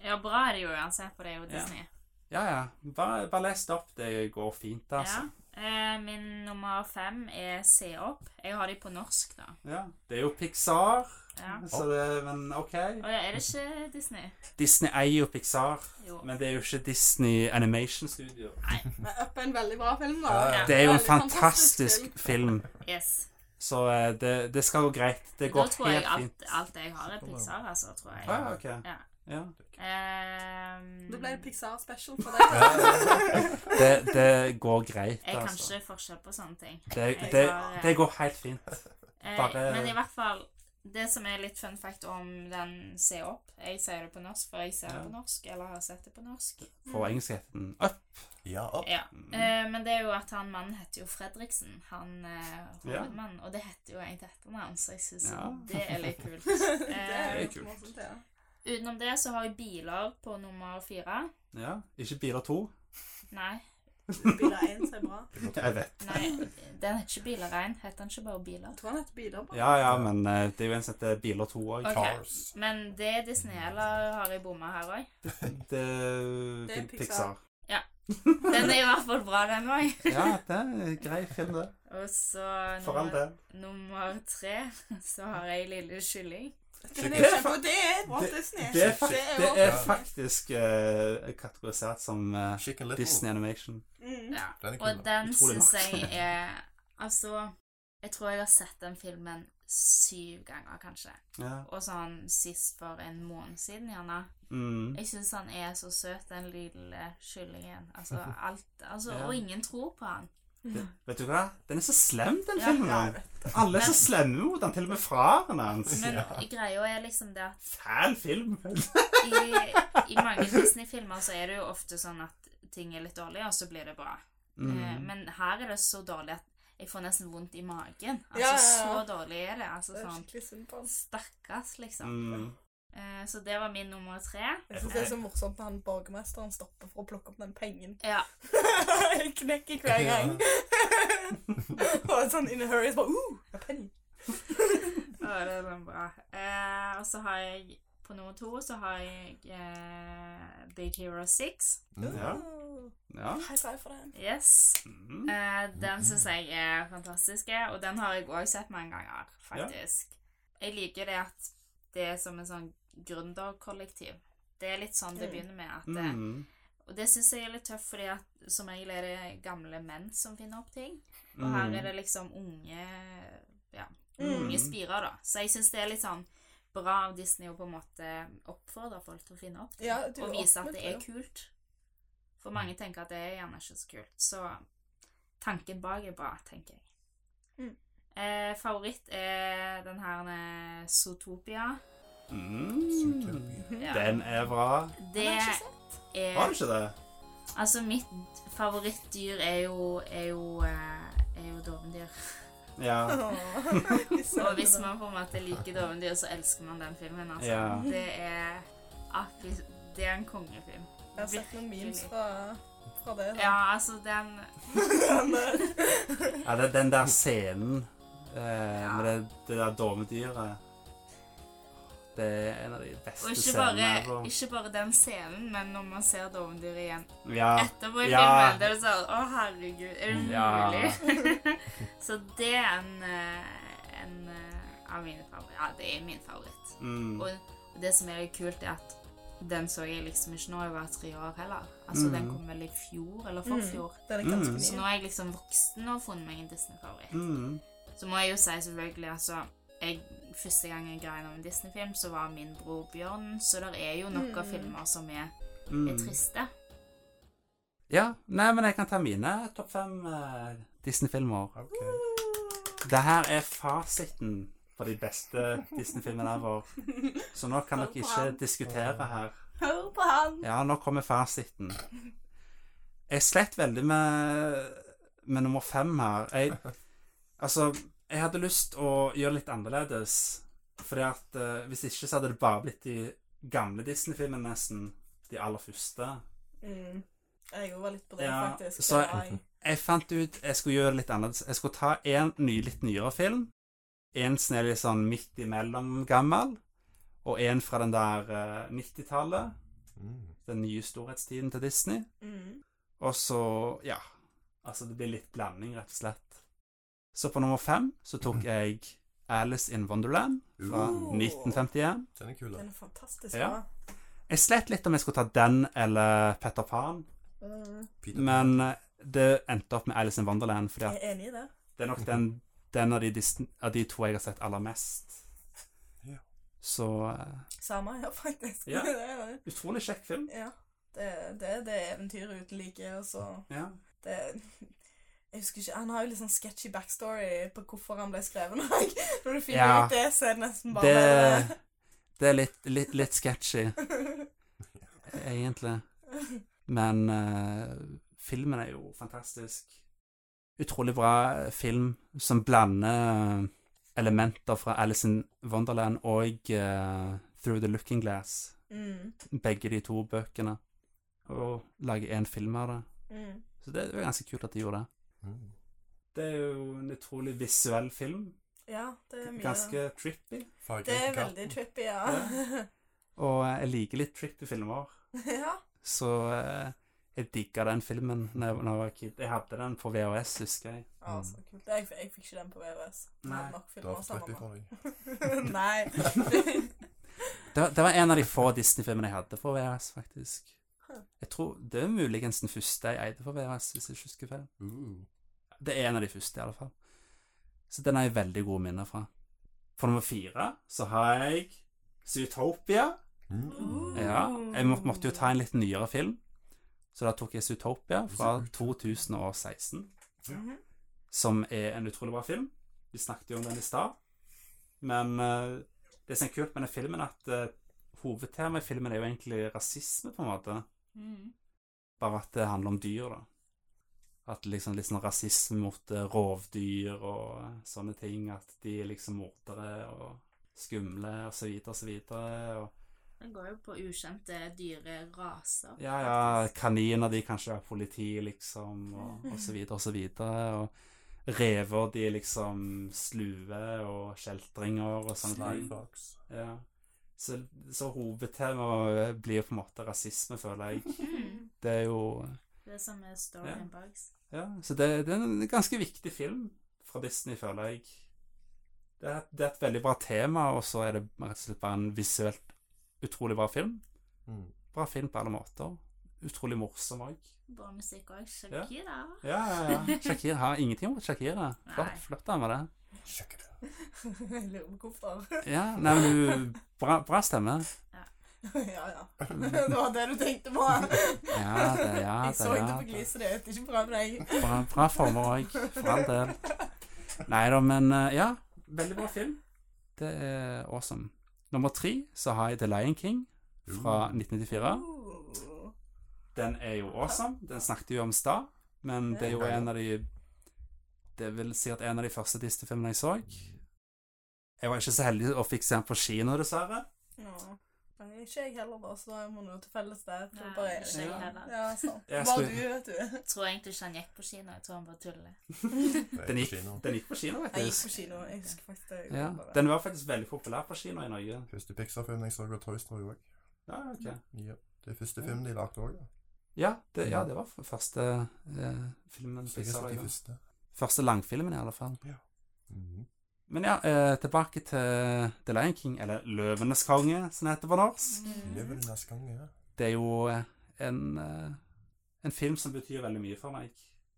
Speaker 3: Ja, bra er det jo uansett, for det er jo
Speaker 1: Ja.
Speaker 3: Disney.
Speaker 1: Ja, ja. Bare, bare les det opp. Det går fint, altså.
Speaker 3: Ja. Eh, min nummer fem er Se opp. Jeg har de på norsk, da.
Speaker 1: Ja. Det er jo Pixar,
Speaker 3: Ja.
Speaker 1: så det, men OK.
Speaker 3: Og er det ikke Disney?
Speaker 1: Disney eier jo Pixar,
Speaker 3: Jo.
Speaker 1: men det er jo ikke Disney Animation Studio.
Speaker 4: Men Up er en veldig bra film, da.
Speaker 2: Ja,
Speaker 3: ja.
Speaker 1: Det er jo en
Speaker 4: Veldig
Speaker 1: fantastisk film,
Speaker 3: Yes.
Speaker 1: så eh, det, det skal gå greit. Det
Speaker 3: Da
Speaker 1: går
Speaker 3: tror jeg
Speaker 1: helt
Speaker 3: alt,
Speaker 1: fint.
Speaker 3: alt jeg har, er Pixar, altså, tror jeg.
Speaker 1: Ah, ok.
Speaker 3: Ja.
Speaker 1: Ja.
Speaker 3: Ehm,
Speaker 4: Da ble det Pixar special for deg.
Speaker 1: Det, det går greit,
Speaker 3: jeg kan
Speaker 1: altså.
Speaker 3: ikke forskjell på sånne ting.
Speaker 1: Det,
Speaker 3: jeg
Speaker 1: det,
Speaker 3: har-
Speaker 1: det går helt fint.
Speaker 3: Eh,
Speaker 1: Bare-
Speaker 3: Men i hvert fall Det som er litt fun fact om den Se opp Jeg sier det på norsk, for jeg ser
Speaker 1: Ja.
Speaker 3: det på norsk, eller har sett det på norsk.
Speaker 1: For engelsk heter den Up.
Speaker 2: Ja, opp.
Speaker 3: Ja. Eh, men det er jo at han mannen heter jo Fredriksen, han eh, hovedmannen, og det heter jo egentlig etternavn, så jeg syns
Speaker 1: Ja.
Speaker 3: det er litt kult.
Speaker 4: Det
Speaker 3: Eh,
Speaker 4: er
Speaker 1: Det er
Speaker 4: jo
Speaker 1: kult.
Speaker 4: morsomt, ja.
Speaker 3: utenom det så har jeg biler på nummer fire.
Speaker 1: Ja. Ikke Biler 2.
Speaker 3: Nei,
Speaker 4: Biler 1 ser bra.
Speaker 1: Jeg vet.
Speaker 3: nei, den heter ikke Biler 1, heter den ikke bare Biler?
Speaker 4: Jeg tror han heter Biler. bare.
Speaker 1: Ja, ja, men eh, det er jo en som heter Biler 2 òg.
Speaker 3: Ok.
Speaker 2: Cars.
Speaker 3: Men det er Disney, eller har jeg bomma her òg?
Speaker 1: Det,
Speaker 4: Det er
Speaker 1: Pixar.
Speaker 4: Pixar.
Speaker 3: Den er i hvert fall bra, den òg.
Speaker 1: Ja, det er en grei film, det.
Speaker 3: Og så
Speaker 1: For all
Speaker 3: nummer,
Speaker 1: del.
Speaker 3: nummer tre, så har jeg Lille Kylling.
Speaker 4: Men det er jo kjempe- det er Walt Disney.
Speaker 1: Det er, fak det
Speaker 4: Walt
Speaker 1: er
Speaker 4: Disney.
Speaker 1: faktisk eh, kategorisert som eh,
Speaker 2: Chicken Little.
Speaker 1: Disney Animation.
Speaker 4: Mm.
Speaker 3: Ja.
Speaker 2: Den er
Speaker 3: Og
Speaker 2: kul. da.
Speaker 3: den
Speaker 1: Utrolig
Speaker 3: syns
Speaker 1: nok.
Speaker 3: jeg er Altså, jeg tror jeg har sett den filmen syv ganger, kanskje.
Speaker 1: Ja.
Speaker 3: Og sånn sist for en måned siden, gjerne.
Speaker 1: Mm.
Speaker 3: Jeg syns han er så søt, den lille kyllingen. Altså, alt altså,
Speaker 1: Ja.
Speaker 3: Og ingen tror på han.
Speaker 1: Vet du hva? Den er så slem, den
Speaker 3: Ja,
Speaker 1: filmen.
Speaker 4: Ja, jeg vet
Speaker 1: Alle er så
Speaker 3: Men-
Speaker 1: slemme mot han, til og med faren hans.
Speaker 3: Men Eh, greia er liksom det at
Speaker 1: Fæl film.
Speaker 3: i, i mange Disney-filmer så er det jo ofte sånn at ting er litt dårlig, og så blir det bra. Eh,
Speaker 1: Mm.
Speaker 3: Men her er det så dårlig at jeg får nesten vondt i magen. Altså,
Speaker 4: Ja, ja, ja.
Speaker 3: så dårlig er det. Altså,
Speaker 4: Det er
Speaker 3: sånn
Speaker 4: skikkelig synd på han.
Speaker 3: Stakkars, liksom.
Speaker 1: Mm.
Speaker 3: Eh, Så det var min nummer tre.
Speaker 4: Jeg synes det er så morsomt når han borgermesteren stopper for å plukke opp den pengen.
Speaker 3: Ja,
Speaker 4: Jeg knekker hver gang. Og sånn in a hurry så bare uh, jeg har penny.
Speaker 3: å, det var bra. Eh, og så har jeg På nummer to så har jeg eh, Big Hero 6.
Speaker 1: Ja.
Speaker 4: Uh,
Speaker 1: Ja.
Speaker 4: High five for den.
Speaker 3: Yes.
Speaker 1: Mm.
Speaker 3: Eh, den syns jeg er fantastisk, og den har jeg òg sett mange ganger, faktisk. Jeg liker det at det er som en sånn gründerkollektiv. Det er litt sånn det
Speaker 4: Mm.
Speaker 3: begynner med. at eh,
Speaker 1: Mm.
Speaker 3: Og det syns jeg er litt tøft, fordi at som regel er det gamle menn som finner opp ting. Og
Speaker 1: Mm.
Speaker 3: her er det liksom unge ja,
Speaker 4: Mhm.
Speaker 3: unge spirer, da. Så jeg syns det er litt sånn bra av Disney å på en måte oppfordre folk til å finne opp ting,
Speaker 4: Ja, du
Speaker 3: og vise at det
Speaker 4: oppmuntrer
Speaker 3: er
Speaker 4: jo.
Speaker 3: kult. For mange tenker at det er gjerne ikke så kult, så tanken bak er bra, tenker jeg.
Speaker 4: Mm.
Speaker 3: Eh, favoritt er den her eh, Zootopia.
Speaker 1: Mm.
Speaker 3: Ja.
Speaker 1: Den er bra.
Speaker 3: Det
Speaker 4: Mhm. Den har jeg
Speaker 3: er
Speaker 4: ikke sett.
Speaker 1: Var det ikke det?
Speaker 3: Altså, mitt favorittdyr er jo, er jo, eh, er jo dovendyr.
Speaker 1: Ja.
Speaker 4: Åh, de søte
Speaker 3: Og hvis
Speaker 4: da.
Speaker 3: man på en måte liker dovendyr, så elsker man den filmen. Altså.
Speaker 1: Ja.
Speaker 3: Det er akkurat Det er en kongefilm.
Speaker 4: Jeg har sett noen memes fra, fra det. da.
Speaker 3: Ja, altså, den
Speaker 4: eh,
Speaker 1: ja det, den der scenen eh, med det, det der dovendyret Det er en av de
Speaker 3: Og
Speaker 1: beste
Speaker 3: ikke
Speaker 1: scenene
Speaker 3: bare,
Speaker 1: ever.
Speaker 3: ikke bare den scenen, men når man ser dovendyret igjen
Speaker 1: Ja.
Speaker 3: etterpå i
Speaker 1: Ja.
Speaker 3: filmen, det er det sånn Å, herregud, er det
Speaker 1: Ja.
Speaker 3: mulig? så det er en, eh, en eh, av mine favoritter. Ja, det er min favoritt.
Speaker 1: Mm.
Speaker 3: Og det som er litt kult, er at den så jeg liksom ikke når jeg var tre år heller. Altså,
Speaker 1: Mm.
Speaker 3: den kom vel i fjor eller forfjor.
Speaker 4: Den er ganske
Speaker 1: Mm.
Speaker 3: Så
Speaker 4: ny.
Speaker 3: nå er jeg liksom voksen og har funnet meg en Disney-favoritt.
Speaker 1: Mm.
Speaker 3: Så må jeg jo si selvfølgelig, altså jeg, Første gang jeg grein om en Disney-film, så var min bror Bjørn, så det er jo nok av
Speaker 4: Mm.
Speaker 3: filmer som er, er
Speaker 1: Mm.
Speaker 3: triste.
Speaker 1: Ja. Nei, men jeg kan ta mine topp fem eh, Disney-filmer.
Speaker 2: Ok.
Speaker 1: Det her er fasiten på de beste Disney-filmene ever. Så nå kan dere ikke diskutere her.
Speaker 4: Hør på han!
Speaker 1: Ja, nå kommer fasiten. Jeg slet veldig med, med nummer fem her. Jeg, altså, jeg hadde lyst å gjøre litt annerledes. Fordi at eh, hvis ikke så hadde det bare blitt de gamle Disney-filmene nesten. De aller første.
Speaker 4: Mm. Jeg òg var litt på det,
Speaker 1: Ja,
Speaker 4: faktisk.
Speaker 1: så-
Speaker 4: Det var jeg.
Speaker 1: Jeg fant ut jeg skulle gjøre det litt annerledes. Jeg skulle ta en ny, litt nyere film. En som er litt sånn midt imellom gammel. Og en fra den der eh, 90-tallet.
Speaker 2: Mm.
Speaker 1: Den nye storhetstiden til Disney.
Speaker 4: Mm.
Speaker 1: Og så, ja Altså, det blir litt blanding, rett og slett. Så på nummer fem så tok jeg Alice in Wonderland fra
Speaker 2: Uh,
Speaker 1: 1951.
Speaker 2: den er kul, da.
Speaker 4: Den er fantastisk
Speaker 1: Ja.
Speaker 4: bra.
Speaker 1: Jeg slet litt om jeg skulle ta den eller Petter Pan,
Speaker 4: Mm.
Speaker 2: Peter Pan.
Speaker 1: men eh, det endte opp med Alice in Wonderland, fordi
Speaker 4: Jeg
Speaker 1: at
Speaker 4: er enig i det.
Speaker 1: det er nok den, den av, de, Disney- av de to jeg har sett aller mest.
Speaker 2: Ja.
Speaker 1: Så eh,
Speaker 4: Samme her, faktisk.
Speaker 1: Ja.
Speaker 4: det er det.
Speaker 1: Utrolig kjekk film.
Speaker 4: Ja. Det, det er det eventyret uten like, og så
Speaker 1: Ja.
Speaker 4: det, Jeg husker ikke Han har jo litt sånn sketchy backstory på hvorfor han ble skrevet. og Når du finner
Speaker 1: Ja.
Speaker 4: ut det, så er det nesten bare
Speaker 1: Det,
Speaker 4: det.
Speaker 1: det er litt, litt, litt sketchy, egentlig. Men eh, filmen er jo fantastisk. Utrolig bra eh, film som blander eh, elementer fra Alice in Wonderland og eh, Through the Looking Glass,
Speaker 4: mm.
Speaker 1: begge de to bøkene, og lager én film av det.
Speaker 4: Mm.
Speaker 1: Så det er jo ganske kult at de gjorde det.
Speaker 2: Mm.
Speaker 1: Det er jo en utrolig visuell film.
Speaker 4: Ja, det er mye
Speaker 1: Ganske trippy.
Speaker 2: Fargerike
Speaker 4: Det er
Speaker 2: katten.
Speaker 4: veldig trippy, ja.
Speaker 1: Og eh, jeg liker litt trippy filmer,
Speaker 4: ja.
Speaker 1: så eh, jeg digga den filmen da jeg da jeg var kid. Jeg hadde den på VHS, husker jeg.
Speaker 4: Ja, så kult. Jeg, jeg fikk ikke den på VVS.
Speaker 1: Nei.
Speaker 4: Men nok
Speaker 2: Da
Speaker 4: filmer
Speaker 2: slipper jeg
Speaker 4: sammen.
Speaker 2: for deg.
Speaker 4: Nei.
Speaker 1: Det var, det var en av de få Disney-filmene jeg hadde for VHS, faktisk. Jeg tror Det er muligens den første jeg eide for VHS, hvis jeg ikke husker feil.
Speaker 2: Uh.
Speaker 1: Det er en av de første, i alle fall. Så den har jeg veldig gode minner fra. For nummer fire så har jeg Zootopia.
Speaker 4: Uh.
Speaker 2: Mm.
Speaker 1: Ja, jeg må, måtte jo ta en litt nyere film, så da tok jeg Zootopia fra 2016,
Speaker 4: Mhm.
Speaker 1: som er en utrolig bra film. Vi snakket jo om den i stad. Men eh, det som er kult med den filmen, er at eh, hovedtemaet i filmen er jo egentlig rasisme, på en måte.
Speaker 3: Mm.
Speaker 1: Bare at det handler om dyr, da. At liksom litt sånn rasisme mot eh, rovdyr og eh, sånne ting. At de er liksom mordere og skumle og så videre og så videre. Og,
Speaker 3: Den går jo på ukjente dyre raser.
Speaker 1: ja, ja, kaniner de kanskje er politi, liksom, og, og så videre og så videre. Og rever de er liksom slue og kjeltringer og sånne
Speaker 2: Sly
Speaker 1: ting.
Speaker 2: Fox.
Speaker 1: Ja. Så, så hovedtemaet blir på en måte rasisme, føler jeg.
Speaker 3: Mm.
Speaker 1: Det er jo
Speaker 3: Det er samme story
Speaker 1: Ja.
Speaker 3: and bugs.
Speaker 1: Ja, så det, det er en ganske viktig film fra Disney, føler jeg. Det er, det er et veldig bra tema, og så er det rett og slett bare en visuelt utrolig bra film.
Speaker 2: Mm.
Speaker 1: Bra film på alle måter. Utrolig morsom òg.
Speaker 3: Bra musikk òg.
Speaker 1: Ja.
Speaker 3: Shakira.
Speaker 1: Ja, ja, ja. Shakira har ingenting mot Shakira.
Speaker 3: Nei.
Speaker 1: Flott, flott dame, det.
Speaker 2: Sjekk det.
Speaker 4: Jeg lurer på hvorfor.
Speaker 1: Ja, nei, men du Bra, bra stemme.
Speaker 4: ja, ja. Det var det du tenkte på.
Speaker 1: Ja, det, ja,
Speaker 4: Jeg
Speaker 1: det,
Speaker 4: så ikke
Speaker 1: ja.
Speaker 4: på gliset ditt. Ikke prøv deg.
Speaker 1: Bra, bra former òg, for all del. Nei da, men eh, ja. Veldig bra film. Det er awesome. Nummer tre så har jeg The Lion King fra 1994.
Speaker 4: Uh.
Speaker 1: Den er jo awesome. Den snakket vi om i stad, men det er jo en av de Det er vel sikkert en av de første Disney-filmene jeg så. Jeg var ikke så heldig og fikk se den på kino, dessverre.
Speaker 4: Ja. Nei, ikke jeg heller, da, så da må vi noe til felles der.
Speaker 3: Nei,
Speaker 4: Bare jeg.
Speaker 3: ikke jeg heller.
Speaker 4: Ja, sant.
Speaker 1: Jeg
Speaker 4: Bare
Speaker 1: skulle-
Speaker 4: du, vet du.
Speaker 3: Jeg tror egentlig ikke han gikk på kino. Jeg tror han bare tuller.
Speaker 2: Det er
Speaker 1: Den
Speaker 2: på
Speaker 1: gikk,
Speaker 2: kino.
Speaker 1: den gikk på kino,
Speaker 4: Jeg gikk
Speaker 1: faktisk.
Speaker 4: på kino. Jeg husker faktisk det.
Speaker 1: Ja, den var faktisk veldig populær på kino i Norge.
Speaker 2: Første Pixar-film jeg så, var Toy Story òg.
Speaker 1: Ja, ok.
Speaker 2: Ja. Det er første film de lagde òg.
Speaker 1: ja, det, ja, det var f- første eh, filmen
Speaker 2: Så jeg
Speaker 1: Pixar
Speaker 2: har sett de
Speaker 1: lagde.
Speaker 2: første.
Speaker 1: Første langfilmen, i alle fall.
Speaker 2: Mm.
Speaker 1: Men ja, eh, tilbake til The Lion King, eller Løvenes konge, som det heter på norsk.
Speaker 4: Mm.
Speaker 2: Lever du neste gang, ja?
Speaker 1: Det er jo eh, en, eh, en film som betyr veldig mye for meg.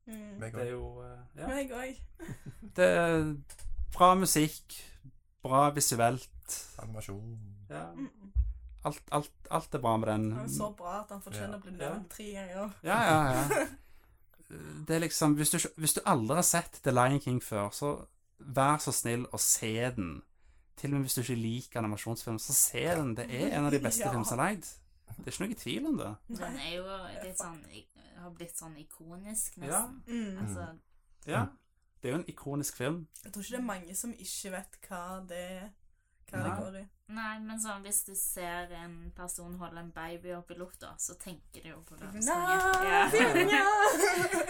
Speaker 4: Mm.
Speaker 2: Meg
Speaker 1: Det er
Speaker 2: òg.
Speaker 1: jo eh, ja.
Speaker 4: Meg òg.
Speaker 1: Det er bra musikk, bra visuelt.
Speaker 2: Animasjon.
Speaker 1: Ja.
Speaker 4: Mm.
Speaker 1: Alt, alt, alt er bra med den.
Speaker 4: Han er så bra at han fortjener å bli
Speaker 1: Ja.
Speaker 4: nevnt tre ganger.
Speaker 1: Ja, ja, ja. Det er liksom hvis du, ikke- hvis du aldri har sett The Lion King før, så vær så snill å se den. Til og med hvis du ikke liker animasjonsfilm, så se den. Det er en av de beste
Speaker 4: Ja.
Speaker 1: filmene som er lagd. Det er ikke noe tvil om det.
Speaker 3: Den er jo litt sånn Har blitt sånn ikonisk,
Speaker 1: Ja.
Speaker 3: nesten.
Speaker 4: Mm.
Speaker 3: Altså,
Speaker 1: Ja. Det er jo en ikonisk film.
Speaker 4: Jeg tror ikke det er mange som ikke vet hva det er. Hva det
Speaker 1: Nei.
Speaker 4: går i.
Speaker 3: Nei, men sånn hvis du ser en person holde en baby opp i lufta, så tenker du jo på
Speaker 4: Nei,
Speaker 3: løvslangen.
Speaker 1: Ja,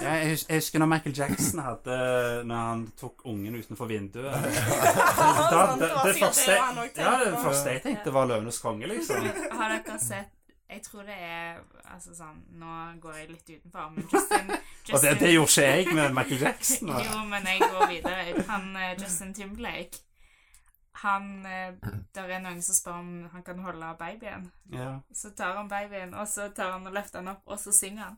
Speaker 1: jeg, hus jeg husker når Michael Jackson hadde Når han tok ungen utenfor vinduet. da,
Speaker 4: sant,
Speaker 1: det,
Speaker 4: Sånn, det var
Speaker 1: det,
Speaker 4: sikkert
Speaker 1: første,
Speaker 4: det han nok tenkte
Speaker 1: ja, det
Speaker 4: på.
Speaker 1: første jeg tenkte, var 'Løvenes konge', liksom.
Speaker 3: Har dere sett Jeg tror det er Altså sånn Nå går jeg litt utenfor, men Justin,
Speaker 1: Og det,
Speaker 3: Justin
Speaker 1: det gjorde ikke jeg med Michael Jackson. da.
Speaker 3: Jo, men jeg går videre. Han eh, Justin Timberlake han, eh, Der er noen som spør om han kan holde babyen.
Speaker 1: Ja.
Speaker 3: Så tar han babyen, og så tar han og løfter han opp, og så synger han.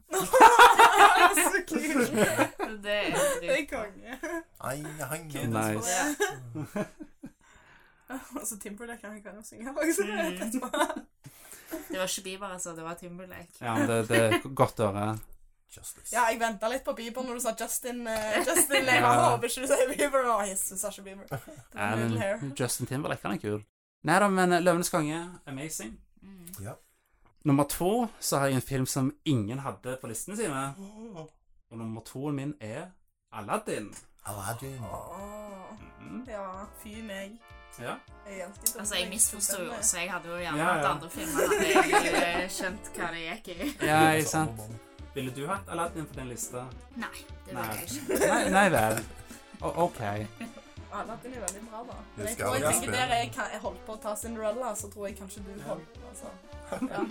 Speaker 4: Så kult!
Speaker 3: Så det er
Speaker 4: Det er
Speaker 3: dritbra.
Speaker 4: konge.
Speaker 2: Ai, hei, hei.
Speaker 1: Nice.
Speaker 3: Ja.
Speaker 4: Og så Timberlake, han kan jo synge òg, så det er
Speaker 3: Mm.
Speaker 4: litt bra.
Speaker 3: Det var ikke Bieber, altså. Det var Timberlake.
Speaker 1: ja, men det, det er godt å høre.
Speaker 2: Justice.
Speaker 4: Ja, jeg venta litt på Bieber når du sa Justin. eh, Justin jeg
Speaker 1: Ja.
Speaker 4: håper ikke du sier Bieber. Å, jeg syns ikke Bieber. Det
Speaker 1: Ja,
Speaker 4: er middle hair.
Speaker 1: men Justin Timberlake, han er kul. Nei da, men eh, 'Løvenes konge', amazing.
Speaker 3: Mm.
Speaker 1: Nummer to så har jeg en film som ingen hadde på listene sine.
Speaker 2: Åh,
Speaker 1: Og nummer toen min er Aladdin.
Speaker 2: Aladdin.
Speaker 4: Åh,
Speaker 1: Mhm.
Speaker 4: Ja, fy meg.
Speaker 1: Ja.
Speaker 4: Jeg er ganske dum.
Speaker 3: Altså, jeg misforsto jo, så jeg hadde jo gjerne
Speaker 1: Ja, ja.
Speaker 3: hatt andre filmer hadde jeg eh, skjønt hva det gikk i.
Speaker 1: ja, ikke
Speaker 2: Altså,
Speaker 1: sant.
Speaker 2: Amazon.
Speaker 1: Ville du hatt Aladdin på din liste?
Speaker 3: Nei, det var jeg ikke.
Speaker 1: Nei, nei vel. O- ok.
Speaker 4: Aladdin er veldig bra, da. Men jeg
Speaker 2: Husker
Speaker 4: tror jeg
Speaker 2: alle
Speaker 4: tenker
Speaker 2: spillene.
Speaker 4: der jeg, kan, jeg holdt på å ta Cinderella, så tror jeg kanskje du holdt på, altså. Ja.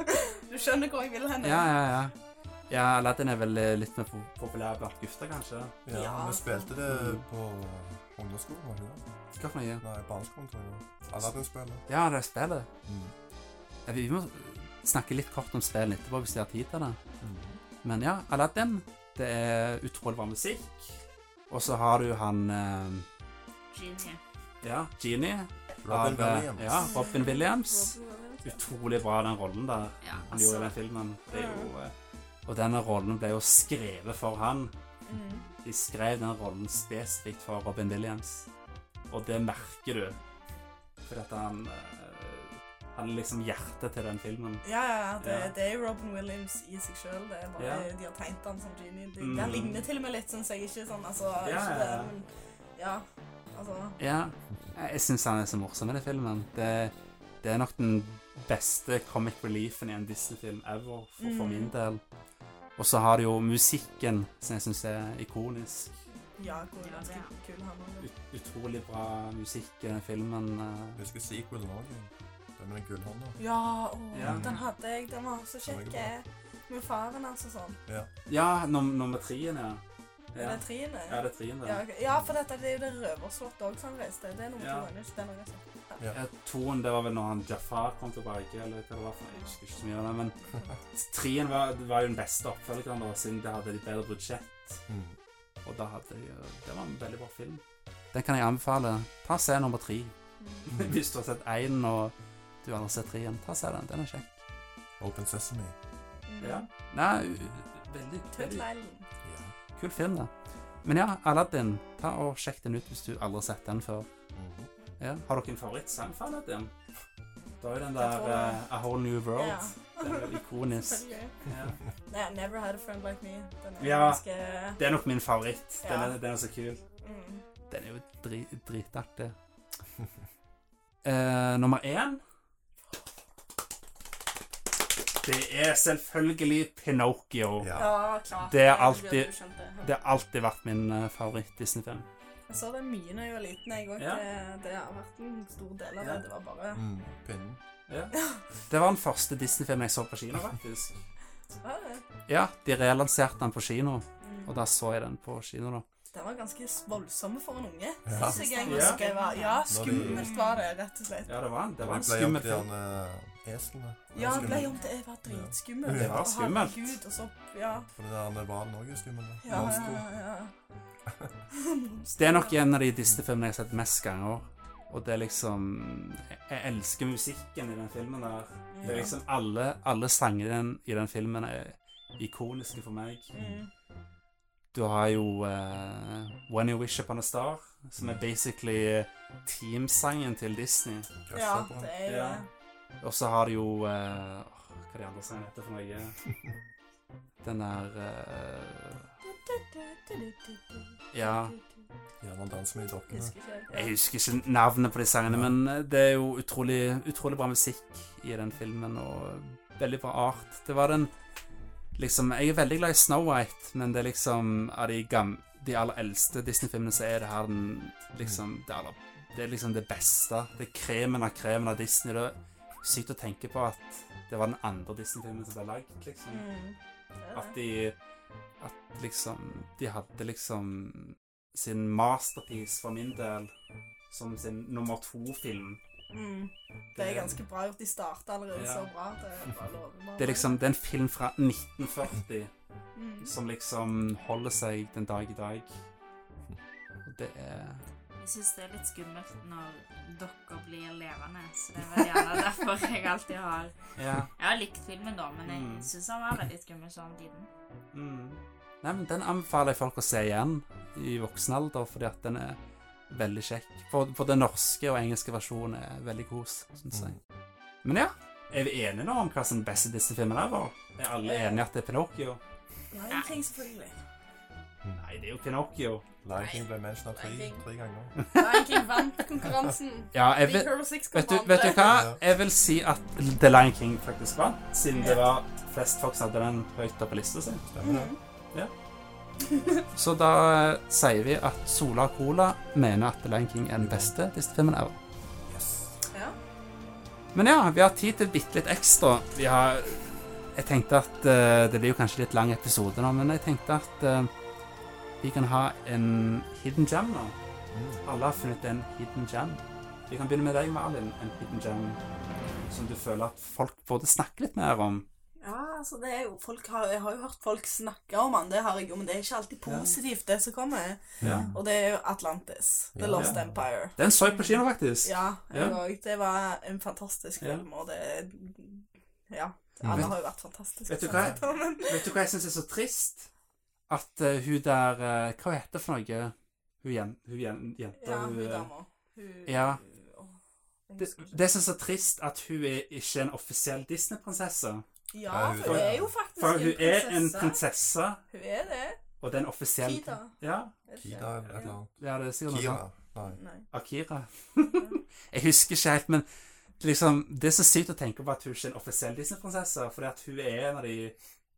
Speaker 4: Du skjønner hvor jeg vil hen?
Speaker 1: Ja, ja, ja. Ja, Aladdin er vel eh, litt mer po- populær blant gutter, kanskje?
Speaker 2: Ja,
Speaker 4: Ja.
Speaker 2: vi spilte det på ungdomsskolen, var det ikke det?
Speaker 1: Hva for noe?
Speaker 2: Nei, barneskolen, tror jeg. det var. Aladdin-spillet.
Speaker 1: Ja, det er spillet.
Speaker 2: Mm.
Speaker 1: Ja, Vi må snakke litt kort om spillet etterpå, hvis vi har tid til det.
Speaker 2: Mm.
Speaker 1: Men ja, Aladdin, det er utrolig bra musikk. Og så har du han eh,
Speaker 3: Genie.
Speaker 1: Ja, Genie.
Speaker 2: Robin
Speaker 1: eh,
Speaker 2: Williams.
Speaker 1: Ja, Robin Williams.
Speaker 4: Mm. Robin-
Speaker 1: Utrolig bra, den rollen der.
Speaker 3: Ja,
Speaker 1: Han gjorde i
Speaker 3: altså.
Speaker 1: den filmen. Det er jo, eh, og denne rollen ble jo skrevet for han.
Speaker 4: Mm.
Speaker 1: De skrev den rollen spesifikt for Robin Williams, og det merker du. Fordi at han eh, Han er liksom hjertet til den filmen.
Speaker 4: Ja, ja, ja,
Speaker 1: Ja.
Speaker 4: det, det er Robin Williams i seg sjøl. Det er bare
Speaker 1: Ja.
Speaker 4: De har tegnet han som genie. De,
Speaker 1: Mm.
Speaker 4: Han ligner til og med litt, syns jeg. Ikke sånn, altså
Speaker 1: Ja,
Speaker 4: ikke
Speaker 1: ja,
Speaker 4: det,
Speaker 1: ja.
Speaker 4: men, ja, altså
Speaker 1: Ja, jeg- jeg syns han er så morsom i den filmen. Det, det er nok den beste comic reliefen i en Disney-film ever, for, for
Speaker 4: Mm.
Speaker 1: min del. Og så har du jo musikken, som jeg syns er ikonisk.
Speaker 4: Ja, hvor
Speaker 3: Ja,
Speaker 4: ganske
Speaker 3: det
Speaker 4: kul han er.
Speaker 1: Ut, utrolig bra musikk i den filmen. eh.
Speaker 2: Jeg husker sequelen også. Den med den gullhånda.
Speaker 4: Ja, å,
Speaker 1: Ja.
Speaker 4: den hadde jeg. Den var så kjekk. eh, Med faren hans og sånn.
Speaker 1: Ja, num nummer treen, ja.
Speaker 4: Er
Speaker 1: Ja,
Speaker 4: det trien?
Speaker 1: ja det er treen,
Speaker 4: Ja,
Speaker 1: det.
Speaker 4: ok. ja, for dette det er jo det røverslottet òg som reiste. Det er nummer
Speaker 1: Ja.
Speaker 4: to. det er ikke den jeg har sett.
Speaker 1: Ja, Toen, det var vel når han Jafar kom tilbake, eller hva det var for noe. Jeg husker ikke så mye av det, men treen var, var jo den beste oppfølgeren, da, siden det hadde litt bedre budsjett.
Speaker 2: Mm.
Speaker 1: Og da hadde jeg, det var en veldig bra film. Den kan jeg anbefale. Ta og se nummer tre. Hvis du har sett én og du aldri har sett treen, ta og se den. Den er kjekk.
Speaker 2: Open Sesame.
Speaker 4: Mm.
Speaker 1: Ja. Nei, u- veldig, veldig
Speaker 4: Tødleilen.
Speaker 2: Ja.
Speaker 1: kul film, det. Men ja, Aladdin, ta og sjekk den ut hvis du aldri har sett den før.
Speaker 2: Mhm.
Speaker 1: Ja. Har dere en favorittsang fra Aladdin? Det er jo den
Speaker 4: Jeg
Speaker 1: der
Speaker 4: tror det.
Speaker 1: eh, A Whole New World.
Speaker 4: Ja.
Speaker 1: Den er jo ikonisk.
Speaker 4: Selvfølgelig.
Speaker 1: Ja.
Speaker 4: Nei, Never Had a Friend Like Me. Den er
Speaker 1: Ja.
Speaker 4: ganske
Speaker 1: Det er nok min favoritt. Den er,
Speaker 4: Ja.
Speaker 1: den er så kul.
Speaker 4: mm.
Speaker 1: Den er jo dri, dritartig. Eh, nummer én Det er selvfølgelig Pinocchio.
Speaker 2: ja.
Speaker 4: Ja, klart.
Speaker 1: Det er
Speaker 4: Jeg
Speaker 1: alltid-
Speaker 4: burde jo skjønt det.
Speaker 1: Det har alltid vært min eh, favoritt-Disney-film.
Speaker 4: Jeg så det mye da jeg var liten. Jeg også.
Speaker 1: Ja.
Speaker 4: Det, det har vært en stor del av
Speaker 1: Ja.
Speaker 4: det. Det var bare
Speaker 2: Mm. Pinnen.
Speaker 1: Det var den første Disney-filmen jeg så på kino, faktisk.
Speaker 4: Så var det.
Speaker 1: Ja, de relanserte den på kino,
Speaker 4: Mm.
Speaker 1: og da så jeg den på kino, da.
Speaker 4: Den var ganske voldsom for en unge.
Speaker 2: Ja.
Speaker 4: Synes jeg
Speaker 3: Ja.
Speaker 4: jeg husker jeg var. Ja,
Speaker 3: Når de-
Speaker 4: skummelt var det, rett og slett.
Speaker 1: Ja, det var en, det var en
Speaker 2: ble jo
Speaker 1: skummel
Speaker 2: de
Speaker 1: film.
Speaker 2: der eslene.
Speaker 4: Ja, det ble
Speaker 2: Skummel.
Speaker 4: om til jeg var dritskummel.
Speaker 2: Ja. Det
Speaker 1: var
Speaker 4: Å,
Speaker 1: skummelt.
Speaker 4: Herregud, og så Ja,
Speaker 2: For det der hvalen òg er skummel. da.
Speaker 4: ja,
Speaker 2: Monster.
Speaker 4: ja. ja.
Speaker 1: Det er nok en av de Disney-filmene jeg har sett mest ganger. Og det er liksom Jeg, jeg elsker musikken i den filmen der. Det er liksom Alle, alle sangene i den, i den filmen er ikoniske for meg.
Speaker 4: Mm.
Speaker 1: Du har jo eh, When You Wish Upon a Star, som er basically eh, teamsangen til Disney.
Speaker 4: Ja,
Speaker 2: Grasshopper.
Speaker 4: det er jo
Speaker 1: Ja.
Speaker 4: det.
Speaker 1: Og så har de jo eh, åh, Hva er de andre sangene heter for noe? Den der eh, Ja.
Speaker 2: Ja, man danser med de dokkene.
Speaker 4: Husker ikke helt.
Speaker 1: Jeg husker ikke navnet på de sangene, men eh, det er jo utrolig, utrolig bra musikk i den filmen, og veldig bra art. Det var den liksom Jeg er veldig glad i Snow White, men det er liksom av de, gam, de aller eldste Disney-filmene, så er det her den liksom det, aller, det er liksom det beste. Det er kremen av kremen av Disney. Det er sykt å tenke på at det var den andre Disney-filmen som ble lagd, liksom.
Speaker 4: Mm. Det er
Speaker 1: At
Speaker 4: det.
Speaker 1: de At liksom De hadde liksom sin masterpiece for min del som sin nummer to-film.
Speaker 4: Mm. Det er ganske bra gjort. De starter allerede
Speaker 1: Ja.
Speaker 4: så bra. Det er bare lover bare.
Speaker 1: Det er liksom det er en film fra 1940
Speaker 4: Mm.
Speaker 1: som liksom holder seg den dag i dag. Og det er
Speaker 3: Jeg syns det er litt skummelt når dere blir levende, så det er vel gjerne derfor jeg alltid har
Speaker 1: Ja.
Speaker 3: Jeg har likt filmen, da, men
Speaker 1: Mm.
Speaker 3: jeg syns han var veldig skummel samtidig.
Speaker 1: Mm. Nei, men den anbefaler jeg folk å se igjen i voksen alder, fordi at den er veldig kjekk. For, for den norske og engelske versjonen er veldig kos, syns jeg.
Speaker 2: Mm.
Speaker 1: Men ja, er vi enige nå om hva som er den beste Disney-filmen er? vår? Er alle enige at det er Pinocchio?
Speaker 4: Nei, en ting selvfølgelig.
Speaker 1: Nei, det er jo Pinocchio.
Speaker 2: Lion King ble mentioned tre,
Speaker 4: Lion King.
Speaker 2: tre ganger.
Speaker 4: Lion King vant konkurransen.
Speaker 1: Ja, jeg
Speaker 4: Big
Speaker 1: vil,
Speaker 4: Hero 6 kom
Speaker 1: vet, du, vet du hva? Jeg vil si at The Lion King faktisk vant, siden det var flest folk som hadde den høyt oppe på lista si.
Speaker 2: Stemmer
Speaker 4: Mm.
Speaker 2: det?
Speaker 1: Så da eh, sier vi at Sola Cola mener at The Lion King er den beste Disney-filmen ever.
Speaker 2: Yes.
Speaker 4: Ja.
Speaker 1: Men ja, vi har tid til bitte litt ekstra. Vi har Jeg tenkte at eh, Det blir jo kanskje litt lang episode nå, men jeg tenkte at eh, vi kan ha en hidden gem nå.
Speaker 2: Mm.
Speaker 1: Alle har funnet en hidden gem. Vi kan begynne med deg, Malin. En hidden gem som du føler at folk burde snakke litt mer om.
Speaker 4: Ja, altså det er jo, folk har, Jeg har jo hørt folk snakke om han, det har jeg jo, men det er ikke alltid positivt, det som kommer.
Speaker 1: Ja.
Speaker 4: Og det er jo Atlantis. The
Speaker 2: Ja.
Speaker 4: Lost
Speaker 1: Ja.
Speaker 4: Empire.
Speaker 1: Den så jeg på kino, faktisk.
Speaker 4: Ja, jeg
Speaker 1: Ja.
Speaker 4: òg. Det var en fantastisk
Speaker 1: Ja. Mm.
Speaker 4: film, og det Ja. Alle har jo vært fantastiske.
Speaker 1: Vet du hva?
Speaker 4: sånn sett, men-
Speaker 1: Vet du hva jeg syns er så trist? At eh, hun der eh, Hva heter det for noe? Hun, jen, hun jen, jenta
Speaker 4: Ja, hun
Speaker 1: eh,
Speaker 4: dama. Hun
Speaker 1: Ja.
Speaker 4: Åh, jeg
Speaker 1: Det,
Speaker 4: husker ikke.
Speaker 1: det som er så trist, at hun er ikke en offisiell Disney-prinsesse.
Speaker 4: Ja,
Speaker 2: hun-
Speaker 4: for hun er jo faktisk
Speaker 1: For hun
Speaker 4: en
Speaker 1: er en
Speaker 4: prinsesse.
Speaker 1: prinsesse,
Speaker 4: Hun er det.
Speaker 1: og det er en offisiell
Speaker 4: Kida.
Speaker 1: Ja,
Speaker 4: er det ikke?
Speaker 2: Kida eller et eller annet.
Speaker 1: ja, det er sikkert noe
Speaker 2: Kira.
Speaker 1: sånt.
Speaker 2: Nei.
Speaker 4: Nei.
Speaker 1: Akira. jeg husker ikke helt, men liksom, det er så sykt å tenke på at hun ikke er en offisiell Disney-prinsesse, fordi at hun er en av de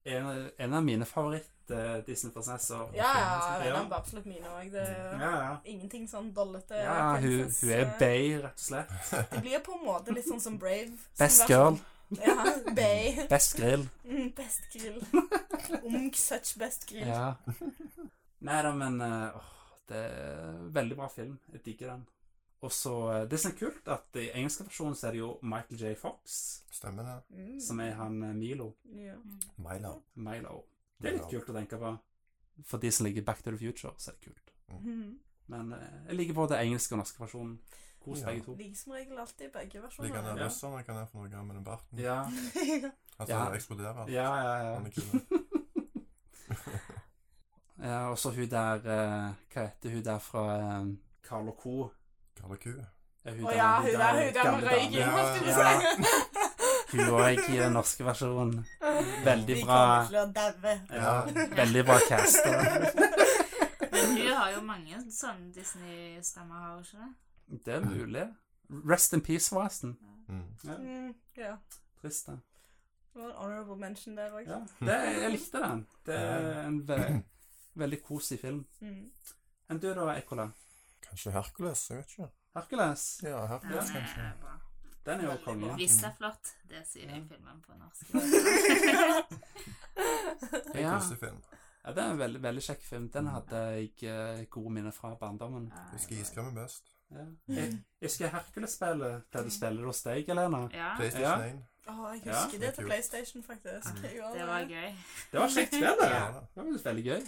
Speaker 1: en, en av mine favoritt-Disney-prinsesser.
Speaker 4: Ja, ja,
Speaker 1: ja.
Speaker 4: Elena var absolutt mine òg. Det er
Speaker 1: ja, ja.
Speaker 4: ingenting sånn dollete.
Speaker 1: ja hun,
Speaker 4: prinsesse.
Speaker 1: hun er Bay, rett og slett.
Speaker 4: Det blir på en måte litt sånn som Brave. som
Speaker 1: Best
Speaker 4: var
Speaker 1: girl,
Speaker 4: sånn- Ja, Bay.
Speaker 1: best grill.
Speaker 4: Mm, Best grill. Ung such best grill.
Speaker 1: Ja. Nei da, men eh, åh, det er en veldig bra film. Jeg digger den. Og så eh, Det som er kult, at i engelske versjonen så er det jo Michael J. Fox,
Speaker 2: Stemmer det.
Speaker 4: Mm.
Speaker 1: som er han eh, Milo.
Speaker 4: Ja.
Speaker 3: Mm.
Speaker 2: Milo.
Speaker 1: Milo. Det er litt
Speaker 2: Milo.
Speaker 1: kult å tenke på. For de som liker Back to the Future, så er det kult.
Speaker 4: Mhm.
Speaker 1: Men eh, jeg liker både engelske og norske versjonen. Kos
Speaker 2: Ja.
Speaker 1: begge to.
Speaker 4: Liker som regel alltid begge
Speaker 2: Liker han
Speaker 4: versjoner.
Speaker 2: der
Speaker 1: Ja.
Speaker 2: russeren? Hva er det for noe med den barten?
Speaker 1: Ja,
Speaker 4: Ja.
Speaker 2: Altså,
Speaker 1: Ja.
Speaker 2: det eksploderer.
Speaker 1: ja, ja. ja.
Speaker 2: Han er kul.
Speaker 1: ja og så hun der eh, Hva heter hun der fra eh, Carl og Co?
Speaker 2: Kalle ku.
Speaker 1: Er
Speaker 4: Å ja, hun der hun der med
Speaker 1: gamle damen?
Speaker 4: røyken, holdt jeg på
Speaker 1: Ja.
Speaker 4: å si.
Speaker 1: Hun òg i den norske versjonen. Veldig
Speaker 4: Vi
Speaker 1: bra.
Speaker 4: kommer til å daue.
Speaker 1: Ja, veldig bra cast. da.
Speaker 3: Men hun har jo mange sånne Disney-stemmer, har hun ikke det?
Speaker 1: Det er mulig. Rest in peace, forresten.
Speaker 2: Mm.
Speaker 4: Mm, ja.
Speaker 1: Trist, det.
Speaker 4: Det var en honorable mention der òg.
Speaker 1: Ja, det. Jeg likte den. Det er en ve veldig kosig film.
Speaker 4: Mm.
Speaker 1: Enn du da, Ekkola?
Speaker 2: Kanskje Hercules? Jeg vet ikke.
Speaker 1: Hercules?
Speaker 2: Ja,
Speaker 3: Den
Speaker 2: Hercules, kanskje.
Speaker 3: er bra.
Speaker 1: Den er jo konge.
Speaker 3: Hvis det er flott, det sier jeg i filmen på norsk.
Speaker 2: En
Speaker 1: Ja.
Speaker 2: koselig film.
Speaker 1: Ja, det er en veldig, veldig kjekk film. Den hadde jeg eh, gode minner fra barndommen.
Speaker 2: Husker Iskrem er best.
Speaker 1: Ja. Jeg jeg husker Hercules-spillet, der du spiller hos deg, Elena.
Speaker 3: Ja,
Speaker 2: PlayStation
Speaker 1: Ja.
Speaker 2: 1.
Speaker 4: Å, jeg
Speaker 1: Ja,
Speaker 4: husker
Speaker 2: det
Speaker 4: det
Speaker 2: er
Speaker 4: til
Speaker 2: kult.
Speaker 4: PlayStation, faktisk.
Speaker 1: Mm.
Speaker 4: Jeg gjorde
Speaker 3: det var gøy.
Speaker 1: Det var kjekt spill, det.
Speaker 2: Ja.
Speaker 1: Det var veldig gøy.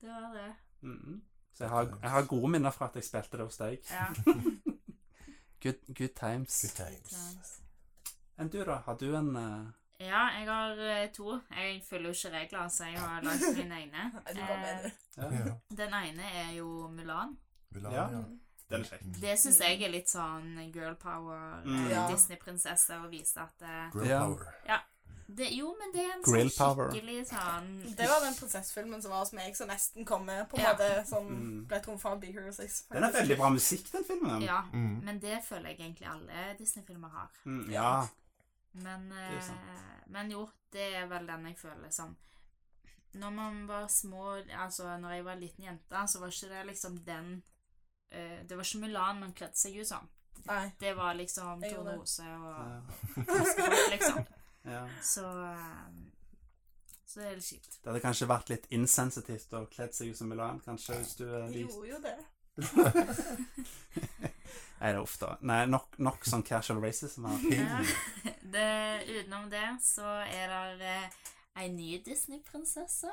Speaker 3: Det var det.
Speaker 1: Mhm. Så jeg har, jeg har gode minner fra at jeg spilte det hos deg.
Speaker 3: Ja.
Speaker 1: Good, good times.
Speaker 2: Good times.
Speaker 3: Times.
Speaker 1: Enn du, da? Har du en eh,
Speaker 3: Ja, jeg har eh, to. Jeg følger jo ikke regler, så jeg har lagd mine egne.
Speaker 4: Ja, du var
Speaker 3: Eh,
Speaker 4: med det.
Speaker 1: ja.
Speaker 2: Ja.
Speaker 3: Den ene er jo Mulan.
Speaker 2: Vil ha, Mm.
Speaker 1: Ja.
Speaker 2: ja.
Speaker 1: Den er kjekk.
Speaker 3: Det syns jeg er litt sånn girl power,
Speaker 1: Mm.
Speaker 3: eh,
Speaker 4: Ja.
Speaker 3: Disney-prinsesse, å vise at eh,
Speaker 2: Grill
Speaker 1: Ja.
Speaker 2: power.
Speaker 3: det, Jo, men det er en
Speaker 1: Grill
Speaker 3: sånn
Speaker 1: power.
Speaker 3: skikkelig sånn
Speaker 4: Det var den prinsessefilmen som var hos meg, som nesten kom med, på en
Speaker 3: Ja.
Speaker 4: måte, som
Speaker 1: Mm.
Speaker 4: ble trumfa av Big Hero 6.
Speaker 1: Den er veldig bra musikk, den filmen.
Speaker 3: Ja.
Speaker 2: Mm.
Speaker 3: Men det føler jeg egentlig alle Disney-filmer har.
Speaker 1: Mm, ja.
Speaker 3: Men,
Speaker 1: er
Speaker 3: eh, men jo, det er vel den jeg føler som Når man var små, altså når jeg var liten jente, så var ikke det liksom den eh, Det var ikke Mulan man kledde seg ut som.
Speaker 4: Nei.
Speaker 3: Det var liksom
Speaker 4: Jeg gjorde
Speaker 3: Tone
Speaker 4: det.
Speaker 3: Rose og
Speaker 1: ja.
Speaker 3: Skrått, liksom.
Speaker 1: ja.
Speaker 3: Så eh, Så det er litt kjipt.
Speaker 1: Det hadde kanskje vært litt insensitivt å kledd seg ut som Milan, kanskje, hvis du er
Speaker 4: De
Speaker 1: lys.
Speaker 4: gjorde jo det.
Speaker 1: Nei, det er ofte. Nei, nok, nok sånn casual racism her.
Speaker 3: Ja. Det, utenom det så er det eh, ei ny Disney-prinsesse.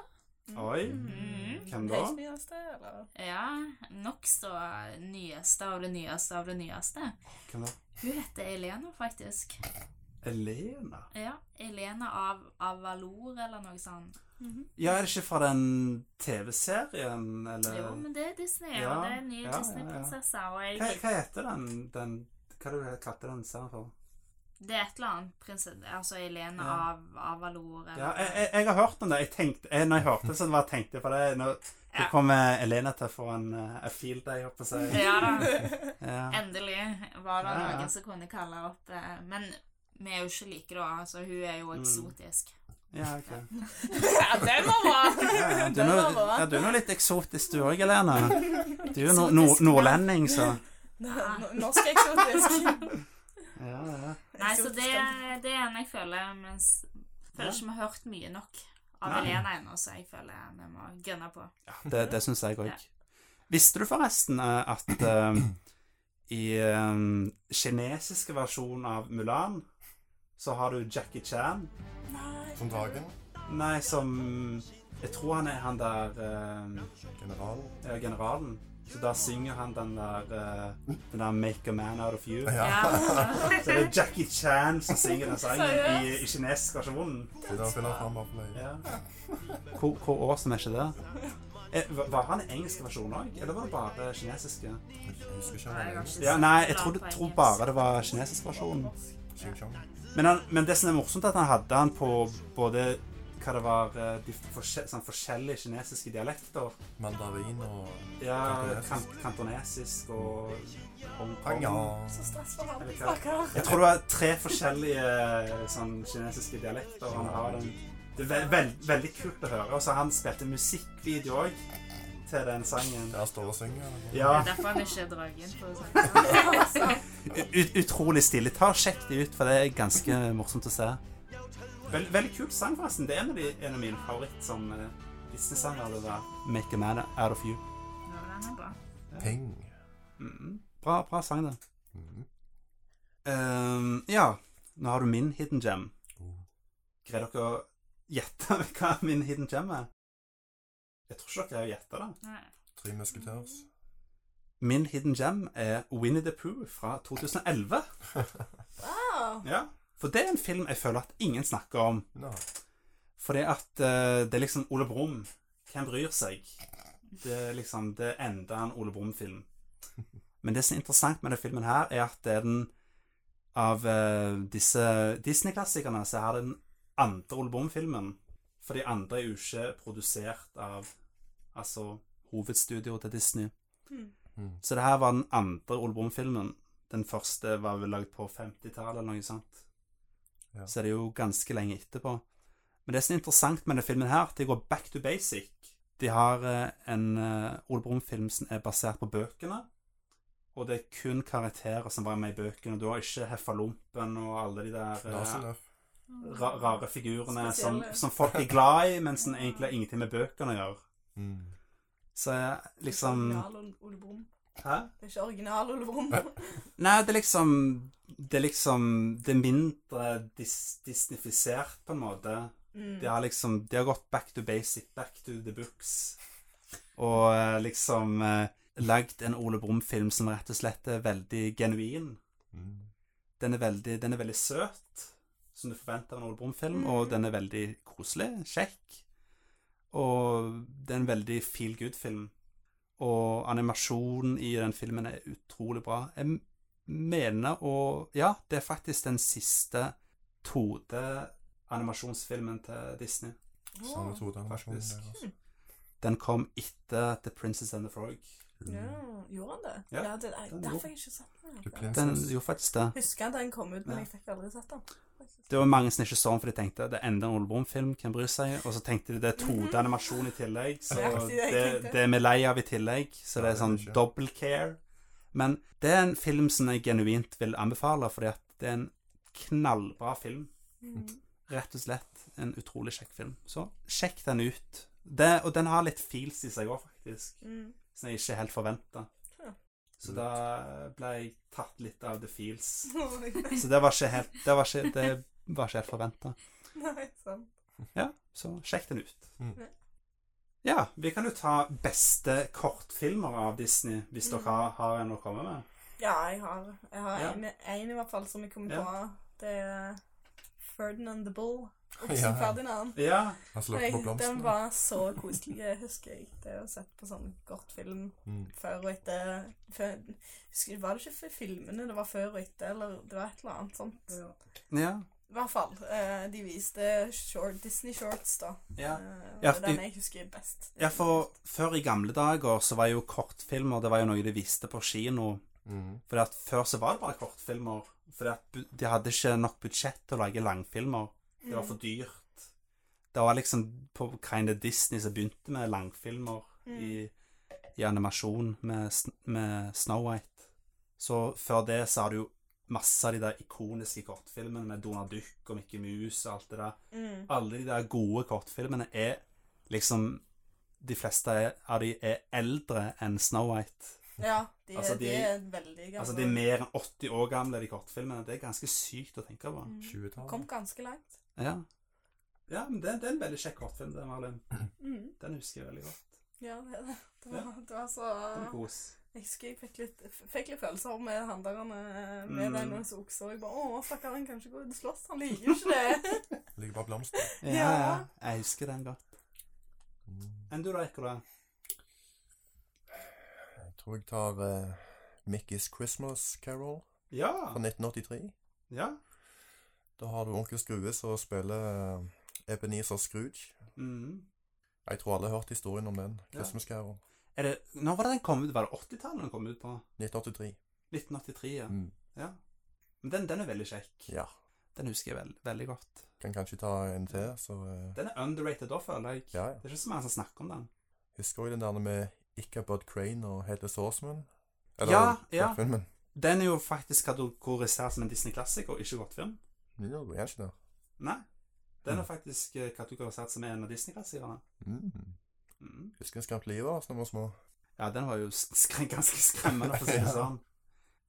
Speaker 1: Oi.
Speaker 3: Mm.
Speaker 1: Hvem da?
Speaker 4: Helt nyeste, eller?
Speaker 3: Ja, nokså nyeste av det nyeste av det nyeste.
Speaker 1: Hvem da?
Speaker 3: Hun heter Elena, faktisk.
Speaker 1: Elena?
Speaker 3: Ja, Elena av Avalor, eller noe sånt.
Speaker 1: Ja, er det ikke fra den TV-serien, eller
Speaker 3: Jo, men det er Disney,
Speaker 1: Eh, Ja,
Speaker 3: og det er nye
Speaker 1: ja, ja, ja.
Speaker 3: Disney-prinsesser. Og
Speaker 1: hva,
Speaker 3: jeg,
Speaker 1: hva heter den, den Hva er det du kalte den serien for?
Speaker 3: det er et eller annet prinsesse Altså Elena
Speaker 1: Ja.
Speaker 3: av Avalor, eller
Speaker 1: Ja, eh, jeg, jeg, jeg har hørt om det. Jeg tenkte, jeg, når jeg hørte det, så bare tenkte jeg på det. Nå, nå
Speaker 3: Ja.
Speaker 1: kommer Elena til å få en eh, a field day, holdt på å si.
Speaker 3: Ja da.
Speaker 1: Ja.
Speaker 3: Endelig var det
Speaker 1: Ja, ja.
Speaker 3: noen som kunne kalle opp eh, Men vi er jo ikke like, da. Altså, hun er
Speaker 1: Mm.
Speaker 3: jo eksotisk.
Speaker 1: ja, ok.
Speaker 4: Ja, den var bra!
Speaker 1: Ja, ja, du, er
Speaker 4: Den
Speaker 1: nå,
Speaker 4: var bra.
Speaker 1: ja, du er nå litt eksotisk du òg, Elena. Du er jo no, no, nordlending, så
Speaker 4: N- Norsk eksotisk.
Speaker 1: ja, ja.
Speaker 3: Nei, så
Speaker 4: Eksotisk,
Speaker 3: det,
Speaker 4: den.
Speaker 3: det er en jeg føler Mens føler
Speaker 1: Ja.
Speaker 3: ikke vi har hørt mye nok av
Speaker 1: Nei.
Speaker 3: Elena ennå, så jeg føler vi må gønne på.
Speaker 1: Det, det syns jeg
Speaker 3: Ja.
Speaker 1: òg. Visste du forresten eh, at eh, i um, kinesiske versjon av Mulan så har du Jackie Chan
Speaker 2: Som dragen.
Speaker 1: Nei, som Jeg tror han er han der eh,
Speaker 2: Generalen.
Speaker 1: eh, generalen. Så da synger han den der eh, Den der 'Make a man out of you'.
Speaker 2: Ja.
Speaker 3: Ja.
Speaker 1: Så det er Jackie Chan som synger den sangen i,
Speaker 4: Seriøst?
Speaker 1: i kinesisk versjon.
Speaker 2: Vil han finne fram av fløy?
Speaker 1: Ja. Hvor, hvor awesome er ikke det? Eh, var- Var han i engelsk versjon òg, eller var det bare kinesiske?
Speaker 2: Jeg husker ikke
Speaker 3: Nei, jeg har
Speaker 2: han.
Speaker 3: ikke
Speaker 1: Ja,
Speaker 3: sett
Speaker 1: nei, jeg
Speaker 3: Mulan
Speaker 1: tror,
Speaker 3: på
Speaker 1: tror
Speaker 3: engelsk.
Speaker 1: bare det var kinesisk versjon.
Speaker 2: Xing Chong.
Speaker 1: Men, han, men det som er morsomt, er at han hadde han på både hva det var eh, de forskje- sånn forskjellige kinesiske dialekter.
Speaker 2: Mandarin og
Speaker 1: Ja, kan, kantonesisk og Hongkong.
Speaker 2: Panga.
Speaker 4: Så stressa han,
Speaker 1: Eller hva?
Speaker 4: stakkar.
Speaker 1: Jeg tror det var tre forskjellige eh, sånn, kinesiske dialekter han har den Det er ve- vel- veldig kult å høre. Og så han spilte musikkvideo òg til den sangen.
Speaker 2: Der står og synger. eller?
Speaker 1: Ja,
Speaker 3: Det er derfor han ikke er dragen. for å si det sånn.
Speaker 1: ut, utrolig stilig. Ta og Sjekk det ut, for det er ganske morsomt å se. Vel, veldig kul sang, forresten. Det er en av, de, en av mine favoritt som eh, Disney-sanger. Det der Make a man out of you.
Speaker 3: Ja, den er bra.
Speaker 2: Ping.
Speaker 1: Mm. Bra, bra sang, det.
Speaker 2: Mm.
Speaker 1: Ehm, ja, nå har du min hidden gem.
Speaker 2: Oh.
Speaker 1: Greier dere å gjette hva min hidden gem er? Jeg tror ikke dere greier å gjette det.
Speaker 3: Nei.
Speaker 2: Tre musketeers.
Speaker 1: Min hidden gem er Winnie the Pooh fra 2011.
Speaker 4: Wow.
Speaker 1: Ja. For det er en film jeg føler at ingen snakker om.
Speaker 2: Nå.
Speaker 1: Fordi at eh, det er liksom Ole Brumm. Hvem bryr seg? Det er liksom det er enda en Ole Brumm-film. Men det som er interessant med denne filmen her, er at det er den av eh, disse Disney-klassikerne, så er det den andre Ole Brumm-filmen. For de andre er jo ikke produsert av altså hovedstudioet til Disney.
Speaker 4: Hmm.
Speaker 2: Mm.
Speaker 1: Så det her var den andre Ole Brumm-filmen. Den første var vel lagd på 50-tallet eller noe sånt.
Speaker 2: Ja.
Speaker 1: Så det er jo ganske lenge etterpå. Men det som er interessant med denne filmen her, at de går back to basic. De har eh, en eh, Ole Brumm-film som er basert på bøkene. Og det er kun karakterer som var med i bøkene. Du har ikke Heffalumpen og alle de der eh,
Speaker 2: Nasenløp.
Speaker 1: ra rare figurene som,
Speaker 4: Spesielle.
Speaker 1: som folk er glad i, men som egentlig har ingenting med bøkene å gjøre.
Speaker 2: Mm.
Speaker 1: Så eh, liksom
Speaker 4: Original Ole- Ole Brumm.
Speaker 1: Hæ?
Speaker 4: Det er ikke original Ole Brumm.
Speaker 1: Nei, det er liksom Det er liksom Det er mindre dis disnifisert, på en måte.
Speaker 4: Mm.
Speaker 1: De har liksom De har gått back to basic, back to the books. Og eh, liksom eh, lagd en Ole Brumm-film som rett og slett er veldig genuin.
Speaker 2: Mm.
Speaker 1: Den er veldig, den er veldig søt, som du forventer av en Ole Brumm-film, og den er veldig koselig, kjekk. Og det er en veldig feel good-film. Og animasjonen i den filmen er utrolig bra. Jeg m- mener å Ja, det er faktisk den siste 2D-animasjonsfilmen til Disney.
Speaker 2: Samme
Speaker 4: Åh.
Speaker 2: todeanimasjonen
Speaker 1: Faktisk.
Speaker 2: sånn, deres.
Speaker 1: Den kom etter The Princess and the Frog.
Speaker 2: Mm.
Speaker 4: Ja, gjorde han det?
Speaker 1: Ja,
Speaker 4: Ja, det
Speaker 1: den
Speaker 4: er
Speaker 1: er god.
Speaker 4: derfor jeg ikke har sett den.
Speaker 2: The
Speaker 4: Jeg
Speaker 1: Den
Speaker 2: Princess.
Speaker 1: gjorde faktisk det.
Speaker 4: Husker at den kom ut, men
Speaker 1: Ja.
Speaker 4: jeg fikk aldri sett den. faktisk.
Speaker 1: Det var mange som ikke så den, for de tenkte det er enda en Ole Brumm-film, hvem bryr seg? Og så tenkte de det er 2D-animasjon i tillegg, så
Speaker 4: Det er akkurat det jeg
Speaker 1: det,
Speaker 4: tenkte.
Speaker 1: det er vi lei av i tillegg. Så det er sånn
Speaker 2: Ja, det er det ikke.
Speaker 1: double care. Men det er en film som jeg genuint vil anbefale, fordi at det er en knallbra film.
Speaker 4: Mm.
Speaker 1: Rett og slett en utrolig kjekk film. Så sjekk den ut. Det, og den har litt feels i seg òg, faktisk,
Speaker 4: Mm.
Speaker 1: som jeg ikke helt forventa.
Speaker 4: Ja.
Speaker 1: Så da ble jeg tatt litt av the feels.
Speaker 4: Nei,
Speaker 1: Så det var ikke helt, det var ikke, det var ikke helt forventa.
Speaker 4: sant.
Speaker 1: Ja, så sjekk den ut.
Speaker 2: Mm.
Speaker 1: Ja, vi kan jo ta beste kortfilmer av Disney, hvis dere har, har en å komme med.
Speaker 4: Ja, jeg har, jeg har
Speaker 1: Ja.
Speaker 4: en, en i hvert fall som jeg kom
Speaker 1: Ja.
Speaker 4: på. Det er Ferdinand the Bull.
Speaker 2: Ja.
Speaker 4: Oksen Ferdinand.
Speaker 1: Ja,
Speaker 2: Han slår
Speaker 4: Nei,
Speaker 2: på blomstene.
Speaker 4: den var så koselig, jeg husker jeg. Det å sett på sånn godt film
Speaker 2: Mm.
Speaker 4: før og etter. Før, husker, var det ikke for filmene det var før og etter, eller det var et eller annet sånt.
Speaker 1: ja,
Speaker 4: I hvert fall. eh, de viste short, Disney Shorts, da.
Speaker 1: ja.
Speaker 4: Eh,
Speaker 1: Ja,
Speaker 4: det er den
Speaker 1: de-
Speaker 4: jeg husker best.
Speaker 1: Ja, for før i gamle dager så var jo kortfilmer det var jo noe de viste på kino.
Speaker 2: Mm.
Speaker 1: Fordi at før så var det bare kortfilmer. Fordi at bu- de hadde ikke nok budsjett til å lage langfilmer.
Speaker 4: Mm,
Speaker 1: Det var for dyrt. Det var liksom på Kind of Disney som begynte med langfilmer
Speaker 4: mm,
Speaker 1: i, i animasjon med, Sn- med Snow White. Så før det så har du jo masse av de der ikoniske kortfilmene med Donald Duck og Mickey Mouse og alt det der
Speaker 4: Mm.
Speaker 1: alle de der gode kortfilmene er liksom De fleste er- av de er eldre enn Snow White.
Speaker 4: Ja, de,
Speaker 1: Altså,
Speaker 4: de,
Speaker 1: de-
Speaker 4: er veldig gamle.
Speaker 1: Altså de er mer enn 80 år gamle, de kortfilmene. Det er ganske sykt å tenke på.
Speaker 4: Mm.
Speaker 2: 20-tallet.
Speaker 4: Kom ganske langt.
Speaker 1: Ja, ja men det, det er en veldig kjekk kortfilm, den, Marlin.
Speaker 4: Mm.
Speaker 1: Den husker jeg veldig godt.
Speaker 4: Ja, det, det, det,
Speaker 1: Ja. Mm.
Speaker 4: var, det var så
Speaker 1: Den kos.
Speaker 4: Jeg husker jeg fikk litt, fikk litt følelser med han der han, eh, med
Speaker 1: Mm.
Speaker 4: den hos okse. Og jeg bare Å, stakkar, han kan ikke gå ut og slåss. Han liker jo ikke det.
Speaker 2: Ligger bare blomster.
Speaker 1: Ja, ja. Jeg husker den godt.
Speaker 2: Mm.
Speaker 1: Enn du da, Ekola?
Speaker 2: Jeg tror jeg tar eh, Mickey's Christmas Carol
Speaker 1: Ja.
Speaker 2: fra 1983.
Speaker 1: Ja.
Speaker 2: Da har du onkel Skrue som spiller eh, Ebenezer Scrooge.
Speaker 1: Mm.
Speaker 2: Jeg tror alle har hørt historien om den.
Speaker 1: Ja.
Speaker 2: Christmas Carol.
Speaker 1: Er det, når var det den kom ut? Var det 80-tallet den kom ut på?
Speaker 2: 1983.
Speaker 1: 1983, ja.
Speaker 2: Mm.
Speaker 1: ja. Men den, den er veldig kjekk.
Speaker 2: Ja.
Speaker 1: Den husker jeg vel- veldig godt.
Speaker 2: Kan kanskje ta en til, så eh,
Speaker 1: Den er underrated òg, føler jeg.
Speaker 2: Ja, ja.
Speaker 1: Det er ikke så mange som snakker om den.
Speaker 2: Husker også den der med Ichabod Crane og Hedda Sourceman?
Speaker 1: Ja, ja.
Speaker 2: Filmen.
Speaker 1: Den er jo faktisk kategorisert som en Disney-klassiker, og ikke godt film.
Speaker 2: Ja, det er ikke det.
Speaker 1: Nei. Den
Speaker 2: Mm.
Speaker 1: er faktisk eh, kategorisert som en av Disney-klassikerne.
Speaker 2: Mm.
Speaker 1: Mm.
Speaker 2: Husker en skrapt livet av oss når vi var små.
Speaker 1: Ja, den var jo skre ganske skremmende, for å si det sånn.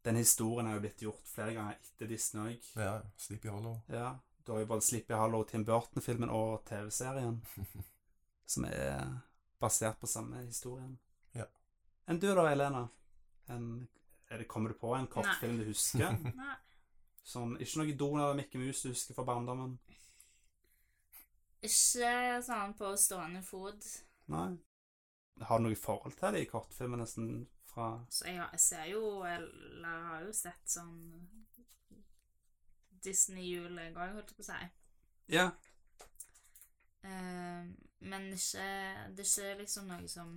Speaker 1: Den historien er jo blitt gjort flere ganger etter Disney òg.
Speaker 2: Ja, Sleepy Hollow.
Speaker 1: Ja. Du har jo både Slippy Hallo, Tim Burton-filmen og TV-serien, som er basert på samme historien.
Speaker 2: Ja.
Speaker 1: Enn du da, Elena? En, er det, kommer du på en kortfilm du husker?
Speaker 3: Nei.
Speaker 1: Sånn, ikke noe Donald eller Mikke Mus du husker fra barndommen?
Speaker 3: Ikke sånn på stående fot.
Speaker 1: Nei. Har du noe forhold til de kortfilmene nesten fra
Speaker 3: Så jeg, har- jeg ser jo Eller jeg har jo sett sånn Disney-jul jeg òg, holdt jeg på å si.
Speaker 1: Ja.
Speaker 3: Eh, men ikke, det er ikke liksom noe som,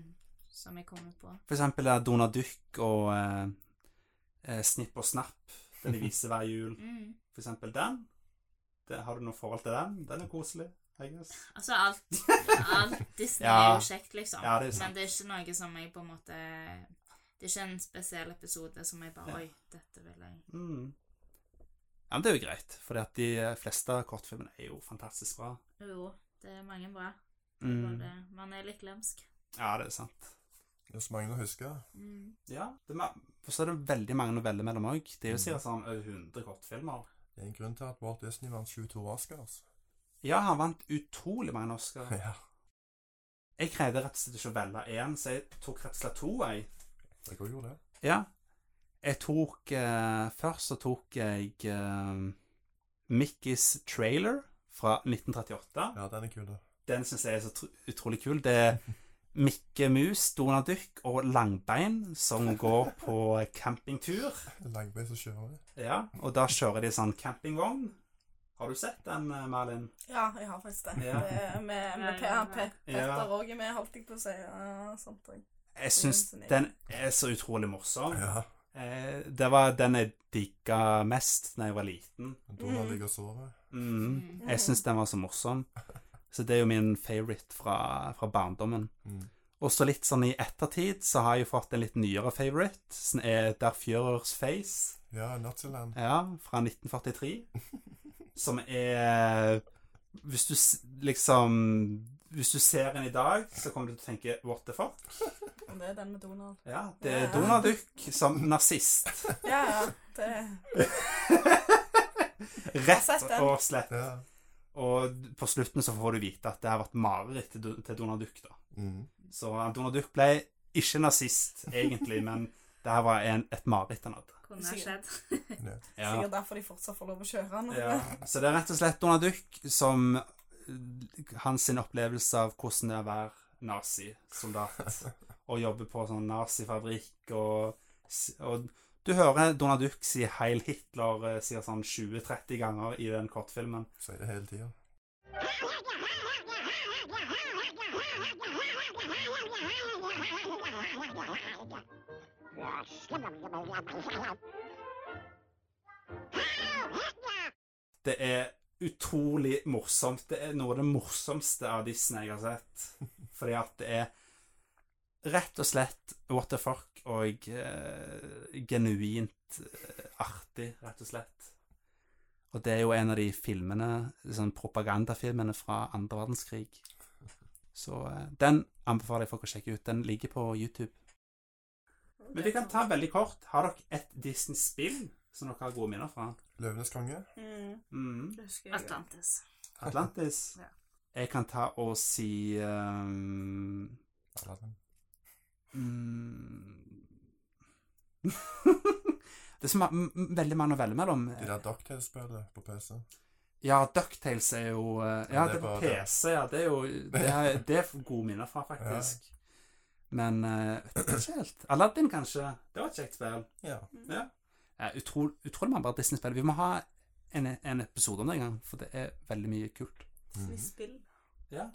Speaker 3: som jeg kommer på.
Speaker 1: For eksempel er Donald Duck og eh, eh, Snipp og Snapp, den de viser hver jul.
Speaker 3: Mm.
Speaker 1: For eksempel den. Det, har du noe forhold til den? Den er koselig, I guess.
Speaker 3: Altså alt, alt Disney er
Speaker 1: Ja.
Speaker 3: jo kjekt, liksom.
Speaker 1: Ja, det er jo
Speaker 3: men
Speaker 1: sant.
Speaker 3: det er ikke noe som jeg på en måte Det er ikke en spesiell episode som jeg bare
Speaker 1: Ja.
Speaker 3: Oi, dette vil jeg
Speaker 1: Mm. Ja, men det er jo greit, for de fleste kortfilmene er jo fantastisk bra.
Speaker 3: Jo, det er mange bra. Det er
Speaker 1: Mm.
Speaker 3: Bare, man er litt glemsk.
Speaker 1: Ja, det er sant.
Speaker 2: Det er så mange å huske.
Speaker 3: Mm.
Speaker 1: Ja, det er, ma- for så er det veldig mange noveller mellom òg. Det er jo sikkert sånn over 100 kortfilmer.
Speaker 2: Det er en grunn til at Walt Disney vant 22 Oscars.
Speaker 1: Ja, han vant utrolig mange Oscar.
Speaker 2: Ja.
Speaker 1: Jeg greide rett og slett ikke å velge én, så jeg tok rett og slett to, jeg.
Speaker 2: Jeg også gjorde det.
Speaker 1: Ja. Jeg tok eh, Først så tok jeg eh, Mickeys trailer fra 1938.
Speaker 2: Ja, den er kul. da.
Speaker 1: Den syns jeg er så tr utrolig kul. Det er Mikke Mus, Donald Duck og Langbein som går på campingtur.
Speaker 2: Langbein som kjører.
Speaker 1: Ja, og da kjører de sånn campingvogn. Har du sett den, eh, Malin?
Speaker 4: Ja, jeg har faktisk det.
Speaker 1: Ja.
Speaker 4: det er med med
Speaker 3: Ja, ja,
Speaker 4: Pe- Pe-
Speaker 1: ja.
Speaker 4: Petter òg er med, holdt jeg på å si. Ja, sånt også.
Speaker 1: Jeg syns den er så utrolig morsom.
Speaker 2: Ja.
Speaker 1: Eh, det var den jeg digga mest da jeg var liten.
Speaker 2: Donald
Speaker 4: Mm.
Speaker 2: ligger og sover.
Speaker 1: Mm.
Speaker 3: Mm.
Speaker 1: Jeg syns den var så morsom. Så det er jo min favorite fra, fra barndommen.
Speaker 2: Mm.
Speaker 1: Og så litt sånn i ettertid så har jeg jo fått en litt nyere favorite, som er Der Fjørers Face,
Speaker 2: Ja, Naziland.
Speaker 1: ja, fra 1943. Som er Hvis du s- liksom Hvis du ser den i dag, så kommer du til å tenke what the fuck?
Speaker 4: Og det er den med Donald.
Speaker 1: Ja, det er Donald Duck som nazist.
Speaker 4: Ja, ja. Det
Speaker 1: Rett og slett.
Speaker 2: Ja.
Speaker 1: Og på slutten så får du vite at det har vært mareritt til Don- til Donald Duck, da.
Speaker 2: Mm.
Speaker 1: Så Donald Duck ble ikke nazist, egentlig, men det her var en, et mareritt han hadde.
Speaker 3: Kunne ha skjedd.
Speaker 4: er sikkert derfor de fortsatt får lov å kjøre den.
Speaker 1: Ja. Så det er rett og slett Donald Duck som hans sin opplevelse av hvordan det er å være nazisoldat og jobbe på sånn nazifabrikk og, s- og du hører Donald Duck si 'Heil Hitler' eh, sier sånn 20-30 ganger i den kortfilmen.
Speaker 2: Sier det hele tida.
Speaker 1: Det er utrolig morsomt. Det er noe av det morsomste av Disney jeg har sett. Fordi at det er rett og slett what the fuck og eh, genuint eh, artig, rett og slett. Og det er jo en av de filmene, sånn propagandafilmene fra andre verdenskrig. Så eh, den anbefaler jeg folk å sjekke ut. Den ligger på YouTube. Men vi kan ta veldig kort. Har dere et Disney-spill som dere har gode minner fra?
Speaker 2: Løvenes konge.
Speaker 4: Mm,
Speaker 1: Mm.
Speaker 4: det husker jeg.
Speaker 3: Atlantis.
Speaker 1: Atlantis.
Speaker 3: Ja.
Speaker 1: Jeg kan ta og si ehm,
Speaker 2: Aladdin.
Speaker 1: mm, Det er så ma m- m- veldig mange noveller mellom.
Speaker 2: De der Docktail-spillet på PC.
Speaker 1: Ja, Ducktales er jo eh, Ja,
Speaker 2: Ja, det
Speaker 1: det er på
Speaker 2: var det.
Speaker 1: PC, ja. Det er jo Det er, det er gode minner fra, faktisk. Men eh, vet ikke helt. Aladdin, kanskje. Det var et kjekt spill.
Speaker 2: Ja.
Speaker 1: Eh, utro, utrolig mange bra Disney-spill. Vi må ha en, en episode om det en gang, for det er veldig mye kult.
Speaker 2: Mm.
Speaker 4: Spill.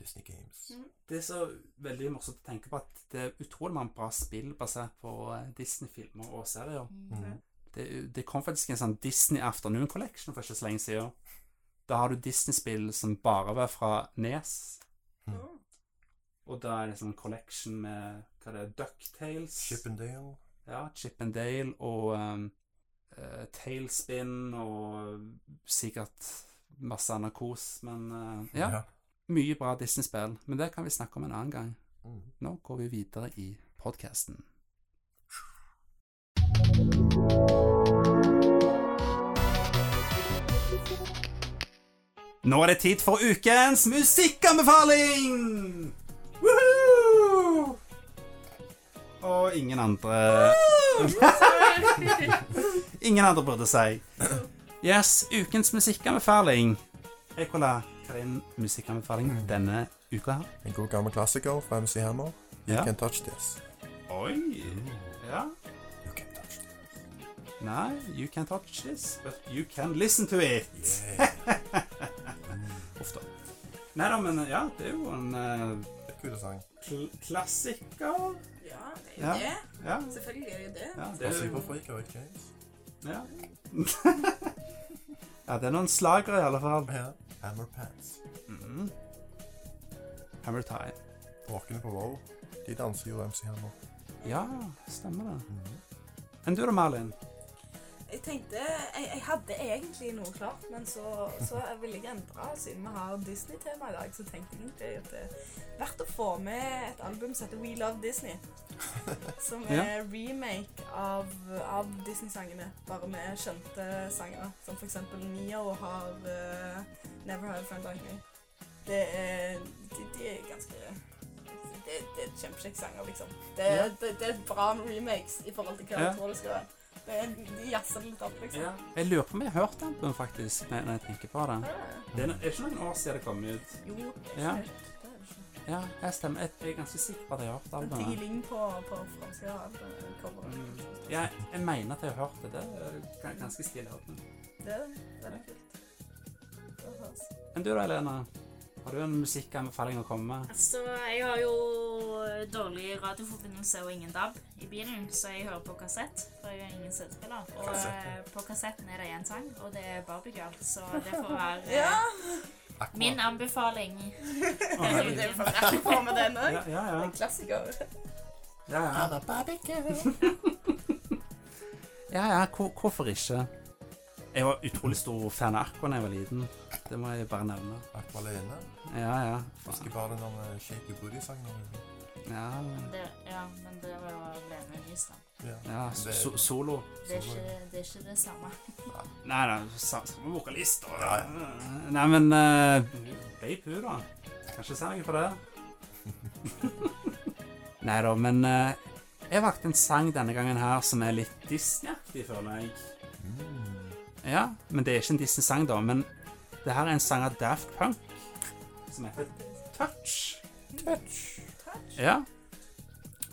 Speaker 2: Disney Games.
Speaker 4: Mm.
Speaker 1: Det er så veldig morsomt å tenke på at det er utrolig mange bra spill basert på eh, Disney-filmer og serier.
Speaker 3: Mm.
Speaker 1: Det,
Speaker 2: Mm.
Speaker 1: det kom faktisk en sånn Disney Afternoon Collection for ikke så lenge siden, Da har du Disney-spill som bare var fra Nes.
Speaker 2: Mm.
Speaker 1: Og da er det sånn collection med hva det er, Ducktales.
Speaker 2: Chippendale.
Speaker 1: Ja, Chip and Dale og ehm, eh, Tailspin og sikkert masse annet kos. Men eh, ja, mye bra Disney-spill. Men det kan vi snakke om en annen gang.
Speaker 2: Mm.
Speaker 1: Nå går vi videre i podkasten. Nå er det tid for ukens musikkanbefaling! Woohoo! Og ingen andre Ingen andre burde si. Yes, ukens musikkanbefaling. Ekola, hva er din musikkanbefaling denne uka?
Speaker 2: En god gammel klassiker fra MC Hammer. You
Speaker 1: Ja.
Speaker 2: Can Touch This.
Speaker 1: Oi! Ja.
Speaker 2: You Can Touch This.
Speaker 1: Nei, you can touch this, but you can listen to it.
Speaker 2: Yeah.
Speaker 1: Uff da. Nei da, men ja, det er jo en eh,
Speaker 2: Det er kul sang.
Speaker 1: kl klassiker.
Speaker 5: Ja, det
Speaker 1: Ja.
Speaker 5: er jo det.
Speaker 1: Ja,
Speaker 5: Selvfølgelig er det jo det.
Speaker 1: ja, det
Speaker 2: Og
Speaker 1: er jo
Speaker 2: Superfreak og Rick James.
Speaker 1: ja. ja, det er noen slagere i alle fall.
Speaker 2: Ja. Hammer Pants.
Speaker 1: Mhm. Hammer time.
Speaker 2: Råkene på Wow. De danser jo MC Hammer.
Speaker 1: Ja, stemmer det. Enn du da, Malin?
Speaker 4: Jeg tenkte jeg, jeg hadde egentlig noe klart, men så, så ville jeg endre. Siden vi har Disney-tema i dag, så tenkte jeg egentlig at det er verdt å få med et album som heter We Love Disney. Som
Speaker 1: Ja.
Speaker 4: er remake av, av Disney-sangene, bare med kjente sangere. Som for eksempel Neo har eh, Never Have a Friend Like Me. Det er, de, de er ganske Det, det er kjempekjekke sanger, liksom. Det,
Speaker 1: Ja.
Speaker 4: det, det er bra med remakes i forhold til hva
Speaker 1: Ja.
Speaker 4: jeg tror det skal være. Det er- De jazzer det litt opp, liksom.
Speaker 1: Jeg lurer på om jeg har hørt den faktisk, når når jeg tenker på det. Det er, no- er ikke noen år siden det kom ut.
Speaker 4: Jo, det er ikke
Speaker 1: Ja.
Speaker 4: helt- det er ikke.
Speaker 1: Ja, jeg stemmer. Jeg, jeg er ganske sikker på at jeg har hørt
Speaker 4: Men
Speaker 1: albumet.
Speaker 4: dealing på, på fransk ja, det er coveret.
Speaker 1: Mm. Ja, jeg mener at jeg har hørt det. Det er ga- ganske stilig. album.
Speaker 4: Det er veldig kult. Det høres.
Speaker 1: Enn du da, Elena? Har du en musikkanbefaling å komme med?
Speaker 3: Altså, jeg har jo dårlig radioforbindelse og ingen DAB i bilen, så jeg hører på kassett, for jeg har ingen CD-spiller. Og eh, på kassetten er det én sang, og det er Barbie Girl, så det får være eh,
Speaker 2: Aqua.
Speaker 3: min anbefaling.
Speaker 4: Ja, men Det er faktisk på med den òg.
Speaker 1: Ja, ja. ja.
Speaker 4: Klassiker.
Speaker 1: ja, ja.
Speaker 2: Anna Barbecue.
Speaker 1: ja, ja. Hvor, hvorfor ikke? Jeg var utrolig stor fan av Aqua da jeg var liten. Det må jeg bare nevne.
Speaker 2: Aqua Lene.
Speaker 1: Ja, ja.
Speaker 2: Husker bare den der Shake Your Booty-sangen.
Speaker 1: Ja,
Speaker 3: Men det, ja, men det var jo Lene Nystad.
Speaker 2: Ja.
Speaker 1: ja. So solo.
Speaker 3: Det, er ikke- det er ikke det samme.
Speaker 1: Nei, nei, sa- samme vokalist og
Speaker 2: Ja,
Speaker 1: Nei, men uh, Ble pu, da. Kan ikke si noe på det. nei da, men eh, jeg valgte en sang denne gangen her som er litt Disney-aktig, føler jeg.
Speaker 2: Mm.
Speaker 1: Ja, men det er ikke en Disney-sang, da. Men det her er en sang av Daft Punk som heter Touch.
Speaker 2: Touch.
Speaker 1: Ja.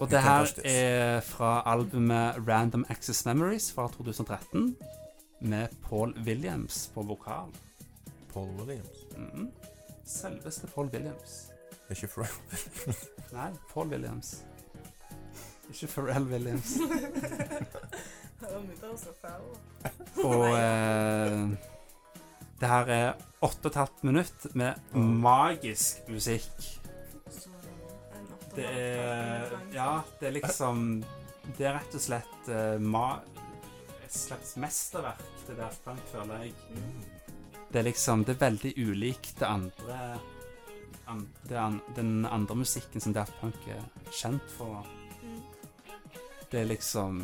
Speaker 1: Og det
Speaker 2: Helt
Speaker 1: her
Speaker 2: fantastisk.
Speaker 1: er fra albumet Random Access Memories fra 2013 med Paul Williams på vokal.
Speaker 2: Paul Williams.
Speaker 1: Mhm. Selveste Paul Williams.
Speaker 2: Ikke fra
Speaker 1: Nei, Paul Williams. Ikke Pharrell Williams.
Speaker 4: Og mye av oss er fæle.
Speaker 1: Og eh, det her er 8,5 minutt med magisk musikk.
Speaker 3: Så,
Speaker 4: En natt Mm. og
Speaker 1: Det
Speaker 4: natt,
Speaker 1: er
Speaker 4: en sang.
Speaker 1: Ja, det er liksom Det er rett og slett eh, ma et slags mesterverk, det der Frank, føler jeg.
Speaker 4: Mm.
Speaker 1: Det er liksom Det er veldig ulikt det andre an, det an, Den andre musikken som Daft Punk er kjent for.
Speaker 4: Mm.
Speaker 1: Det er liksom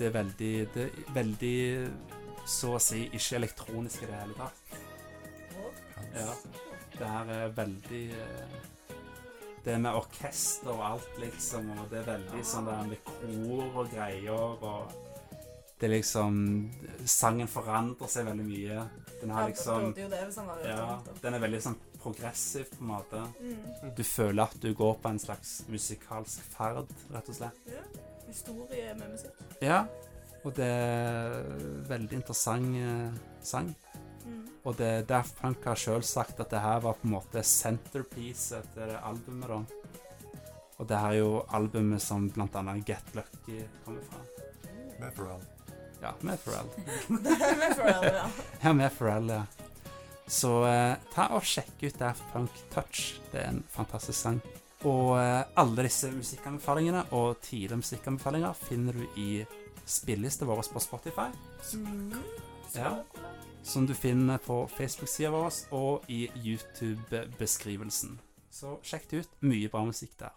Speaker 1: Det er veldig Det er veldig så å si ikke elektronisk i det hele tatt.
Speaker 4: Og
Speaker 1: Ja. Det her er veldig eh, Det er med orkester og alt, liksom, og det er veldig sånn der med kor og greier og Det er liksom Sangen forandrer seg veldig mye. Den
Speaker 4: Ja,
Speaker 1: har liksom
Speaker 4: burde jo det hvis han var ute og
Speaker 1: Ja,
Speaker 4: natt, da.
Speaker 1: den er veldig sånn progressiv, på en måte.
Speaker 4: Mm.
Speaker 1: Du føler at du går på en slags musikalsk ferd, rett og slett.
Speaker 4: Ja. Historie med musikk.
Speaker 1: Ja. Og det er veldig interessant eh, sang.
Speaker 4: Mm.
Speaker 1: Og det, Daft Punk har sjøl sagt at det her var på en måte centerpiece til det albumet, da. Og det her er jo albumet som blant annet Get Lucky kommer fra.
Speaker 2: med Pharrell.
Speaker 1: Ja, med Pharrell.
Speaker 4: Det er med Pharrell, ja.
Speaker 1: Ja, med Pharrell, ja. Så eh, ta og sjekk ut Daft Punk Touch. Det er en fantastisk sang. Og eh, alle disse musikkanbefalingene og tidligere musikkanbefalinger finner du i spillelista vår på Spotify, Ja. som du finner på Facebook-sida vår og i YouTube-beskrivelsen. Så sjekk det ut. Mye bra musikk der.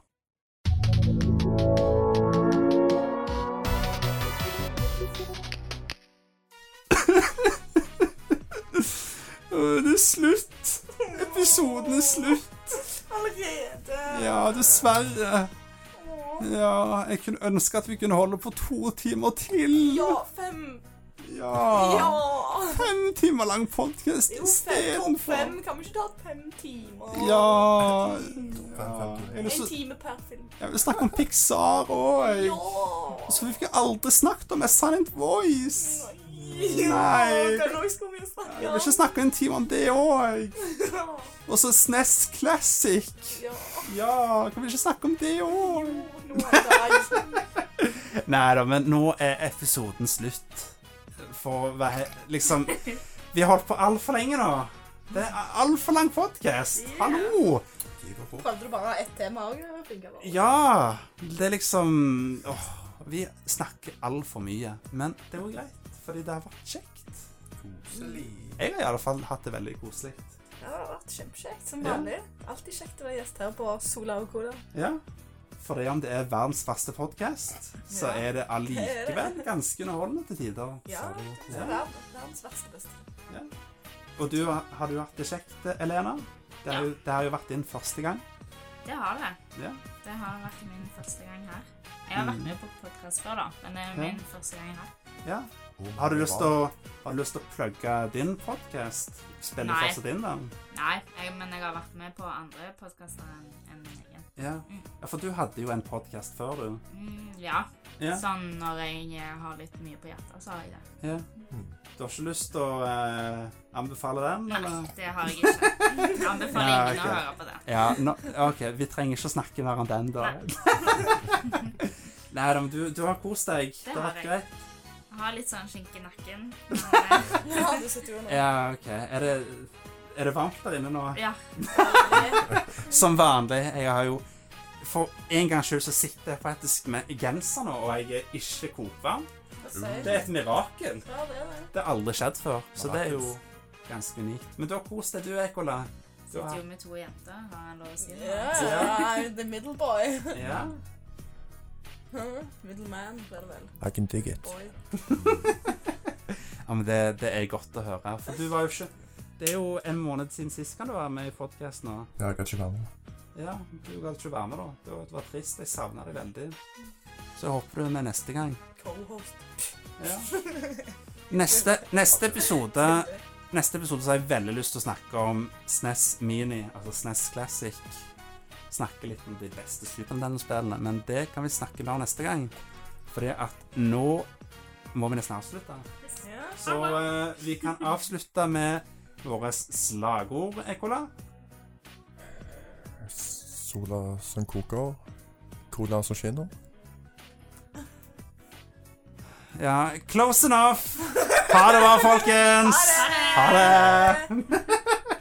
Speaker 1: Det er slutt. Episoden er slutt.
Speaker 4: Allerede.
Speaker 1: Ja, dessverre.
Speaker 4: Åh.
Speaker 1: Ja, jeg kunne ønske at vi kunne holde på to timer til.
Speaker 4: Ja, fem.
Speaker 1: Ja.
Speaker 4: Ja.
Speaker 1: Fem timer lang podkast
Speaker 4: Jo, fem, topp
Speaker 1: istedenfor.
Speaker 4: fem. Kan vi ikke ta fem timer?
Speaker 1: Ja. ja.
Speaker 2: fem timer.
Speaker 1: Jeg vil
Speaker 4: En
Speaker 1: så-
Speaker 4: time per film.
Speaker 1: Jeg vil snakke om Pixar òg.
Speaker 4: Ja.
Speaker 1: Så vi fikk aldri snakket om A Silent Voice. Nei.
Speaker 4: Nei. Den òg skulle vi snakke
Speaker 1: Jeg vil ikke snakke en time om det òg.
Speaker 4: Ja.
Speaker 1: Og så SNES Classic.
Speaker 4: Ja.
Speaker 1: Ja, kan vi ikke snakke om det
Speaker 4: Jo,
Speaker 1: òg?
Speaker 4: nå er det
Speaker 1: Nei da, men nå er episoden slutt. For å være liksom Vi har holdt på altfor lenge nå. Det er altfor lang podkast. Hallo!
Speaker 4: Prøvde du bare å ha ett tema òg?
Speaker 1: Ja. Det er liksom åh, Vi snakker altfor mye. Men det var greit, fordi det har vært kjekt. Jeg har i alle fall hatt det veldig koselig.
Speaker 4: Ja, det har vært kjempekjekt, som
Speaker 1: Ja.
Speaker 4: vanlig. Alltid kjekt å være gjest her på Sola og Cola.
Speaker 1: Ja. Fordi om det er verdens faste podkast, så
Speaker 4: Ja.
Speaker 1: er det allikevel ganske underholdende til tider.
Speaker 4: Ja, det er verden- verdens verste beste.
Speaker 1: Og du har du hatt det kjekt, Elena? Det har,
Speaker 3: Ja.
Speaker 1: jo, det har jo vært din første gang.
Speaker 3: Det har det.
Speaker 1: Ja.
Speaker 3: Det har vært min første gang her. Jeg har vært
Speaker 1: Mm.
Speaker 3: med på podkast før, da, men det er
Speaker 1: Ja.
Speaker 3: min første gang her.
Speaker 1: ja. Har du lyst til å, har du lyst til å plugge din podkast? Spille
Speaker 3: Nei.
Speaker 1: fortsatt inn den?
Speaker 3: Nei, jeg, men jeg har vært med på andre podkaster enn enn egen.
Speaker 1: Ja. ja, for du hadde jo en podkast før, du.
Speaker 3: Mm, ja.
Speaker 1: Ja.
Speaker 3: Sånn når jeg eh, har litt mye på hjertet, så har jeg det.
Speaker 1: ja. Mm. Du har ikke lyst til å eh, anbefale den,
Speaker 3: Nei,
Speaker 1: eller?
Speaker 3: det har jeg ikke. Jeg anbefaler
Speaker 1: Nei,
Speaker 3: ingen å
Speaker 1: ok.
Speaker 3: høre på det.
Speaker 1: Ja, nå- OK, vi trenger ikke å snakke mer om den, da. Nei da, men du, du har kost deg. Det har
Speaker 3: har
Speaker 1: vært
Speaker 3: jeg.
Speaker 1: greit.
Speaker 3: Jeg har litt sånn skink i nakken. men, eh,
Speaker 4: Ja, du sitter jo nå.
Speaker 1: Ja, OK. Er det, er det varmt der inne nå?
Speaker 3: Ja.
Speaker 1: Som vanlig. Jeg har jo For en gangs skyld så sitter jeg faktisk med genser nå, og jeg er ikke kokvarm.
Speaker 4: Det sier-
Speaker 1: Det er et mirakel.
Speaker 4: Ja, det er det.
Speaker 1: Det har aldri skjedd før, så det er jo ganske unikt. Men du har kost deg, du, Ekola. Du
Speaker 3: Sitter
Speaker 1: har,
Speaker 3: jo med to jenter, har jeg lov å si det?
Speaker 4: Ja, I'm the middle boy.
Speaker 1: ja.
Speaker 4: Middle man, blir det vel.
Speaker 2: I can dig it.
Speaker 4: Boy.
Speaker 1: ja, men det, det er godt å høre. For du var jo ikke Det er jo en måned siden sist kan du være med i podkast nå.
Speaker 2: Ja, jeg kan ikke være med.
Speaker 1: Ja, du kan ikke være med, da. Det var, det var trist. Jeg savna deg veldig. Så jeg håper du er med neste gang.
Speaker 4: Co-host.
Speaker 1: Ja. Neste, neste episode Neste episode så har jeg veldig lyst til å snakke om SNES Mini, altså SNES Classic. Snakke litt om de beste Super Nintendo-spillene, men det kan vi snakke mer om neste gang. Fordi at nå må vi nesten avslutte.
Speaker 4: Ja.
Speaker 1: Så eh, vi kan avslutte med våre slagord, Ekola.
Speaker 2: Sola som koker. Cola som skinner.
Speaker 1: Ja, close enough! Ha det bra, folkens! Ha det!